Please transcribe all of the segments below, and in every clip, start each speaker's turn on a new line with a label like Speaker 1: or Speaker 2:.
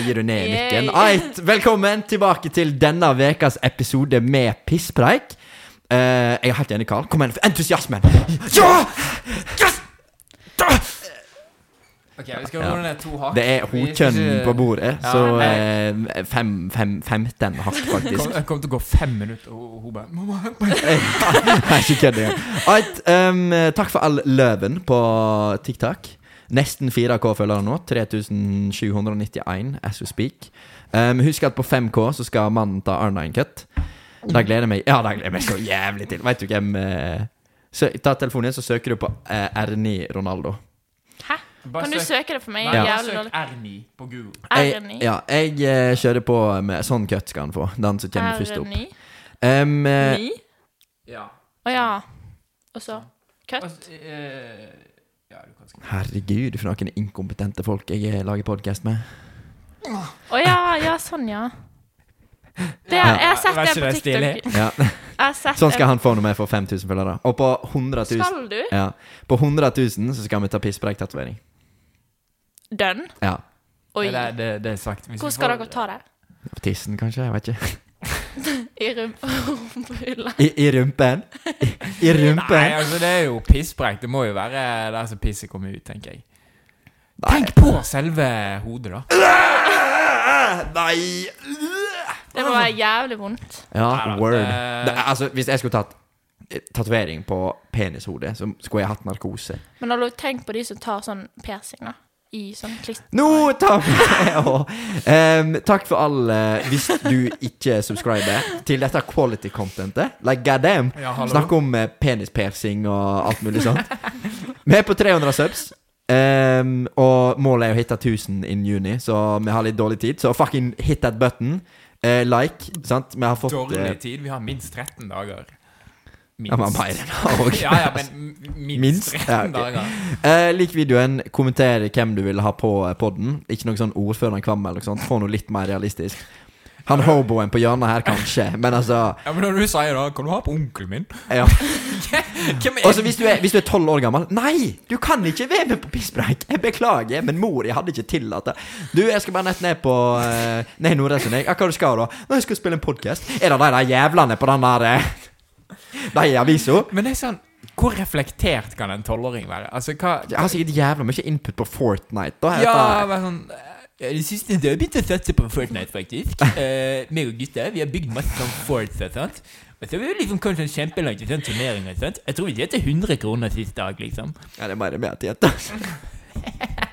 Speaker 1: Meier-ned-mikken.
Speaker 2: Yay.
Speaker 1: Eit, velkommen tilbake til denne vekas episode med pisspreik. Eh, jeg er helt enig, Karl. Kom igjen, entusiasmen! Ja! Yes! Da!
Speaker 3: Ok, vi skal roe ned to hakk.
Speaker 1: Det er
Speaker 3: Vi skal
Speaker 1: hokjønn
Speaker 3: ikke-
Speaker 1: på bordet,
Speaker 3: Ja,
Speaker 1: så
Speaker 3: nei.
Speaker 1: eh, fem, fem, 15 hakk, faktisk.
Speaker 3: Kom, jeg kommer til å gå fem minutter, og hun bare Mamma,
Speaker 1: Nei, ikke kødd engang. Alt, ehm, takk for all løven på TikTok. Nesten 4K følgere nå. 3791 as we speak. Ehm, husk at på 5K så skal mannen ta R9 Cut. Det gleder jeg meg Ja, det gleder jeg meg så jævlig til. Veit du hvem eh, sø, Ta telefonen din, så søker du på eh, R9 Ronaldo.
Speaker 2: Hæ? Kan du søke det for meg?
Speaker 3: Nei,
Speaker 2: Jeg er
Speaker 3: bare
Speaker 2: Jævlig
Speaker 3: søk
Speaker 2: dårlig.
Speaker 3: R9 på Google.
Speaker 1: Jeg,
Speaker 2: R9.
Speaker 1: ja, jeg eh, kjører på med sånn cut skal han få. Den som kommer først opp.
Speaker 2: R9.
Speaker 1: Ehm, eh,
Speaker 2: Ni?
Speaker 3: Ja.
Speaker 2: Å ja. Og så Cut.
Speaker 3: Altså, eh, ja, du kan skrive
Speaker 1: herregud, for noen inkompetente folk jeg eh, lager podkast med.
Speaker 2: Å ja, ja, sånn, ja. Det,
Speaker 1: Ja.
Speaker 2: jeg har sett
Speaker 3: Vær
Speaker 2: det
Speaker 3: ikke
Speaker 2: på
Speaker 3: det stilig?
Speaker 2: TikTok.
Speaker 1: Ja.
Speaker 2: Jeg har sett
Speaker 1: Sånn
Speaker 2: det.
Speaker 1: skal han få når vi får 5000 følgere. Og på 100 000,
Speaker 2: Skal du?
Speaker 1: ja, på 100 000 så skal vi ta pisspreik-tatovering.
Speaker 2: Done?
Speaker 1: Ja.
Speaker 2: Oi.
Speaker 3: Nei, Det, det, det er sagt. Hvis
Speaker 2: Hvor
Speaker 3: vi
Speaker 2: skal
Speaker 3: får-
Speaker 2: dere ta det?
Speaker 1: På tissen, kanskje? Jeg vet ikke.
Speaker 2: I rumpehylla?
Speaker 1: I, i rumpen? I, i
Speaker 3: Nei,
Speaker 1: rumpen?
Speaker 3: altså, det er jo pisspreik. Det må jo være der som pisset kommer ut, tenker jeg.
Speaker 1: Nei.
Speaker 3: Tenk på selve hodet, da.
Speaker 1: Nei!
Speaker 2: Det
Speaker 1: Ah.
Speaker 2: må være jævlig vondt.
Speaker 1: Ja,
Speaker 3: Neida,
Speaker 1: word.
Speaker 3: det-
Speaker 1: Det, altså, hvis jeg skulle tatt eh, tatovering på penishodet, så skulle jeg hatt narkose.
Speaker 2: Men har du tenkt på de som tar sånn piercing, da? I sånn klitt...
Speaker 1: Nå tar vi det òg! takk for all eh, Hvis du ikke subscriber til dette quality contentet, like god damn,
Speaker 3: Ja, hallo.
Speaker 1: Snakk om eh, penispiercing og alt mulig sånt. Vi er på 300 subs. ehm, og målet er å hitte 1000 innen juni, så vi har litt dårlig tid. Så fucking hit that button. Eh, like, sant? Vi har fått eh,
Speaker 3: Dårlig tid. Vi har minst 13 dager. Minst.
Speaker 1: Ja, men mer enn det også.
Speaker 3: ja, ja, men minst,
Speaker 1: Minst?
Speaker 3: minst
Speaker 1: Ja,
Speaker 3: 13
Speaker 1: ok.
Speaker 3: dager.
Speaker 1: Eh, lik videoen, kommenter hvem du vil ha på poden. Ikke noe sånn ordføreren Kvam eller noe sånt. Få noe litt mer realistisk. Han hoboen på hjørnet her, kanskje, men altså
Speaker 3: Ja, men når du sier da, kan du ha på onkelen min?
Speaker 1: ja.
Speaker 3: Hvem
Speaker 1: Og så hvis du er- hvis du er tolv år gammel Nei, du kan ikke være med på pisspreik! Jeg beklager, men mor jeg hadde ikke tillatt det. Du, jeg skal bare nett ned på eh, Nei, Nordreisen, jeg. Ja, hva du skal da? Nei, jeg skal spille en podkast. Er det de der jævlene på den der eh, De i avisa?
Speaker 3: Men det er sånn, hvor reflektert kan en tolvåring være? Altså, hva...
Speaker 1: Jeg har sikkert jævla mye input på Fortnite, da.
Speaker 3: Ja,
Speaker 1: heter det.
Speaker 3: bare sånn... eh, Jeg synes det er begynt å sette på Fortnite, faktisk. Eh, meg og gutta, vi har bygd masse sånn Fortnite, sant? Og så har vi jo liksom kommet sånn kjempelangt i sånn turneringer, sant? Jeg tror vi tjente 100 kroner sist dag, liksom.
Speaker 1: ja det er bare med til dette.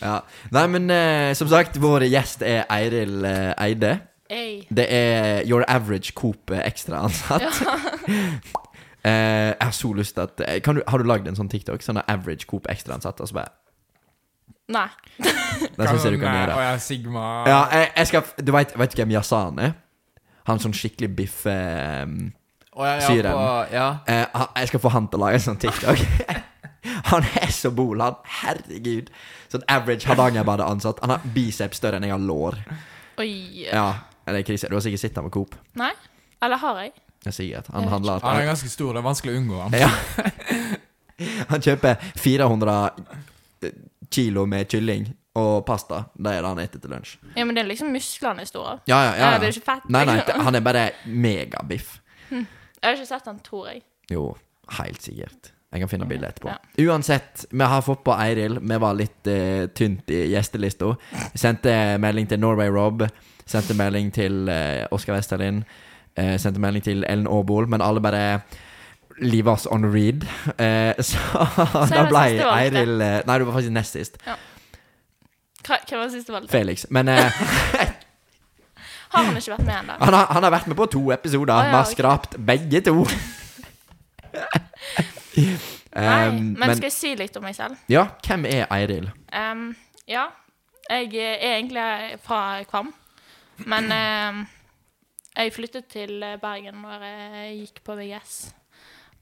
Speaker 1: Ja. Nei, men eh, som sagt, vår gjest er Eiril eh, Eide.
Speaker 2: Ei.
Speaker 1: Det er Your Average Coop ekstraansatt. Eh, jeg har så lyst til at eh, kan du, Har du lagd en sånn TikTok? Sånn der Average Coop ekstraansatt? Og så bare
Speaker 2: Nei.
Speaker 1: Den syns jeg du kan gjøre.
Speaker 3: Åja, eh, Sigma...
Speaker 1: Ja, jeg, jeg skal Du veit vet du hvem Yazan er? Han sånn skikkelig biff eh,
Speaker 3: Åja, ja,
Speaker 1: Syren.
Speaker 3: på- Ja.
Speaker 1: eh, han- Jeg skal få han til å lage en sånn TikTok. han er så bol, han. Herregud. Sånn average Hardangerbadet-ansatt. Han har biceps større enn jeg har lår.
Speaker 2: Oi.
Speaker 1: Ja, det er krise. Du har sikkert sett ham på Coop.
Speaker 2: Nei? Eller har jeg?
Speaker 1: Jeg sier at han handler at
Speaker 3: Han er ganske stor, det er vanskelig å unngå han.
Speaker 1: Ja. Han kjøper 400 kilo med kylling og pasta. Det er det han spiser til lunsj.
Speaker 2: Ja, men det er liksom musklene er store.
Speaker 1: Ja, ja, ja,
Speaker 2: Ja,
Speaker 1: ja.
Speaker 2: det er ikke fett.
Speaker 1: Nei, nei, det- han er bare megabiff.
Speaker 2: Jeg har ikke sett den, tror jeg.
Speaker 1: Jo, helt sikkert. Jeg kan finne bildet etterpå. Uansett, vi har fått på Eiril. Vi var litt eh, tynt i gjestelista. Sendte melding til Norway Rob. Sendte melding til eh, Oskar Westerlind. Eh, sendte melding til Ellen Aabol, men alle bare Leave us on read. Eh, så, da
Speaker 2: jeg var
Speaker 1: ble
Speaker 2: siste valgte.
Speaker 1: Eiril eh, Nei, du var faktisk nest sist.
Speaker 2: Hva, hvem var siste valg?
Speaker 1: Felix. Men eh,
Speaker 2: Har han ikke vært med ennå?
Speaker 1: han, har, han har vært med på to episoder.
Speaker 2: Å,
Speaker 1: Vi
Speaker 2: ja,
Speaker 1: har
Speaker 2: ok.
Speaker 1: skrapt begge to.
Speaker 2: Nei.
Speaker 1: Um,
Speaker 2: Men skal jeg si litt om meg selv?
Speaker 1: Ja, hvem er Eiril?
Speaker 2: Ehm, ja. Jeg er egentlig fra Kvam. Men ehm, jeg flyttet til Bergen når jeg gikk på VGS.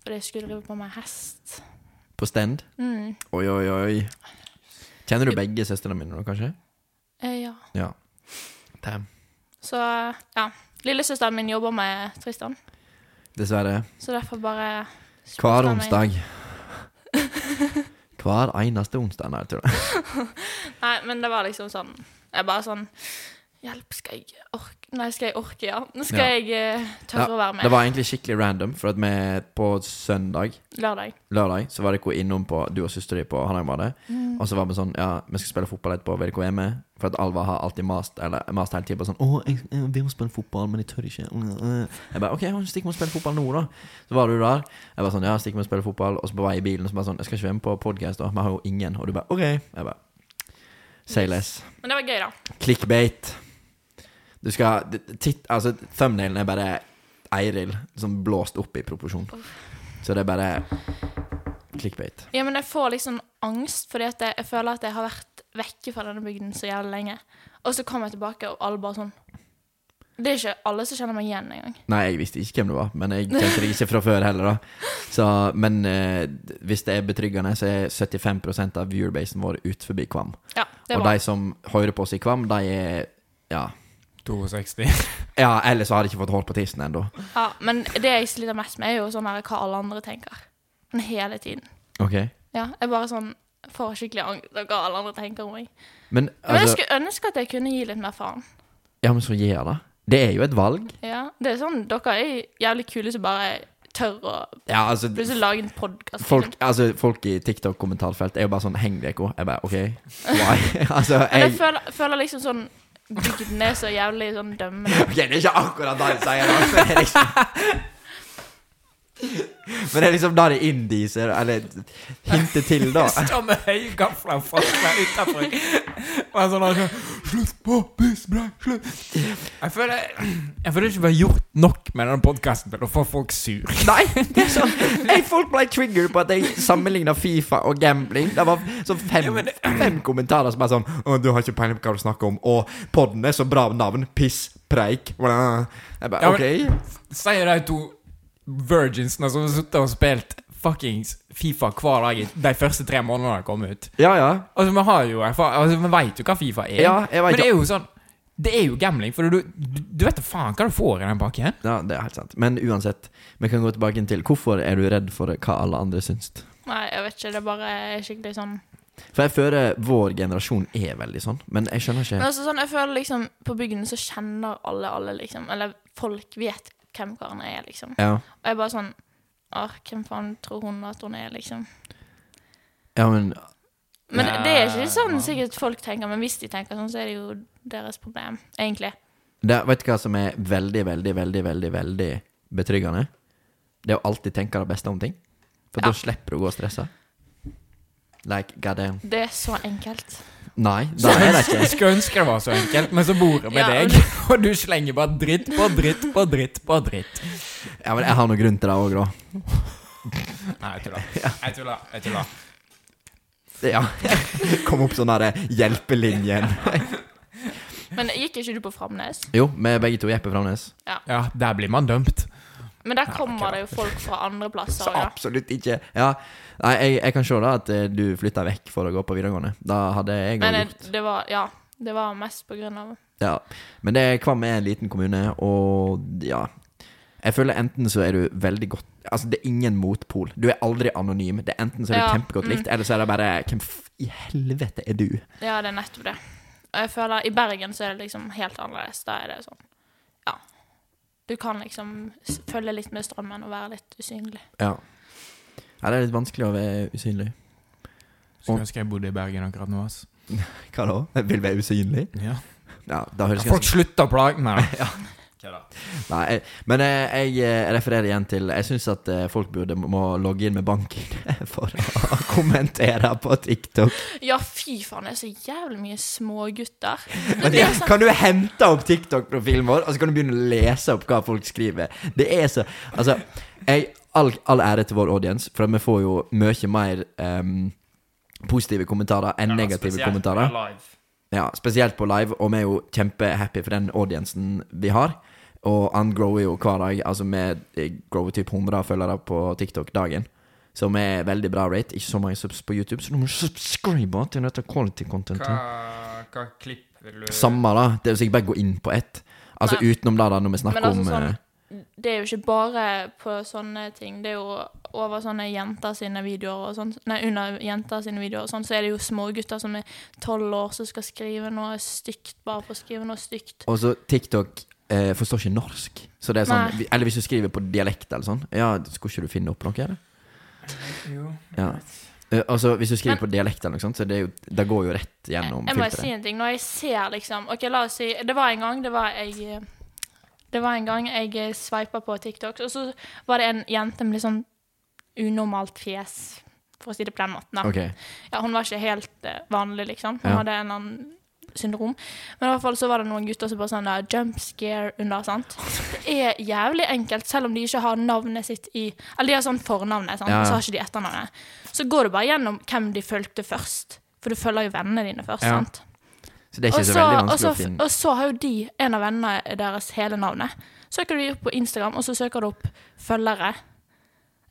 Speaker 2: Fordi jeg skulle drive på meg hest.
Speaker 1: På stand?
Speaker 2: Mm.
Speaker 1: Oi, oi, oi. Kjenner du begge søstrene mine nå, kanskje?
Speaker 2: Eh, ja.
Speaker 1: Ja. Damn.
Speaker 2: Så ja. Lillesøsteren min jobber med Tristan,
Speaker 1: Dessverre.
Speaker 2: så derfor bare
Speaker 1: Hver
Speaker 2: spurte han meg-
Speaker 1: onsdag. Hver eneste onsdag. Nei, jeg tror det.
Speaker 2: Nei, men det var liksom sånn Jeg bare sånn Hjelp, skal jeg orke Nei, skal jeg orke, ja. Nå skal
Speaker 1: Ja.
Speaker 2: jeg eh, tørre å være med.
Speaker 1: det var egentlig skikkelig random, for at vi på søndag
Speaker 2: Lørdag.
Speaker 1: lørdag så var dere innom på Du og søstera di på Hardangerbadet. Og så var vi sånn Ja, vi skal spille fotball etterpå. Vil dere være med? For at Alva har alltid mast Eller mast hele tida på sånn Å, jeg, jeg, vi må spille fotball, men jeg tør ikke. Jeg bare OK, stikk med å spille fotball nå, da. Så var du der. Jeg bare sånn Ja, stikk med å spille fotball. Og så på vei i bilen, og så bare sånn Jeg skal ikke være med på podkast, da. Vi har jo ingen. Og du bare OK. Jeg bare Say less.
Speaker 2: Men det var gøy, da.
Speaker 1: Clickbait. Du skal d- titt, Altså, thumbnailen er bare Eiril, sånn blåst opp i proporsjon. Så det er bare clickbait.
Speaker 2: Ja, men jeg får litt sånn angst, fordi at jeg, jeg føler at jeg har vært vekke fra denne bygden så jævlig lenge. Og så kommer jeg tilbake, og alle bare sånn Det er ikke alle som kjenner meg igjen engang.
Speaker 1: Nei, jeg visste ikke hvem det var, men jeg kjente deg ikke fra før heller. da så, Men eh, d- hvis det er betryggende, så er 75 av viewerbasen vår ut forbi Kvam.
Speaker 2: Ja, det
Speaker 1: Og
Speaker 2: var
Speaker 1: de som hører på oss i Kvam, de er ja.
Speaker 3: 62.
Speaker 1: ja, eller så har de ikke fått hår på tissen ennå.
Speaker 2: ja, Men det jeg sliter mest med, er jo sånn her hva alle andre tenker. Men hele tiden.
Speaker 1: Okay.
Speaker 2: Ja, jeg bare sånn får skikkelig angst av hva alle andre tenker om meg.
Speaker 1: Men,
Speaker 2: Men jeg
Speaker 1: altså,
Speaker 2: skulle ønske at jeg kunne gi litt mer faen.
Speaker 1: ja, men så gjør det. Det er jo et valg.
Speaker 2: Ja, det er sånn, Dere er jævlig kule som bare tør å
Speaker 1: Ja, altså
Speaker 2: plutselig lage en podkast.
Speaker 1: Folk, altså, folk i TikTok-kommentarfelt er jo bare sånn Heng deko. Jeg bare OK, why? altså,
Speaker 2: Men jeg
Speaker 1: jeg
Speaker 2: føler, føler liksom sånn Bygden er så jævlig sånn dømmende.
Speaker 1: OK, det er ikke akkurat det de sier, da. men det er liksom- Men det er liksom det de indieser, eller hinter til, da.
Speaker 3: Står med høye gafler og fasler utenfor. Og han sånn, han sånn Slutt på bussbrekk, slutt! Jeg føler, jeg føler ikke vi har gjort nok med denne podkasten til å få folk sur.
Speaker 1: Nei! det er sånn jeg, Folk ble triggered på at jeg sammenligna Fifa og gambling. Det var sånn
Speaker 3: Ja,
Speaker 1: fem,
Speaker 3: men
Speaker 1: fem kommentarer som bare sånn Å, du har ikke peiling på hva du snakker om, og podden er så bra navn. Piss, preik. bla. Jeg bare
Speaker 3: Ja, men-
Speaker 1: OK.
Speaker 3: Sier de to virginsene som har sittet og spilt fuckings Fifa hver dag i de første tre månedene det kom ut.
Speaker 1: Ja, ja.
Speaker 3: Altså, vi har jo erfaring altså, Vi veit jo hva Fifa er.
Speaker 1: Ja, jeg vet
Speaker 3: men det er jo sånn Det er jo gambling, for du, du, du vet da faen hva du får i den pakken.
Speaker 1: Ja, det er helt sant. Men uansett, vi kan gå tilbake inn til hvorfor er du redd for hva alle andre syns?
Speaker 2: Nei, jeg vet ikke. Det er bare skikkelig sånn
Speaker 1: For jeg føler vår generasjon er veldig sånn, men jeg skjønner
Speaker 2: Men
Speaker 1: ikke
Speaker 2: også sånn, jeg føler liksom På bygden så kjenner alle alle, liksom. Eller folk vet hvem karen er, liksom.
Speaker 1: Ja,
Speaker 2: Og jeg bare sånn Åh, hvem faen tror hun at hun er, liksom?
Speaker 1: ja men
Speaker 2: Men
Speaker 3: Nei.
Speaker 2: det er ikke sånn sikkert folk tenker, men hvis de tenker sånn, så er det jo deres problem, egentlig.
Speaker 1: det, Vet du hva som er veldig, veldig, veldig, veldig veldig betryggende? Det å alltid tenke det beste om ting. For
Speaker 2: Ja.
Speaker 1: da slipper du å gå og stresse. Like, god damn.
Speaker 2: Det er så enkelt.
Speaker 1: Nei, det er det ikke.
Speaker 3: Jeg skulle ønske det var så enkelt, men så bor jeg med
Speaker 2: Ja, og
Speaker 3: deg, og du slenger bare dritt på dritt på dritt på dritt.
Speaker 1: Ja, men jeg har noe grunn til det òg, da.
Speaker 3: Nei, jeg tuller. Jeg tuller. Jeg tuller.
Speaker 1: Ja. Kom opp sånn derre hjelpelinjen.
Speaker 2: Men gikk ikke du på Framnes?
Speaker 1: Jo, vi begge to Jeppe Framnes.
Speaker 3: Ja, der blir man dømt.
Speaker 2: Men der kommer det jo folk fra andre plasser.
Speaker 1: Så
Speaker 2: Ja.
Speaker 1: absolutt ikke. Ja, Nei, jeg, jeg kan se da at eh, du flytta vekk for å gå på videregående. Da hadde jeg
Speaker 2: Men
Speaker 1: òg
Speaker 2: eh,
Speaker 1: gjort
Speaker 2: det var Ja, det var mest på grunn av
Speaker 1: ja. Men det er Kvam er en liten kommune, og ja Jeg føler enten så er du veldig godt Altså, det er ingen motpol. Du er aldri anonym. Det er Enten så er du
Speaker 2: Ja, Mm.
Speaker 1: kjempegodt likt, eller så er det bare Hvem f i helvete er du?
Speaker 2: Ja, det er nettopp det. Og jeg føler I Bergen så er det liksom helt annerledes. Da er det sånn Ja. Du kan liksom s- følge litt med strømmen og være litt usynlig.
Speaker 1: Ja. ja det er litt vanskelig å være usynlig.
Speaker 3: Skulle ønske jeg bodde i Bergen akkurat nå, altså. ass.
Speaker 1: Hva da? Jeg vil være usynlig?
Speaker 3: Ja.
Speaker 1: Ja, da høres
Speaker 3: Folk slutter å plage meg.
Speaker 1: Nei, jeg- men jeg, jeg eh, refererer igjen til Jeg syns at eh, folk burde må logge inn med banken for å kommentere på TikTok.
Speaker 2: Ja, fy faen, det er så jævlig mye smågutter.
Speaker 1: Men
Speaker 2: Det er sånn,
Speaker 1: kan du hente opp TikTok-profilen vår, og så kan du begynne å lese opp hva folk skriver? Det er så Altså, jeg, all, all ære til vår audience, for vi får jo mye mer em, positive kommentarer enn negative kommentarer. Ja, spesielt på live, og vi er jo kjempehappy for den audiencen vi har. Og han grower jo hver dag. Altså vi grower typ 100 følgere på TikTok dagen. Så vi er veldig bra rate. Ikke så mange subs på YouTube, så du må subscribe til dette quality contentet.
Speaker 3: Hva klipper du
Speaker 1: Samme, da. Det er jo sikkert bare å gå inn på ett. Altså
Speaker 2: Nei.
Speaker 1: utenom det, da, når vi
Speaker 2: men
Speaker 1: snakker
Speaker 2: altså
Speaker 1: om eh,
Speaker 2: sånn det er jo ikke bare på sånne ting. Det er jo over sånne jenter sine videoer og sånn. Nei, under jenter sine videoer og sånn, så er det jo smågutter som er tolv år som skal skrive noe stygt bare for å skrive noe stygt.
Speaker 1: Og så TikTok eh, forstår ikke norsk. Så det er sånn,
Speaker 2: Nei.
Speaker 1: vi- eller hvis du skriver på dialekt eller sånn Ja, skulle ikke du finne opp noe? Eller?
Speaker 3: Jo.
Speaker 1: Ja. Eh, altså, hvis du skriver på dialekt eller noe sånt, så det, er jo, det går jo rett gjennom
Speaker 2: Jeg må bare si
Speaker 1: filteret.
Speaker 2: en ting. Når jeg ser liksom OK, la oss si Det var en gang det var jeg Det var en gang jeg sveipa på TikTok, og så var det en jente med litt sånn unormalt fjes, for å si det på den måten. da.
Speaker 1: Ok,
Speaker 2: Ja, hun var ikke helt eh, vanlig, liksom. Hun
Speaker 1: Ja.
Speaker 2: hadde en eller annen syndrom. Men i hvert fall så var det noen gutter som bare sånn der, jump scare under, sant. Det er jævlig enkelt, selv om de ikke har navnet sitt i Eller de har sånn fornavnet, sant,
Speaker 1: Ja, ja.
Speaker 2: og så har ikke de etternavnet. Så går du bare gjennom hvem de fulgte først. For du følger jo vennene dine først,
Speaker 1: Ja.
Speaker 2: sant.
Speaker 1: Så det er
Speaker 2: Og
Speaker 1: ikke så
Speaker 2: så,
Speaker 1: veldig
Speaker 2: og,
Speaker 1: vanskelig
Speaker 2: så,
Speaker 1: å finne
Speaker 2: og så har jo de en av vennene deres hele navnet. Søker du opp på Instagram, og så søker du opp følgere.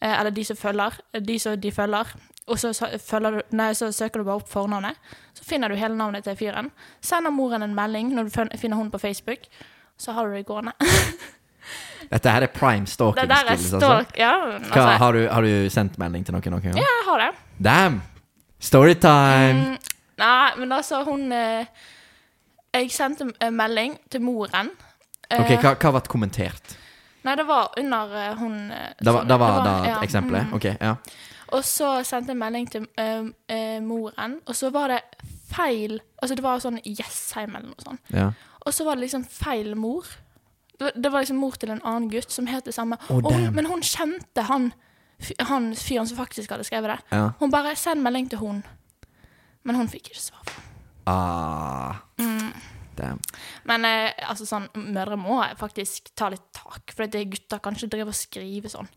Speaker 2: Eh, eller de som følger. De som de følger. Og så, sø- følger du, nei, så søker du bare opp fornavnet. Så finner du hele navnet til fyren. Sender moren en melding når du fø- finner hun på Facebook. Så har du det gående.
Speaker 1: Dette her er prime
Speaker 2: Det der er
Speaker 1: stalking-skills, altså.
Speaker 2: stalk... Ja,
Speaker 1: Hva,
Speaker 2: altså,
Speaker 1: har, du, har du sendt melding til noen noen gang?
Speaker 2: jeg har det.
Speaker 1: Damn! Storytime!
Speaker 2: Mm, nei, men altså, hun eh, Jeg sendte en melding til moren. Eh,
Speaker 1: Ok, hva, hva ble kommentert?
Speaker 2: Nei, det var under eh, hun eh,
Speaker 1: Det var,
Speaker 2: som-
Speaker 1: det var da
Speaker 2: ja,
Speaker 1: eksempelet?
Speaker 2: mm.
Speaker 1: Ok, ja.
Speaker 2: Og så sendte jeg melding til eh, eh, moren, og så var det feil Altså, det var sånn Jessheim eller noe sånt.
Speaker 1: ja.
Speaker 2: Og så var det liksom feil mor. Det var- det var liksom mor til en annen gutt som het det samme.
Speaker 1: Å,
Speaker 2: Og hun,
Speaker 1: damn.
Speaker 2: men hun kjente han, fy- han fyren som faktisk hadde skrevet det.
Speaker 1: ja.
Speaker 2: Hun bare 'send melding til hun'. Men hun fikk ikke svar.
Speaker 1: Ah. Damn.
Speaker 2: Men eh, altså sånn, mødre må faktisk ta litt tak, for at det gutter kan ikke drive og skrive sånn.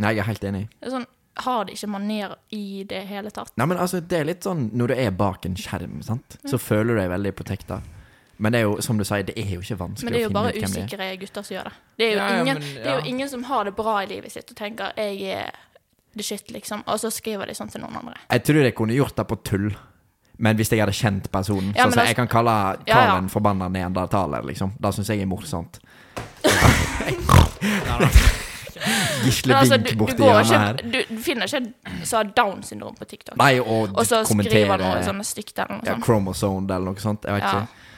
Speaker 1: Nei, jeg er helt enig.
Speaker 2: Det er sånn, har de ikke maner i det hele tatt?
Speaker 1: Nei, men altså, det er litt sånn Når du er bak en skjerm, sant? så føler du deg veldig protekta. Men det er jo, som du sier, det er jo ikke
Speaker 2: Men
Speaker 1: vanskelig
Speaker 2: det er
Speaker 1: å
Speaker 2: jo
Speaker 1: finne
Speaker 2: bare
Speaker 1: ut hvem det er.
Speaker 2: usikre gutter som gjør det. Det er jo,
Speaker 3: Ja, ja,
Speaker 2: ingen,
Speaker 3: men,
Speaker 2: det er
Speaker 3: ja.
Speaker 2: jo ingen som har det bra i livet sitt og tenker 'jeg er the shit', liksom. Og så skriver de sånn til noen andre.
Speaker 1: Jeg tror jeg kunne gjort det på tull. Men hvis jeg hadde kjent personen
Speaker 2: Ja,
Speaker 1: Sånn
Speaker 2: men
Speaker 1: som
Speaker 2: altså-
Speaker 1: Jeg kan kalle talen
Speaker 2: Ja, ja.
Speaker 1: forbanna neandertaler, liksom. Det syns jeg er morsomt.
Speaker 2: Men
Speaker 1: Gisle
Speaker 2: altså,
Speaker 1: Bink
Speaker 2: du, du,
Speaker 1: borti
Speaker 2: går
Speaker 1: hjørnet her.
Speaker 2: ikke, du, du finner ikke en som har Downs syndrom på TikTok.
Speaker 1: Nei, og,
Speaker 2: og så skriver
Speaker 1: kommentere
Speaker 2: noe sånn stygt eller noe
Speaker 1: ja,
Speaker 2: sånt.
Speaker 1: Chromosome eller noe sånt. Jeg vet
Speaker 2: Ja.
Speaker 1: ikke.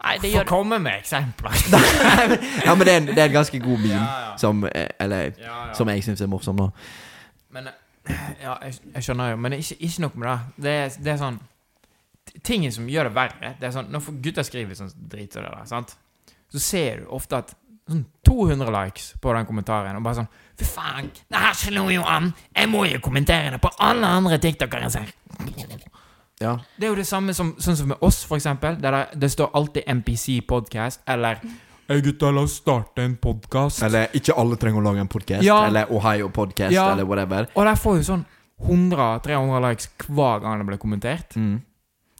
Speaker 2: Nei, det
Speaker 3: Få
Speaker 2: gjør du.
Speaker 3: komme med eksempler.
Speaker 1: Ja, men det er en, det er en ganske god meme
Speaker 3: Ja, ja.
Speaker 1: Som, eh, eller,
Speaker 3: Ja, ja.
Speaker 1: som jeg syns er morsom nå.
Speaker 3: Men Ja, jeg, jeg skjønner jo, men ikke, ikke nok med det. Det er, det er sånn t- Tingen som gjør det verre, det er sånn Når gutter skriver sånn drit og det der, sant, så ser du ofte at Sånn 200 likes på den kommentaren, og bare sånn Fy faen, det her slo jo an! Jeg må jo kommentere det på alle andre tiktokere jeg ser!
Speaker 1: Ja.
Speaker 3: Det er jo det samme som, sånn som med oss, for eksempel. Der det, det står alltid MPC podcast, eller Hei, gutta, la oss starte en podkast.
Speaker 1: Eller 'Ikke alle trenger å lage en podkast',
Speaker 3: Ja.
Speaker 1: eller 'Ohio Podcast',
Speaker 3: Ja.
Speaker 1: eller whatever.
Speaker 3: Og der får jo sånn 100-300 likes hver gang det blir kommentert.
Speaker 1: Mm.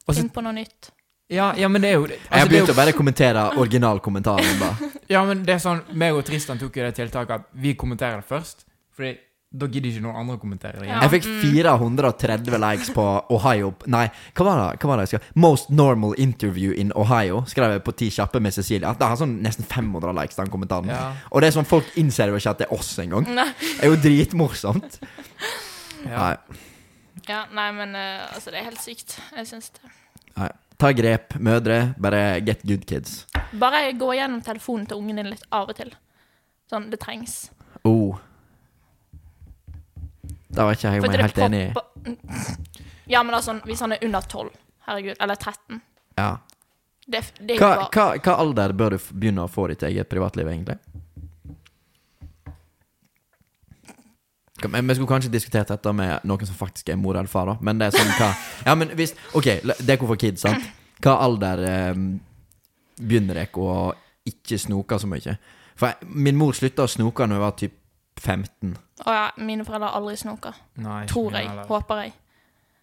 Speaker 3: Og så
Speaker 2: Finn på noe nytt.
Speaker 3: Ja, ja, men det er jo
Speaker 1: jeg har
Speaker 3: altså, det er
Speaker 1: begynt å
Speaker 3: jo,
Speaker 1: bare kommentere originalkommentaren. da.
Speaker 3: Ja, men det er sånn Meg og Tristan tok jo det tiltaket at vi kommenterer det først. Fordi da gidder ikke noen andre å kommentere det. igjen.
Speaker 2: Ja.
Speaker 1: Jeg fikk 430 likes på Ohio Nei, hva var det? Hva var det jeg skrev? Most normal interview in Ohio, skrev jeg på Ti kjappe med Cecilia. Det har sånn nesten 500 likes, den kommentaren.
Speaker 3: Ja.
Speaker 1: Og det er sånn, folk innser jo ikke at det er oss engang. Det er jo dritmorsomt.
Speaker 3: Ja.
Speaker 1: Nei,
Speaker 2: Ja, nei, men eh, altså, det er helt sykt. Jeg syns det.
Speaker 1: nei. Ta grep, mødre. Bare get good kids.
Speaker 2: Bare gå gjennom telefonen til ungen din litt av og til. Sånn, det trengs.
Speaker 1: Oh. Da var ikke jeg
Speaker 2: For
Speaker 1: om jeg
Speaker 2: at det
Speaker 1: er helt enig. i.
Speaker 2: popper- Mm. Ja, men altså, hvis han er under 12, herregud, eller 13
Speaker 1: Ja.
Speaker 2: Det, det er jo
Speaker 1: Hva,
Speaker 2: bare
Speaker 1: hva, hva alder bør du f- begynne å få ditt eget privatliv, egentlig? Kan- Men Vi skulle kanskje diskutert dette med noen som faktisk er mor eller far, da. Men det er sånn hva Ja, men hvis Ok, la- det er hvorfor kids, sant? Hva alder eh, begynner dere å ikke snoke så mye? For jeg, min mor slutta å snoke når jeg var typ 15.
Speaker 2: Å ja, mine foreldre har aldri snoka.
Speaker 3: Nei, ikke
Speaker 2: Tror
Speaker 3: mine
Speaker 2: jeg.
Speaker 3: heller.
Speaker 2: Håper jeg.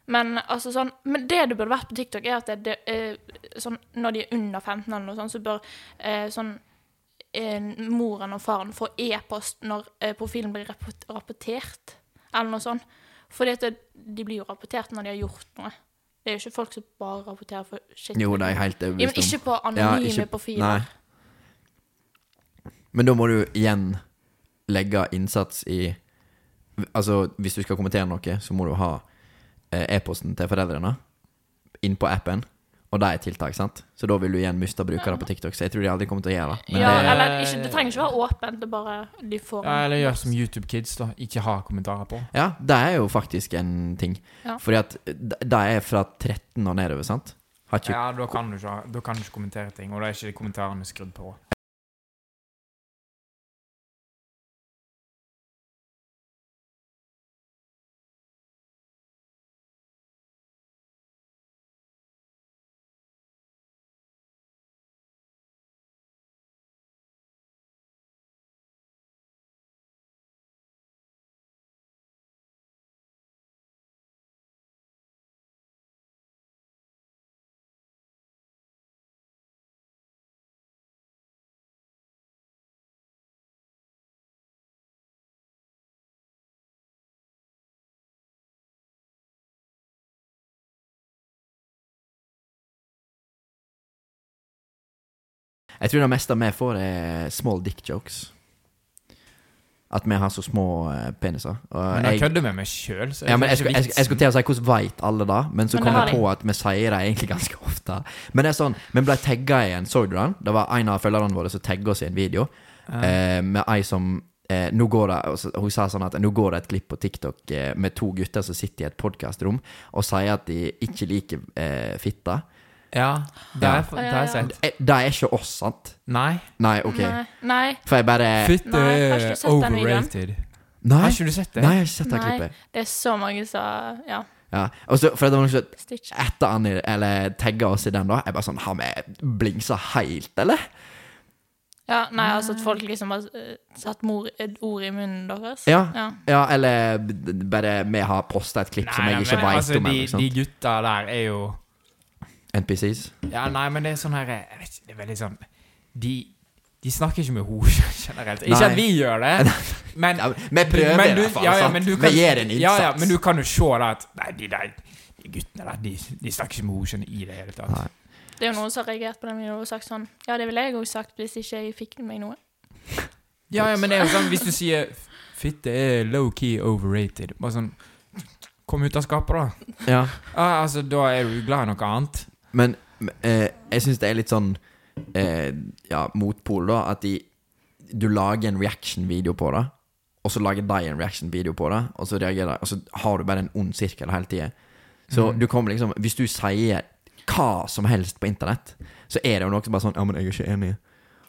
Speaker 2: Men altså sånn Men det det burde vært på TikTok, er at det, det eh, sånn Når de er under 15 eller noe sånt, så bør eh, sånn eh, moren og faren få e-post når eh, profilen blir rapport- rapportert, eller noe sånt. Fordi at det, de blir jo rapportert når de har gjort noe. Det er jo ikke folk som bare rapporterer for shit.
Speaker 1: Jo, det er jeg helt
Speaker 2: ja, men
Speaker 1: overbevist om.
Speaker 2: ikke på
Speaker 1: Ja,
Speaker 2: anonyme
Speaker 1: ikke-
Speaker 2: profiler.
Speaker 1: Nei. Men da må du igjen legge innsats i Altså, hvis du skal kommentere noe, så må du ha eh, e-posten til foreldrene inn på appen. Og det er tiltak, sant? Så da vil du igjen miste brukere på TikTok. Så jeg tror de aldri kommer til å gjøre det. Men
Speaker 2: ja,
Speaker 1: det,
Speaker 2: eller ikke, Det trenger ikke være åpent, det er bare de får
Speaker 3: Ja, eller gjør som YouTube Kids, da. Ikke ha kommentarer på.
Speaker 1: ja, det er jo faktisk en ting.
Speaker 2: Ja.
Speaker 1: Fordi at det det er fra 13 og nedover, sant? Har ikke
Speaker 3: Ja, da kan du ikke, ha- da kan du ikke kommentere ting, og da er ikke kommentarene skrudd på.
Speaker 1: Jeg tror det meste vi får, er small dick jokes. At vi har så små eh, peniser. Og
Speaker 3: Men jeg
Speaker 1: jeg,
Speaker 3: kødder med meg sjøl, så
Speaker 1: ja, men jeg, skulle- jeg, jeg skulle
Speaker 3: til
Speaker 1: til å si hvordan veit alle det, men så
Speaker 2: Men
Speaker 1: kom
Speaker 2: det har
Speaker 1: jeg på at vi sier det egentlig ganske ofte. Men det er sånn, vi ble tagga i en Så du den? Det var en av følgerne våre som tagga oss i en video eh, med ei som eh, nå går det, og så- Hun sa sånn at nå går det et klipp på TikTok eh, med to gutter som sitter i et podkastrom og sier at de ikke liker eh, fitte.
Speaker 3: Ja, det
Speaker 1: Ja.
Speaker 3: er, det er sant.
Speaker 1: Eh, Det er ikke oss, sant?
Speaker 3: Nei.
Speaker 1: Nei, OK.
Speaker 2: Nei. Nei.
Speaker 1: For jeg bare
Speaker 3: Fitte
Speaker 2: Nei, har ikke
Speaker 3: er
Speaker 2: du sett den videoen?
Speaker 3: overrated.
Speaker 1: Nei.
Speaker 3: Har ikke du sett det?
Speaker 1: Nei, jeg har ikke sett det
Speaker 2: Nei.
Speaker 1: klippet.
Speaker 2: Det er så mange som Ja,
Speaker 1: Ja. Og så, for det var noen som
Speaker 2: Stitch.
Speaker 1: etter han Eller tagga oss i den, da. Jeg bare sånn Har vi blingsa helt, eller?
Speaker 2: Ja, nei, altså at folk liksom har eh, satt mor, et ord i munnen deres.
Speaker 1: Ja.
Speaker 2: Ja.
Speaker 1: Ja, eller b- bare vi har posta et klipp som
Speaker 3: nei,
Speaker 1: jeg ikke
Speaker 3: men
Speaker 1: veit
Speaker 3: altså,
Speaker 1: om.
Speaker 3: de,
Speaker 1: eller noe
Speaker 3: de
Speaker 1: sånt.
Speaker 3: gutta der er jo
Speaker 1: NPCs.
Speaker 3: Ja, nei, men det er sånn her Jeg vet ikke, det er veldig sånn De, de snakker ikke med henne generelt. Ikke
Speaker 1: Nei.
Speaker 3: at vi gjør det, men
Speaker 1: Ja, vi prøver
Speaker 3: men
Speaker 1: i
Speaker 3: du-
Speaker 1: hvert fall,
Speaker 3: ja, ja,
Speaker 1: sant?
Speaker 3: men du
Speaker 1: vi
Speaker 3: kan-
Speaker 1: gjør en innsats.
Speaker 3: Ja, ja, men du kan jo se da at Nei, de der de guttene der, de, de snakker ikke med henne skjønner, i det hele tatt.
Speaker 1: Nei.
Speaker 2: Det er jo noen som har reagert på den videoen og sagt sånn Ja, det ville jeg òg sagt hvis ikke jeg fikk meg noe.
Speaker 3: Ja, ja, men det er jo sånn hvis du sier Fitte er low-key overrated. Bare sånn Kom ut av skapet, da.
Speaker 1: Ja.
Speaker 3: Ja, altså, da er du glad i noe annet.
Speaker 1: Men eh, jeg syns det er litt sånn eh, Ja, motpol, da. At de Du lager en reaction-video på det, og så lager de en reaction-video på det, og så reagerer de, og så har du bare en ond sirkel hele tida. Så du kommer liksom Hvis du sier hva som helst på internett, så er det jo noe som bare sånn Ja, men jeg er ikke enig.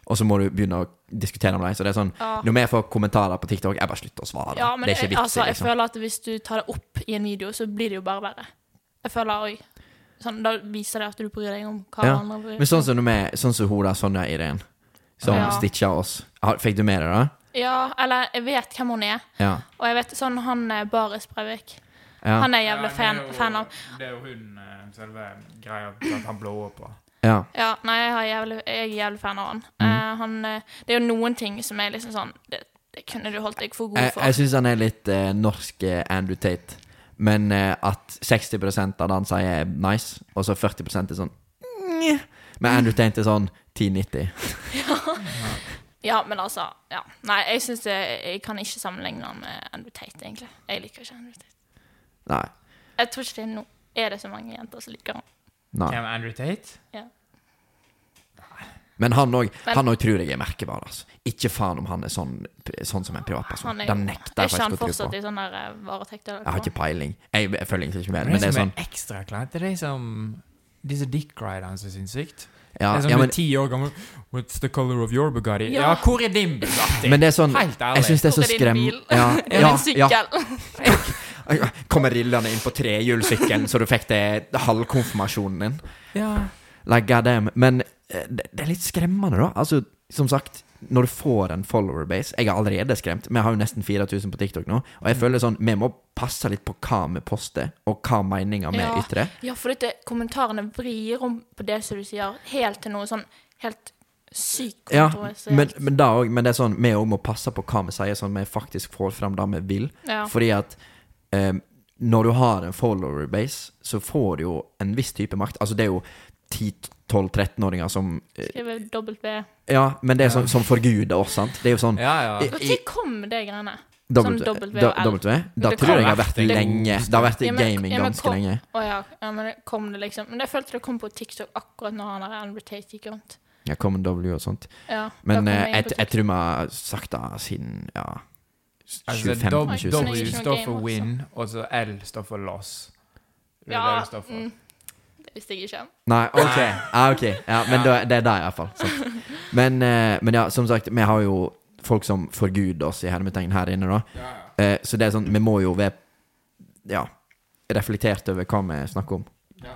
Speaker 1: Og så må du begynne å diskutere med dem. Så det er sånn
Speaker 2: Ja.
Speaker 1: Når vi får kommentarer på TikTok, jeg bare slutter å svare.
Speaker 2: Ah. Ja, men
Speaker 1: det er ikke
Speaker 2: jeg,
Speaker 1: vits i,
Speaker 2: altså, jeg
Speaker 1: liksom.
Speaker 2: føler at hvis du tar det opp i en video, så blir det jo bare verre. Jeg føler òg sånn, Da viser det at du bryr deg om hva
Speaker 1: Ja,
Speaker 2: andre bryr
Speaker 1: Men sånn som, når vi- sånn som hun der, Sonja Irén, som
Speaker 2: Ja.
Speaker 1: stitcha oss. Har- Fikk du med deg det?
Speaker 2: Ja, eller jeg vet hvem hun er.
Speaker 1: Ja.
Speaker 2: Og jeg vet sånn han eh, Baris Breivik.
Speaker 1: Ja.
Speaker 2: Han er jeg jævlig fan, fan av.
Speaker 3: Det er jo hun eh, selve greia at han blåer på.
Speaker 1: Ja.
Speaker 2: Ja, nei, jeg, har jævlig, jeg er jævlig fan av han.
Speaker 1: Mhm.
Speaker 2: Eh, han eh, det er jo noen ting som er liksom sånn Det, det kunne du holdt deg for god
Speaker 1: Jeg,
Speaker 2: for.
Speaker 1: Eh, jeg syns han er litt eh, norsk eh, Andrew Tate. Men eh, at 60 av det han sier, er nice, og så 40 er sånn «Nje». Men Andrew Tate er sånn 10-90.
Speaker 2: Ja, men altså ja. Nei, jeg syns jeg, jeg kan ikke sammenligne han med Andrew Tate, egentlig. Jeg liker ikke Andrew Tate.
Speaker 1: Nei.
Speaker 2: Jeg tror ikke det er no Er det så mange jenter som liker han?
Speaker 1: nei.
Speaker 3: Hvem Andrew Tate?
Speaker 1: Men han òg
Speaker 2: Men-
Speaker 1: tror jeg er merkevare. Altså. Ikke faen om han er sånn, sånn som en privatperson.
Speaker 2: Han er,
Speaker 1: Den nekter
Speaker 2: er
Speaker 1: jeg
Speaker 2: ikke han
Speaker 1: faktisk å tro
Speaker 2: fortsatt
Speaker 1: på.
Speaker 2: i sånn der eh, varetekt? eller
Speaker 1: Jeg har
Speaker 2: hva?
Speaker 1: ikke peiling. Jeg, jeg følger egentlig ikke med.
Speaker 3: Men
Speaker 1: Men
Speaker 3: det
Speaker 1: det er
Speaker 3: som
Speaker 1: sånn
Speaker 3: er ekstra kleint, det er de som De som dickriderne som er sinnssykt.
Speaker 1: ja,
Speaker 3: det er sånn
Speaker 1: ja,
Speaker 3: du
Speaker 1: men,
Speaker 3: er ti år gammel What's the color of your Bugatti? Ja,
Speaker 2: Ja.
Speaker 3: hvor er din Bugatti?
Speaker 1: men det er sånn
Speaker 3: Helt ærlig.
Speaker 1: Jeg syns det er så
Speaker 2: Hvor er din
Speaker 1: skrem...
Speaker 2: bil?
Speaker 1: Ja,
Speaker 2: Er det
Speaker 1: ja,
Speaker 2: en
Speaker 1: ja,
Speaker 2: sykkel?
Speaker 1: Kommer rillende inn på trehjulssykkelen, så du fikk det halvkonfirmasjonen din.
Speaker 3: ja.
Speaker 1: Like, goddamn. Men eh, det, det er litt skremmende, da. Altså, som sagt, når du får en follower base Jeg er allerede skremt. Vi har jo nesten 4000 på TikTok nå. Og
Speaker 2: Mm.
Speaker 1: jeg føler sånn Vi må passe litt på hva vi poster, og hva meninger vi
Speaker 2: Ja.
Speaker 1: ytrer.
Speaker 2: Ja, for dette, kommentarene vrir om på det som du sier, helt til noe sånn helt sykt
Speaker 1: Ja,
Speaker 2: kontroversielt.
Speaker 1: men, men, da også, men det er sånn vi òg må passe på hva vi sier, sånn at vi faktisk får fram det vi vil.
Speaker 2: Ja.
Speaker 1: Fordi at eh, når du har en follower base, så får du jo en viss type makt. Altså, det er jo ti- 12-13-åringer som eh,
Speaker 2: Skriver W.
Speaker 1: Ja, men det er sånn som forguder oss, sant? Det er jo sånn
Speaker 3: Ja, ja.
Speaker 1: I-
Speaker 2: Når kom det greiene?
Speaker 1: W,
Speaker 2: Sånn W
Speaker 1: da,
Speaker 2: og L.
Speaker 1: w. da
Speaker 2: det
Speaker 1: tror jeg
Speaker 3: kan
Speaker 1: jeg har
Speaker 3: være-
Speaker 1: vært
Speaker 3: det-
Speaker 1: lenge. Det har vært i
Speaker 2: Ja, men-
Speaker 1: gaming
Speaker 2: ja, men
Speaker 1: ganske
Speaker 2: kom-
Speaker 1: lenge.
Speaker 2: Å ja. ja, men det kom det liksom Men jeg følte det kom på TikTok akkurat når han der Andrew Tate gikk rundt.
Speaker 1: Jeg kom en W og sånt.
Speaker 2: Ja, da
Speaker 1: Men
Speaker 2: kom
Speaker 1: eh,
Speaker 2: jeg inn
Speaker 1: jeg,
Speaker 2: på
Speaker 1: jeg
Speaker 2: TikTok.
Speaker 1: tror vi har sagt det siden ja,
Speaker 3: Altså, W
Speaker 1: 2015-2016.
Speaker 2: Nei,
Speaker 3: W
Speaker 2: ikke noe
Speaker 3: står
Speaker 2: game
Speaker 3: for
Speaker 2: også.
Speaker 3: win, og så L står for loss. Det er
Speaker 2: ja,
Speaker 3: det det står for.
Speaker 2: mm, det visste jeg ikke.
Speaker 1: Nei, OK. Ja, ok. Ja, men
Speaker 3: Ja.
Speaker 1: Da, det er det, iallfall. Sant. Men, eh, men ja, som sagt, vi har jo folk som forguder oss i hermetegn her inne, da.
Speaker 3: Ja, ja.
Speaker 1: Eh, så det er sånn, vi må jo være ja, reflektert over hva vi snakker om.
Speaker 3: Ja.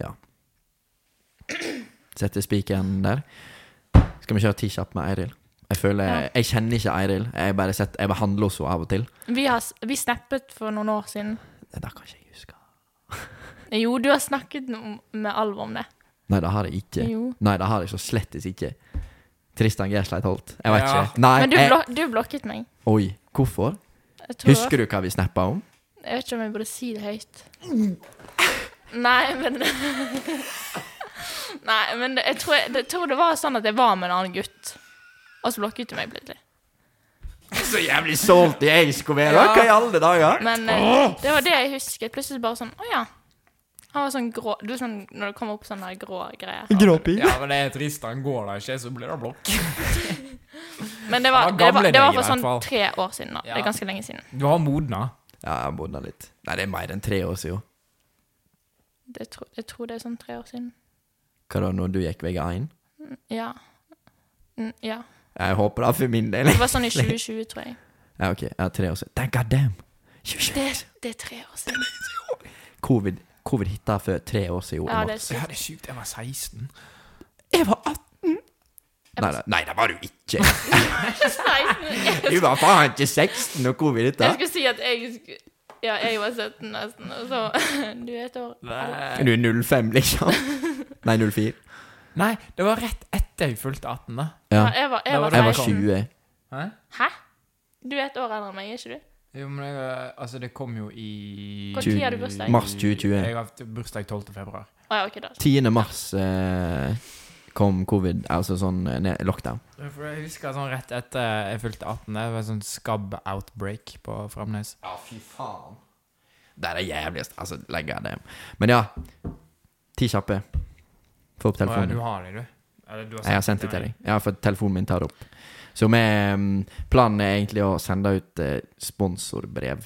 Speaker 1: Ja. Sette spikeren der. Skal vi kjøre T-kjapp med Eiril? Jeg føler,
Speaker 2: Ja.
Speaker 1: jeg kjenner ikke Eiril. Jeg bare sett, jeg behandler henne så av og til.
Speaker 2: Vi, har, s- vi snappet for noen år siden.
Speaker 1: Det der kan ikke jeg huske.
Speaker 2: Jo, du har snakket om- med alvor om det.
Speaker 1: Nei, det har jeg ikke.
Speaker 2: Jo.
Speaker 1: Nei, det har jeg så slettes ikke. Tristan Gersleit Holt. Jeg vet
Speaker 3: Ja.
Speaker 1: ikke. Nei,
Speaker 2: Men du,
Speaker 1: jeg,
Speaker 2: blok du blokket meg.
Speaker 1: oi, hvorfor?
Speaker 2: Jeg, tror,
Speaker 1: Husker du hva vi snappa om?
Speaker 2: jeg vet ikke om jeg burde si det høyt. Nei, men Nei, men jeg tror, jeg, jeg tror det var sånn at jeg var med en annen gutt, og så blokket du meg plutselig.
Speaker 1: Så jævlig solgt jeg skulle være!
Speaker 3: Ja.
Speaker 1: Hva i alle dager?
Speaker 2: Men eh, det var det jeg husket. Plutselig bare sånn Å ja. Han var sånn grå Du er sånn når det kommer opp sånne grå greier.
Speaker 1: Gråpig.
Speaker 3: ja, men det er trist. Han går da ikke, så blir det blokk.
Speaker 2: Men det var, det
Speaker 3: Han var
Speaker 2: var,
Speaker 3: gamle
Speaker 2: det var
Speaker 3: deg,
Speaker 2: for
Speaker 3: i
Speaker 2: sånn
Speaker 3: hvert fall.
Speaker 2: tre år siden. da Det
Speaker 3: Ja.
Speaker 2: er ganske lenge siden.
Speaker 3: Du har modna.
Speaker 1: Ja, jeg bodde litt. Nei, det er mer enn tre år siden.
Speaker 2: Det tro, jeg tror det er sånn tre år siden.
Speaker 1: Hva da, når du gikk VG1?
Speaker 2: Ja. Mm, ja.
Speaker 1: Jeg håper det for min del.
Speaker 2: Det var sånn i 2020, tror jeg.
Speaker 1: Ja, ok. Ja, tre år siden. Thank god damn!
Speaker 2: Det, det er tre år siden.
Speaker 1: Covid, covid hitta for tre år siden.
Speaker 2: Ja,
Speaker 1: Emma.
Speaker 2: det er sykt.
Speaker 3: det er sjukt. Jeg var 16.
Speaker 1: Jeg var 18!
Speaker 2: Jeg
Speaker 1: Nei,
Speaker 2: var-
Speaker 1: nei, nei, det var du ikke.
Speaker 2: Nei,
Speaker 1: Du var faen ikke 16 når covid hitta.
Speaker 2: Jeg skulle si at jeg skulle Ja, jeg var 17 nesten, og så Du er et år
Speaker 3: Nei.
Speaker 1: Du er 05, liksom. Nei, 04.
Speaker 3: Nei, det var rett etter jeg fylte 18, da.
Speaker 1: Ja.
Speaker 2: Ja, jeg var, jeg
Speaker 3: Da
Speaker 2: var,
Speaker 3: var det
Speaker 1: Jeg var
Speaker 2: 16.
Speaker 1: 20.
Speaker 3: Hæ?
Speaker 2: Hæ? Du er et år eldre enn meg, er ikke du?
Speaker 3: Jo, men jeg, altså, det kom jo i
Speaker 2: Når tid har du bursdag?
Speaker 1: Mars 2020.
Speaker 3: Jeg har hatt bursdag 12. februar.
Speaker 2: Å ja, ok, da.
Speaker 1: 10. mars eh, kom covid, altså sånn eh, ned- lockdown.
Speaker 3: For jeg husker sånn rett etter jeg fylte 18, det var sånn skabb-outbreak på Framnes.
Speaker 1: Ja, fy faen. Det er det jævligste. Altså, legg av det. Men ja. Ti kjappe. Få opp
Speaker 3: Å, ja,
Speaker 1: telefonen.
Speaker 3: du har det, du? Eller, du
Speaker 1: Jeg har sendt det til deg. Ja, for telefonen min tar det opp. Så vi, mm, planen er egentlig å sende ut eh, sponsorbrev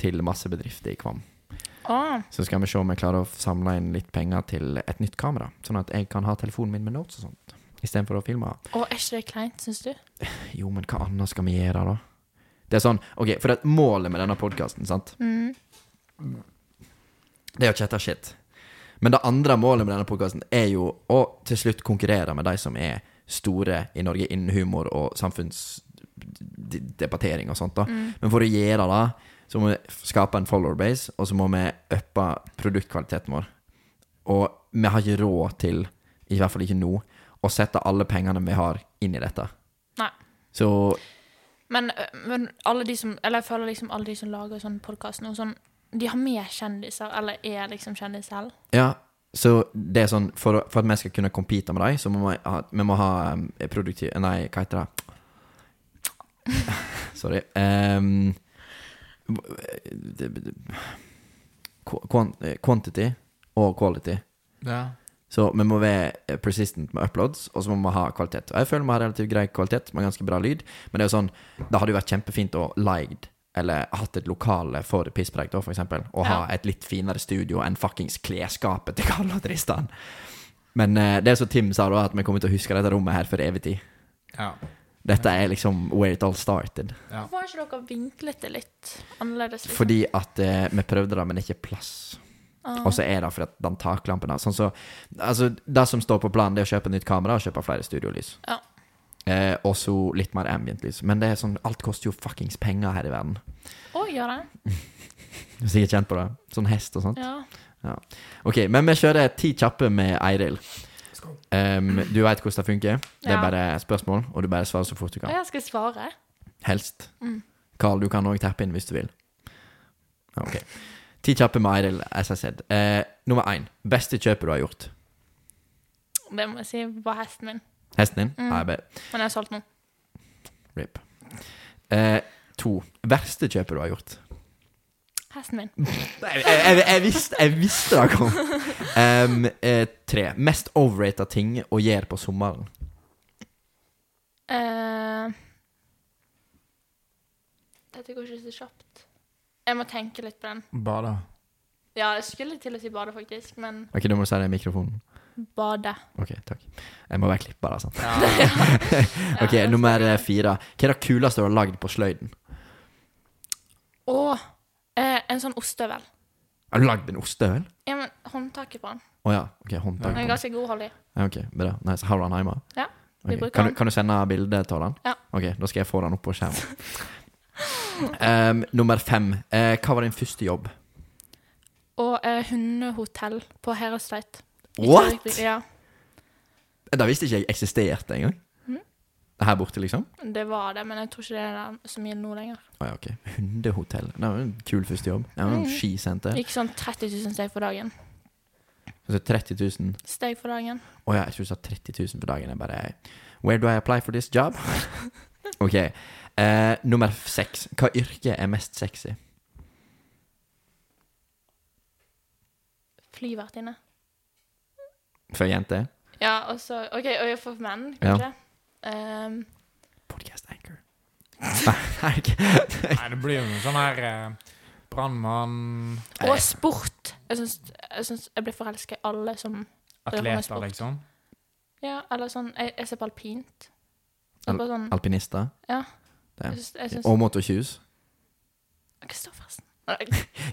Speaker 1: til masse bedrifter i Kvam.
Speaker 2: Å,
Speaker 1: Så skal vi se om jeg klarer å samle inn litt penger til et nytt kamera, sånn at jeg kan ha telefonen min med notes og sånt, istedenfor å filme.
Speaker 2: å, er ikke det kleint, syns du?
Speaker 1: Jo, men hva annet skal vi gjøre, da? Det er sånn, ok, For at målet med denne podkasten, sant,
Speaker 2: Mm.
Speaker 1: det er å chatte shit. Men det andre målet med denne podkasten er jo å til slutt konkurrere med de som er store i Norge innen humor og samfunnsdebattering og sånt. da. Men for å gjøre det, så må vi f- skape en followerbase, og så må vi uppe produktkvaliteten vår. Og vi har ikke råd til, i hvert fall ikke nå, å sette alle pengene vi har, inn i dette.
Speaker 2: Nei.
Speaker 1: Så
Speaker 2: Men, ø, men alle de som Eller jeg føler liksom alle de som lager sånn podkast nå, sånn De har med kjendiser, eller er liksom kjendis selv.
Speaker 1: ja, så det er sånn, for, å- for at vi skal kunne compete med dem, så må vi ha, vi må ha um, produktiv... Nei, hva heter det? Sorry. Um, det- det- qu- quan- eh, quantity og quality.
Speaker 3: Ja.
Speaker 1: Så vi må være eh, persistent med uploads, og så må vi ha kvalitet. Og jeg føler vi har relativt grei kvalitet, med ganske bra lyd, men det er jo sånn, det hadde jo vært kjempefint å liged, eller hatt et lokale for pisspreik da, for eksempel, og ha
Speaker 2: Ja.
Speaker 1: et litt finere studio enn fuckings klesskapet til Karl og Tristan. Men eh, det er som Tim sa da, at vi kommer til å huske dette rommet her for evig tid.
Speaker 3: ja.
Speaker 1: Dette er liksom where it all started.
Speaker 3: Ja.
Speaker 2: Hvorfor har ikke dere vinklet det litt annerledes? liksom?
Speaker 1: Fordi at eh, vi prøvde det, men det er ikke plass.
Speaker 2: Ah.
Speaker 1: Og så er det for at den taklampen har sånn så, altså, Det som står på planen, det er å kjøpe nytt kamera og kjøpe flere studiolys.
Speaker 2: Ja.
Speaker 1: Eh, og så litt mer ambient-lys. Men det er sånn, alt koster jo fuckings penger her i verden.
Speaker 2: Å, gjør det?
Speaker 1: Du er sikkert kjent på det. Sånn hest og sånt.
Speaker 2: Ja.
Speaker 1: Ok, men vi kjører ti kjappe med Eiril.
Speaker 3: Skål.
Speaker 1: Em, du veit hvordan det funker. Det er
Speaker 2: Ja.
Speaker 1: bare spørsmål, og du bare svarer så fort du
Speaker 2: Og
Speaker 1: kan.
Speaker 2: jeg skal svare.
Speaker 1: Helst.
Speaker 2: Mm.
Speaker 1: Carl, du kan òg tappe inn hvis du vil. Ja, Ok. Ti kjappe med Eiril, as I said. Eh, nummer én. Beste kjøpet du har gjort?
Speaker 2: Det må jeg si var hesten min.
Speaker 1: Hesten din?
Speaker 2: Mm.
Speaker 1: Nei, jeg bare
Speaker 2: Men jeg har solgt den.
Speaker 1: rip. Eh, to. Verste kjøpet du har gjort?
Speaker 2: Hesten min.
Speaker 1: Nei, jeg, jeg, jeg, visste, jeg visste det kom. Em, eh, tre. Mest overrated ting å gjøre på sommeren.
Speaker 2: Eh, dette går ikke så kjapt. Jeg må tenke litt på den.
Speaker 3: Bada.
Speaker 2: Ja, jeg skulle til å si bade, faktisk, men
Speaker 1: Ok, Du må si det i mikrofonen.
Speaker 2: bade.
Speaker 1: Ok, takk. Jeg må være klipper, altså.
Speaker 3: Ja.
Speaker 1: Ok, Nummer eh, fire. Hva er det kuleste du har lagd på sløyden?
Speaker 2: Og eh, en sånn ostehøvel.
Speaker 1: Har du lagd en ostehøvel?
Speaker 2: Ja, men håndtaket på den.
Speaker 1: Å ja. Ok, håndtak.
Speaker 2: Den er
Speaker 1: på den.
Speaker 2: ganske god å holde i.
Speaker 1: Ja, ok, bra. Nice. Har du den hjemme?
Speaker 2: Ja, vi
Speaker 1: Ok,
Speaker 2: bruker
Speaker 1: Kan, du,
Speaker 2: den.
Speaker 1: kan du sende bilde av den?
Speaker 2: Ja.
Speaker 1: Ok, da skal jeg få den opp på skjermen. Em, nummer fem. Eh, hva var din første jobb?
Speaker 2: Og eh, hundehotell på Herøysleit.
Speaker 1: What?!
Speaker 2: Ja,
Speaker 1: Det visste ikke jeg eksisterte engang. Her borte, liksom?
Speaker 2: det var det, men jeg tror ikke det er der så mye nå lenger.
Speaker 1: Å ja, ok. Hundehotell. Det var jo en kul første jobb. Det var jo en skisenter.
Speaker 2: Gikk sånn 30 000 steg for dagen.
Speaker 1: Altså 30 000
Speaker 2: Steg for dagen.
Speaker 1: Å ja, jeg tror du sa 30 000 for dagen. Jeg bare Where do I apply for this job? ok. Eh, nummer seks. Hva yrke er mest sexy?
Speaker 2: Flyvertinne.
Speaker 1: For jenter?
Speaker 2: Ja, og så OK, og for menn,
Speaker 1: Ja.
Speaker 2: kanskje. Ehm,
Speaker 1: Podcast anchor. Nei, ok.
Speaker 3: Nei, det blir jo noe sånn her eh, brannmann,
Speaker 2: og sport. Jeg syns jeg, syns jeg blir forelska i alle som
Speaker 3: atleter, liksom.
Speaker 2: Ja, eller sånn Jeg, jeg ser på alpint. Det er bare sånn
Speaker 1: Alpinister.
Speaker 2: Ja.
Speaker 1: Det.
Speaker 2: Jeg syns- jeg syns
Speaker 1: Og motorkjus.
Speaker 2: Kristoffersen Nei,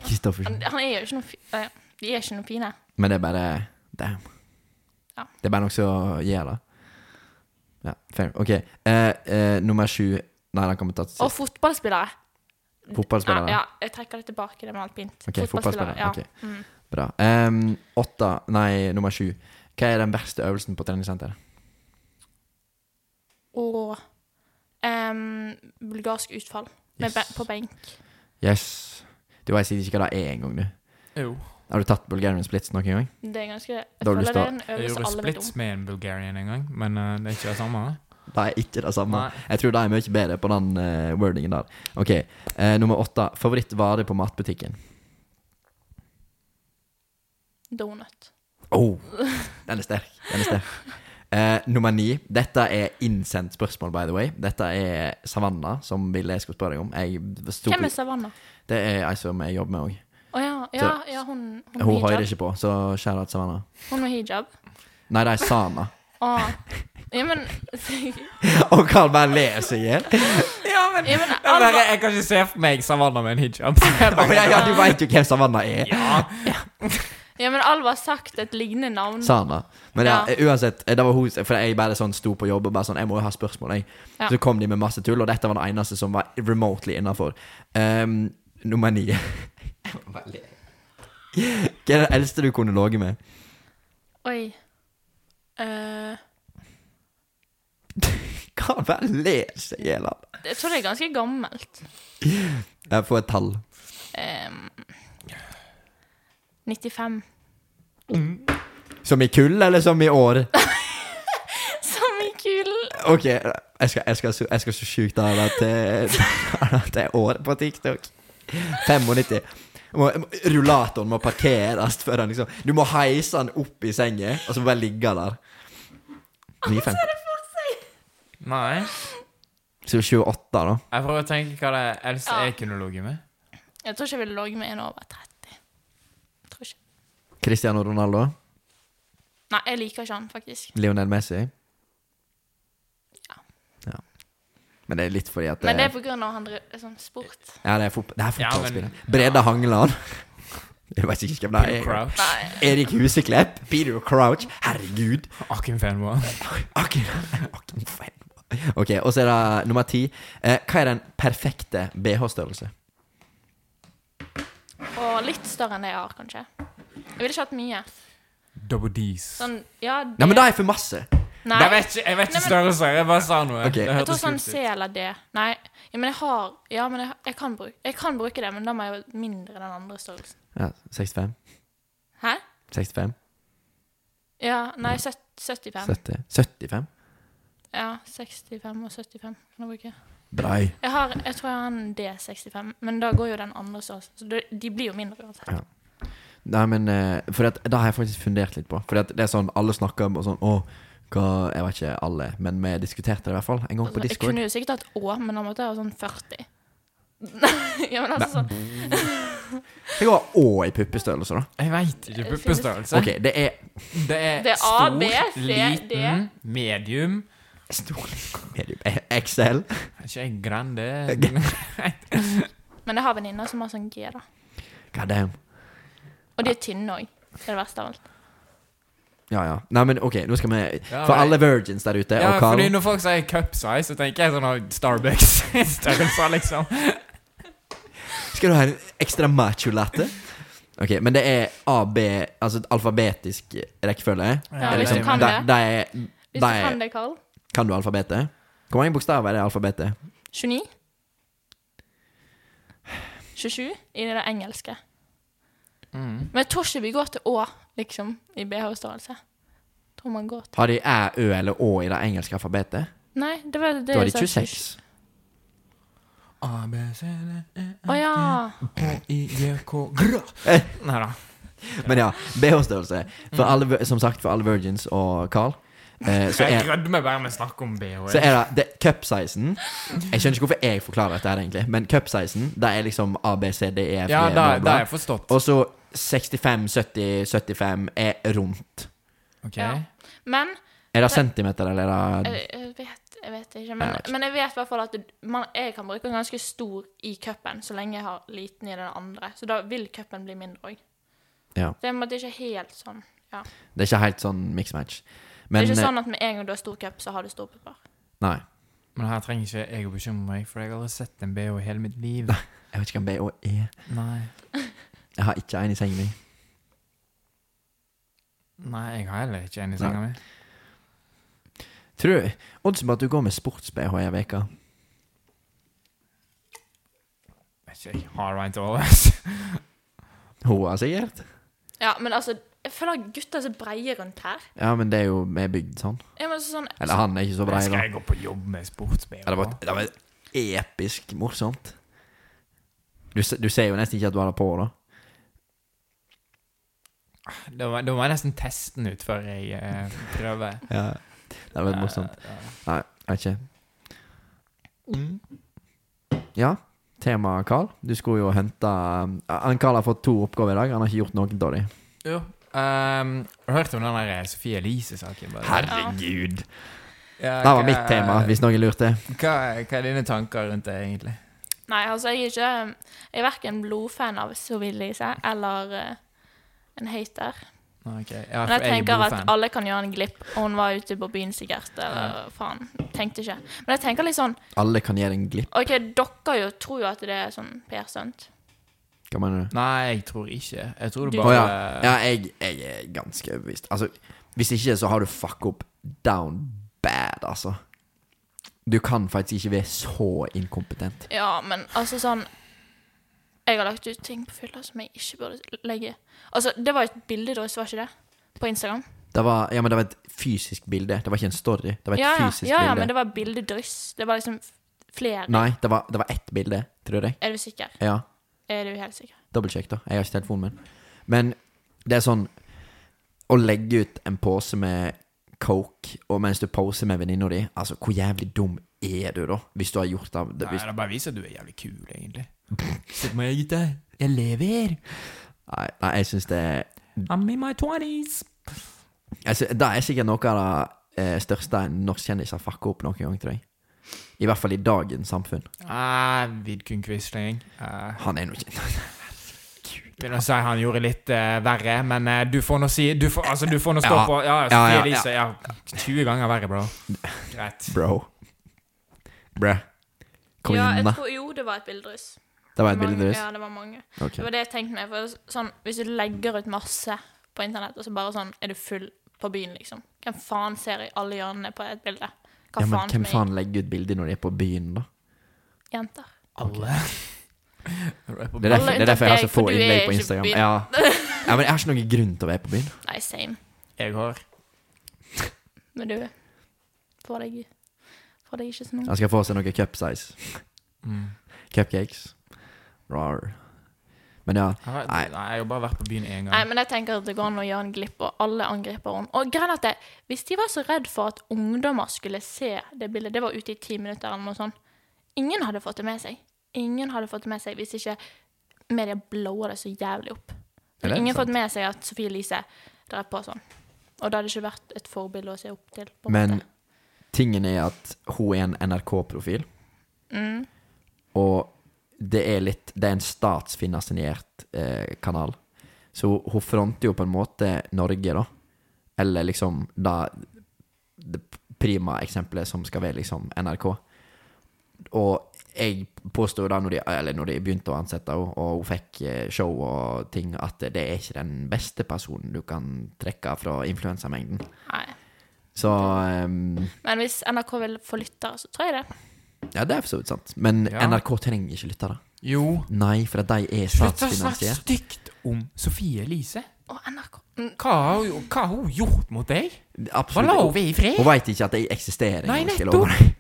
Speaker 1: Kristoffersen.
Speaker 2: Han, han er jo ikke noe fi- nei, De er ikke noe fine.
Speaker 1: Men det er bare Damn.
Speaker 2: Ja.
Speaker 1: Det er bare noe som gjør det. Ja, fair. OK. Eh, eh, nummer sju Nei, den kommer til å ta til
Speaker 2: Og
Speaker 1: sist.
Speaker 2: fotballspillere.
Speaker 1: Fotballspillere.
Speaker 2: Ja, ja, jeg trekker det tilbake, det med alpint.
Speaker 1: Ok, fotballspillere,
Speaker 2: Ja.
Speaker 1: ok.
Speaker 2: Mm.
Speaker 1: Bra. Em, åtta Nei, nummer sju. Hva er den verste øvelsen på treningssenter?
Speaker 2: Og ehm, bulgarsk utfall med
Speaker 1: Yes.
Speaker 2: be på benk.
Speaker 1: Yes. Du vet sikkert ikke hva det er engang, du.
Speaker 3: Jo.
Speaker 1: Har du tatt Bulgarian splits noen gang?
Speaker 2: Det er ganske Jeg
Speaker 1: Da har du
Speaker 2: føler
Speaker 1: lyst
Speaker 2: det
Speaker 1: til
Speaker 2: er en
Speaker 3: Jeg
Speaker 2: øvelse
Speaker 3: gjorde
Speaker 2: alle vet om.
Speaker 3: splits med en Bulgarian en gang, men eh, det er ikke det samme.
Speaker 1: Det er ikke det samme.
Speaker 3: Nei.
Speaker 1: Jeg tror det er mye bedre på den eh, wordingen der. OK, eh, nummer åtte. Favorittvare på matbutikken?
Speaker 2: Donut.
Speaker 1: Oh, den er sterk. Den er sterk. Eh, nummer ni. Dette er innsendt spørsmål, by the way. Dette er Savanna, som ville jeg skulle spørre deg om. Jeg sto
Speaker 2: Hvem er
Speaker 1: på,
Speaker 2: Savanna?
Speaker 1: det er ei som jeg jobber med òg.
Speaker 2: Å ja, ja, ja, hun, hun,
Speaker 1: Hun
Speaker 2: med
Speaker 1: hører
Speaker 2: hijab.
Speaker 1: ikke på, så skjær ut Savanna.
Speaker 2: Hun med hijab.
Speaker 1: Nei, det er Sana.
Speaker 2: Å. Ja, men
Speaker 1: Og Carl bare ler seg i hjel.
Speaker 3: Ja, men
Speaker 2: Ja, men
Speaker 3: Jeg, bare,
Speaker 2: alle
Speaker 3: jeg kan ikke se for meg Savanna med en hijab. Jeg
Speaker 1: Å,
Speaker 3: bare-
Speaker 1: ja, ja, du veit jo hvem Savanna er.
Speaker 3: Ja.
Speaker 2: Ja, men Alva har sagt et lignende navn.
Speaker 1: Sana. Men ja,
Speaker 2: Mm. Ja.
Speaker 1: uansett, eh, det var hun For jeg bare sånn sto på jobb og bare sånn Jeg må jo ha spørsmål, jeg.
Speaker 2: Ja.
Speaker 1: Så kom de med masse tull, og dette var det eneste som var remotely innafor. nummer ni. Jeg må bare le. Hva er det eldste du kunne ligget med?
Speaker 2: Oi. Eh,
Speaker 1: Kan bare le seg i hjel av.
Speaker 2: jeg tror det er ganske gammelt.
Speaker 1: Jeg får et tall.
Speaker 2: Ehm, 95.
Speaker 1: Som i kull, eller som i år?
Speaker 2: Som i kulen!
Speaker 1: Ok, jeg skal, jeg skal, så- jeg skal så sjukt ha det til at det er år på TikTok. 95. Må, rullatoren må parkeres før han liksom Du må heise han opp i senga, og så må bare ligge der. 95.
Speaker 3: Nei.
Speaker 1: Så 28, da.
Speaker 3: Jeg prøver å tenke hva det eldste
Speaker 2: Ja.
Speaker 3: jeg kunne ligget med.
Speaker 2: Jeg tror ikke jeg ville ligget med en over 30. Jeg tror ikke.
Speaker 1: Cristiano Ronaldo.
Speaker 2: Nei, jeg liker ikke han, faktisk.
Speaker 1: Lionel Messi.
Speaker 2: Ja.
Speaker 1: Ja. Men det er litt fordi at eh,
Speaker 2: Men det er på grunn av han driver sånn sport.
Speaker 1: Ja, det er, fotball, det er
Speaker 3: Ja, men-
Speaker 1: fotballspillet. Brede Hangeland. Jeg vet ikke hvem det
Speaker 3: Peter
Speaker 1: er.
Speaker 3: Crouch.
Speaker 2: Nei.
Speaker 1: Erik Huseklepp. Peter Crouch. Herregud.
Speaker 3: Akim Fenboa.
Speaker 1: Akken, akken feil. Ok, og så er det nummer ti. Eh, hva er den perfekte BH-størrelse?
Speaker 2: Og litt større enn det jeg har, kanskje. Jeg ville ikke hatt mye.
Speaker 3: Double D's.
Speaker 2: Sånn, ja det,
Speaker 1: Nei, men det er for masse.
Speaker 2: Nei,
Speaker 3: Jeg vet ikke, jeg vet ikke
Speaker 2: Nei, men-
Speaker 3: størrelser. Jeg bare sa noe.
Speaker 1: Ok.
Speaker 3: Det
Speaker 2: jeg tror
Speaker 3: hørtes
Speaker 2: sånn
Speaker 3: kult ut.
Speaker 2: C eller D. Nei, ja, men jeg har Ja, men jeg, jeg, kan bruke, jeg kan bruke det, men da må jeg jo mindre den andre størrelsen.
Speaker 1: Ja, 65.
Speaker 2: Hæ?
Speaker 1: 65.
Speaker 2: Ja, nei, 70, 75.
Speaker 1: 70. 75?
Speaker 2: Ja, 65 og 75 kan jeg bruke.
Speaker 1: Brei.
Speaker 2: Jeg, har, jeg tror jeg har en D65, men da går jo den andre så Så det- de blir jo mindre uansett.
Speaker 1: Ja. Nei, men eh, For at, da har jeg faktisk fundert litt på. For at det er sånn alle snakker om og sånn Å, hva Jeg vet ikke alle, men vi diskuterte det i hvert fall en gang
Speaker 2: Altså,
Speaker 1: på
Speaker 2: jeg
Speaker 1: Discord.
Speaker 2: kunne jo sikkert hatt Å, men da måtte jeg ha sånn 40. ja, men altså sånn
Speaker 1: Tenk å ha Å i puppestørrelse, da.
Speaker 3: Jeg veit ikke puppestørrelse.
Speaker 1: Ok, det er
Speaker 3: Det er,
Speaker 2: Det er A,
Speaker 3: stor,
Speaker 2: B, C, D.
Speaker 3: liten, medium
Speaker 1: stor medium XL.
Speaker 3: Er ikke jeg grande?
Speaker 2: Men jeg har venninner som har sånn G, da.
Speaker 1: God damn.
Speaker 2: Og de er tynne òg. Det er det verste av alt.
Speaker 1: Ja, ja. Nei, men OK, nå skal vi
Speaker 3: Ja,
Speaker 1: For
Speaker 3: nei.
Speaker 1: alle virgins der ute,
Speaker 3: Ja,
Speaker 1: og
Speaker 3: fordi
Speaker 1: Karl
Speaker 3: når folk sier cup size, så tenker jeg sånn av Starbucks-størrelse, liksom.
Speaker 1: Skal du ha en ekstra macho latte? OK, men det er AB Altså et alfabetisk rekkefølge.
Speaker 2: Ja,
Speaker 1: Det er
Speaker 2: hvis du
Speaker 1: liksom-
Speaker 2: kan
Speaker 1: de,
Speaker 2: det.
Speaker 1: de er,
Speaker 2: Hvis
Speaker 1: de
Speaker 2: du kan
Speaker 1: er,
Speaker 2: det, Karl.
Speaker 1: kan du alfabetet? Hvor mange bokstaver er det i alfabetet?
Speaker 2: 29? 27 i det engelske.
Speaker 3: Mm.
Speaker 2: Men jeg tror ikke vi går til Å, liksom, i BH-størrelse. Tror man går til
Speaker 1: Har de æ, ø eller å i det engelske alfabetet?
Speaker 2: Nei, det var det
Speaker 1: Da har de
Speaker 2: jeg sa,
Speaker 1: 26.
Speaker 3: A, B, C, D, E,
Speaker 2: Å ja.
Speaker 3: F, I, G, K, grå.
Speaker 1: Eh.
Speaker 3: Nei da.
Speaker 1: Men ja, BH-størrelse. For
Speaker 2: Mm.
Speaker 1: alle, vir- som sagt, for alle virgins og Carl, eh, så,
Speaker 3: Jeg
Speaker 1: er,
Speaker 3: grødmer bare med snakk om E. BH.
Speaker 1: så er det, det cup-sizen Jeg skjønner ikke hvorfor jeg forklarer dette, her egentlig men cup-sizen det er liksom A, B, C, D, E, F, G,
Speaker 3: Ja, det
Speaker 1: bla,
Speaker 3: det
Speaker 1: bla.
Speaker 3: har jeg forstått.
Speaker 1: Og så 65, 70, 75 er rundt.
Speaker 3: Ok.
Speaker 2: Ja. Men
Speaker 1: Er
Speaker 2: Eh,
Speaker 1: det centimeter, eller er det
Speaker 2: jeg, jeg, vet, jeg vet ikke.
Speaker 1: Jeg
Speaker 2: Men,
Speaker 1: vet ikke.
Speaker 2: men jeg vet i hvert fall at man, jeg kan bruke en ganske stor i cupen så lenge jeg har liten i den andre. Så da vil cupen bli mindre òg.
Speaker 1: Ja.
Speaker 2: Det er på en måte ikke helt sånn. Ja.
Speaker 1: Det er ikke helt sånn mix-match.
Speaker 2: Det
Speaker 1: Men
Speaker 2: er ikke
Speaker 1: eh,
Speaker 2: sånn at med en gang du har stor cup, så har du stor pupper.
Speaker 1: Nei.
Speaker 3: Men her trenger ikke jeg å bekymre meg, for jeg har aldri sett en BH i hele mitt liv.
Speaker 1: Jeg vet ikke hva BH E er.
Speaker 3: Nei.
Speaker 1: Jeg har ikke en i sengen min.
Speaker 3: Nei, jeg har heller ikke en i
Speaker 1: Nei.
Speaker 3: senga mi.
Speaker 1: Tror du Oddsen på at du går med sports-BH i ei uke?
Speaker 3: Vet ikke, Jeg har rent always.
Speaker 1: Hun har sikkert.
Speaker 2: Ja, men altså, jeg føler gutter er så breie rundt her.
Speaker 1: Ja, men det er jo vi er bygd sånn.
Speaker 2: Jeg må sånn,
Speaker 1: Eller han er ikke så brei,
Speaker 3: Skal
Speaker 1: da.
Speaker 3: jeg gå på jobb med sports-BH?
Speaker 1: Ja, det var, det var episk morsomt. Du, se- du ser jo nesten ikke at du har det på, da.
Speaker 3: Da må, da må jeg nesten teste den ut før jeg eh, prøver.
Speaker 1: Ja. Det hadde vært morsomt.
Speaker 3: Eh, eh,
Speaker 1: Nei, jeg vet ikke. Mm. Ja, tema Carl. Du skulle jo hente eh, Han Carl har fått to oppgaver i dag. Han har ikke gjort noen av dem.
Speaker 3: Eh, Jo. ehm, har du hørt om den der eh, Sofie Elise-saken? bare?
Speaker 1: Herregud.
Speaker 3: Ja,
Speaker 1: Det var
Speaker 3: hva-
Speaker 1: mitt tema, hvis noen lurte.
Speaker 3: Hva, hva er dine tanker rundt det, egentlig?
Speaker 2: nei, altså, jeg er ikke Jeg er verken blodfan av Sovje Elise eller eh, en hater.
Speaker 3: Ah, ok. Ja,
Speaker 2: Men
Speaker 3: for
Speaker 2: jeg tenker at
Speaker 3: blodfan.
Speaker 2: alle kan gjøre en glipp, og hun var ute på byen sikkert, eller faen. Tenkte ikke. Men jeg tenker litt sånn
Speaker 1: Alle kan gjøre en glipp.
Speaker 2: OK, dere jo tror jo at det er sånn PR-stunt.
Speaker 1: Hva mener du?
Speaker 3: Nei, jeg tror ikke. Jeg tror det
Speaker 1: Å
Speaker 3: bare
Speaker 1: ja. ja jeg, jeg er ganske overbevist. Altså, hvis ikke, så har du fucka opp down bad, altså. Du kan faktisk ikke være så inkompetent.
Speaker 2: Ja, men altså sånn Jeg har lagt ut ting på fylla som jeg ikke burde legge Altså, det var et bildedryss, var ikke det? På Instagram.
Speaker 1: Det var, ja, men det var et fysisk bilde. Det var ikke en story. Det var et
Speaker 2: Ja, ja,
Speaker 1: fysisk
Speaker 2: ja, ja,
Speaker 1: bilde.
Speaker 2: men det var bildedryss. Det var liksom f- flere.
Speaker 1: Nei, det var, det var ett bilde, tror jeg.
Speaker 2: Er du sikker?
Speaker 1: Ja.
Speaker 2: Er du helt sikker?
Speaker 1: Dobbeltsjekk, da. Jeg har ikke telefonen min. Men det er sånn Å legge ut en pose med coke og mens du poser med venninna di Altså, hvor jævlig dum er du, da? Hvis du har gjort det, det
Speaker 3: Nei,
Speaker 1: hvis,
Speaker 3: det bare viser at du er jævlig kul, egentlig. Se på meg, gutta. Jeg lever.
Speaker 1: nei, nei, jeg syns det er
Speaker 3: I'm in my twenties.
Speaker 1: altså, Det er sikkert noe av det eh, største en norsk kjendis har fucka opp noen gang, tror jeg. I hvert fall i dagens samfunn.
Speaker 3: Ah, Vidkun Quisling. Ah,
Speaker 1: Han er nå ikke
Speaker 3: Begynner å si han gjorde litt eh, verre, men eh, du får nå si Du får, altså, du får nå stå
Speaker 1: Ja.
Speaker 3: på Ja,
Speaker 1: Ja,
Speaker 3: Sofie
Speaker 1: ja,
Speaker 3: Elise. Ja, 20 ganger verre, bro. Greit.
Speaker 1: Bro. Bruh. Kom
Speaker 2: ja,
Speaker 1: igjen,
Speaker 2: jeg
Speaker 1: da.
Speaker 2: tror, jo, det var et bildedryss.
Speaker 1: Det var et
Speaker 2: Mange-
Speaker 1: bilde deres.
Speaker 2: Ja, det var mange.
Speaker 1: Ok.
Speaker 2: Det var det jeg tenkte meg. For sånn, hvis du legger ut masse på internett, og så bare sånn er du full på byen, liksom. Hvem faen ser i alle hjørnene på et bilde?
Speaker 1: Ja,
Speaker 2: Hva
Speaker 1: men
Speaker 2: faen
Speaker 1: hvem
Speaker 2: som er
Speaker 1: faen legger ut bilde når de er på byen, da?
Speaker 2: jenter?
Speaker 3: Alle.
Speaker 1: Det er, derfor,
Speaker 2: Alle
Speaker 1: det er derfor jeg har så
Speaker 2: unntatt deg,
Speaker 1: få
Speaker 2: for du
Speaker 1: innlegg
Speaker 2: er
Speaker 1: på
Speaker 2: ikke
Speaker 1: Instagram.
Speaker 2: på byen.
Speaker 1: Ja. ja, men Jeg har ikke noen grunn til å være på byen.
Speaker 2: Nei, same.
Speaker 3: Jeg har
Speaker 2: Men du får deg, får deg ikke sånn
Speaker 1: Han skal få seg noe cup size.
Speaker 3: Mm.
Speaker 1: Cupcakes. Rar. Men ja.
Speaker 3: Jeg har-
Speaker 1: Nei.
Speaker 3: Nei, jeg har bare vært på byen én gang.
Speaker 2: Nei, men jeg tenker at det går an å gjøre en glipp, og alle angriper henne. Og greien er at det, Hvis de var så redd for at ungdommer skulle se det bildet, det var ute i ti minutter eller noe sånt Ingen hadde fått det med seg. Ingen hadde fått det med seg hvis ikke media blower det så jævlig opp.
Speaker 1: Er det
Speaker 2: Men ingen
Speaker 1: sant?
Speaker 2: fått med seg at Sophie Elise drev på sånn. Og det hadde ikke vært et forbilde å se opp til. på en
Speaker 1: Men
Speaker 2: måte.
Speaker 1: tingen er at hun er en NRK-profil,
Speaker 2: Mm.
Speaker 1: og det er litt Det er en statsfinansiert eh, kanal. Så hun fronter jo på en måte Norge, da. Eller liksom da Det prima eksempelet som skal være liksom NRK. Og jeg påstår da, når de, eller når de begynte å ansette henne, og hun fikk eh, show og ting, at det er ikke den beste personen du kan trekke fra influensamengden.
Speaker 2: Nei.
Speaker 1: Så ehm,
Speaker 2: Men hvis NRK vil få lyttere, så tror jeg det.
Speaker 1: Ja, det er for så vidt sant. Men
Speaker 3: Ja.
Speaker 1: NRK trenger ikke lyttere.
Speaker 3: Jo.
Speaker 1: Nei, for at de er
Speaker 3: Slutt å snakke
Speaker 1: statsfinansiert.
Speaker 3: stygt om Sofie Elise.
Speaker 2: Og NRK mm.
Speaker 3: Hva har hun, hva har hun gjort mot deg? Hva la hun
Speaker 1: Absolutt.
Speaker 3: vi i fred?
Speaker 1: Hun veit ikke at jeg eksisterer.
Speaker 3: Nei,
Speaker 1: engang, skal jeg
Speaker 3: nettopp.
Speaker 1: love deg.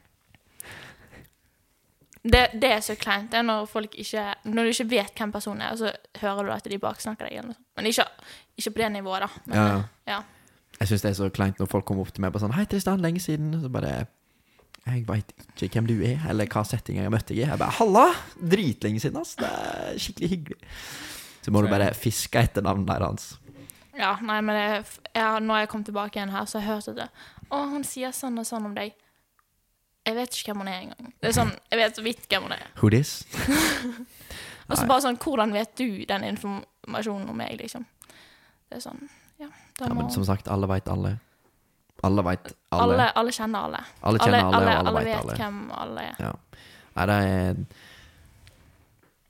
Speaker 2: det, det er så kleint. Det er når folk ikke Når du ikke vet hvem personen er, og så hører du at de baksnakker deg. Eller noe. sånt. Men ikke, ikke på det nivået, da. Men,
Speaker 1: Ja.
Speaker 2: ja.
Speaker 1: Jeg syns det er så kleint når folk kommer opp til meg og sånn 'Hei, Tristan, lenge siden.' Og så bare Jeg veit ikke hvem du er, eller hva setting jeg har møtt deg i. Jeg bare 'Halla! Dritlenge siden, ass. Det er skikkelig hyggelig.' Så må du bare fiske etter navnet hans.
Speaker 2: Ja, nei, men det, er f- ja, når jeg kom tilbake igjen her, så har jeg hørt at det, Å, hun sier sånn og sånn om deg. Jeg vet ikke hvem hun er engang. Det er sånn, jeg vet så vidt hvem hun er.
Speaker 1: Who this?
Speaker 2: Og så
Speaker 1: Nei.
Speaker 2: bare sånn Hvordan vet du den informasjonen om meg, liksom? Det er sånn Ja, da
Speaker 1: Ja,
Speaker 2: må
Speaker 1: men som sagt, alle veit alle. Alle veit
Speaker 2: alle, alle,
Speaker 1: alle.
Speaker 2: kjenner alle.
Speaker 1: Alle kjenner alle,
Speaker 2: alle,
Speaker 1: og alle veit
Speaker 2: vet
Speaker 1: alle.
Speaker 2: hvem alle er.
Speaker 1: Ja. Nei, det er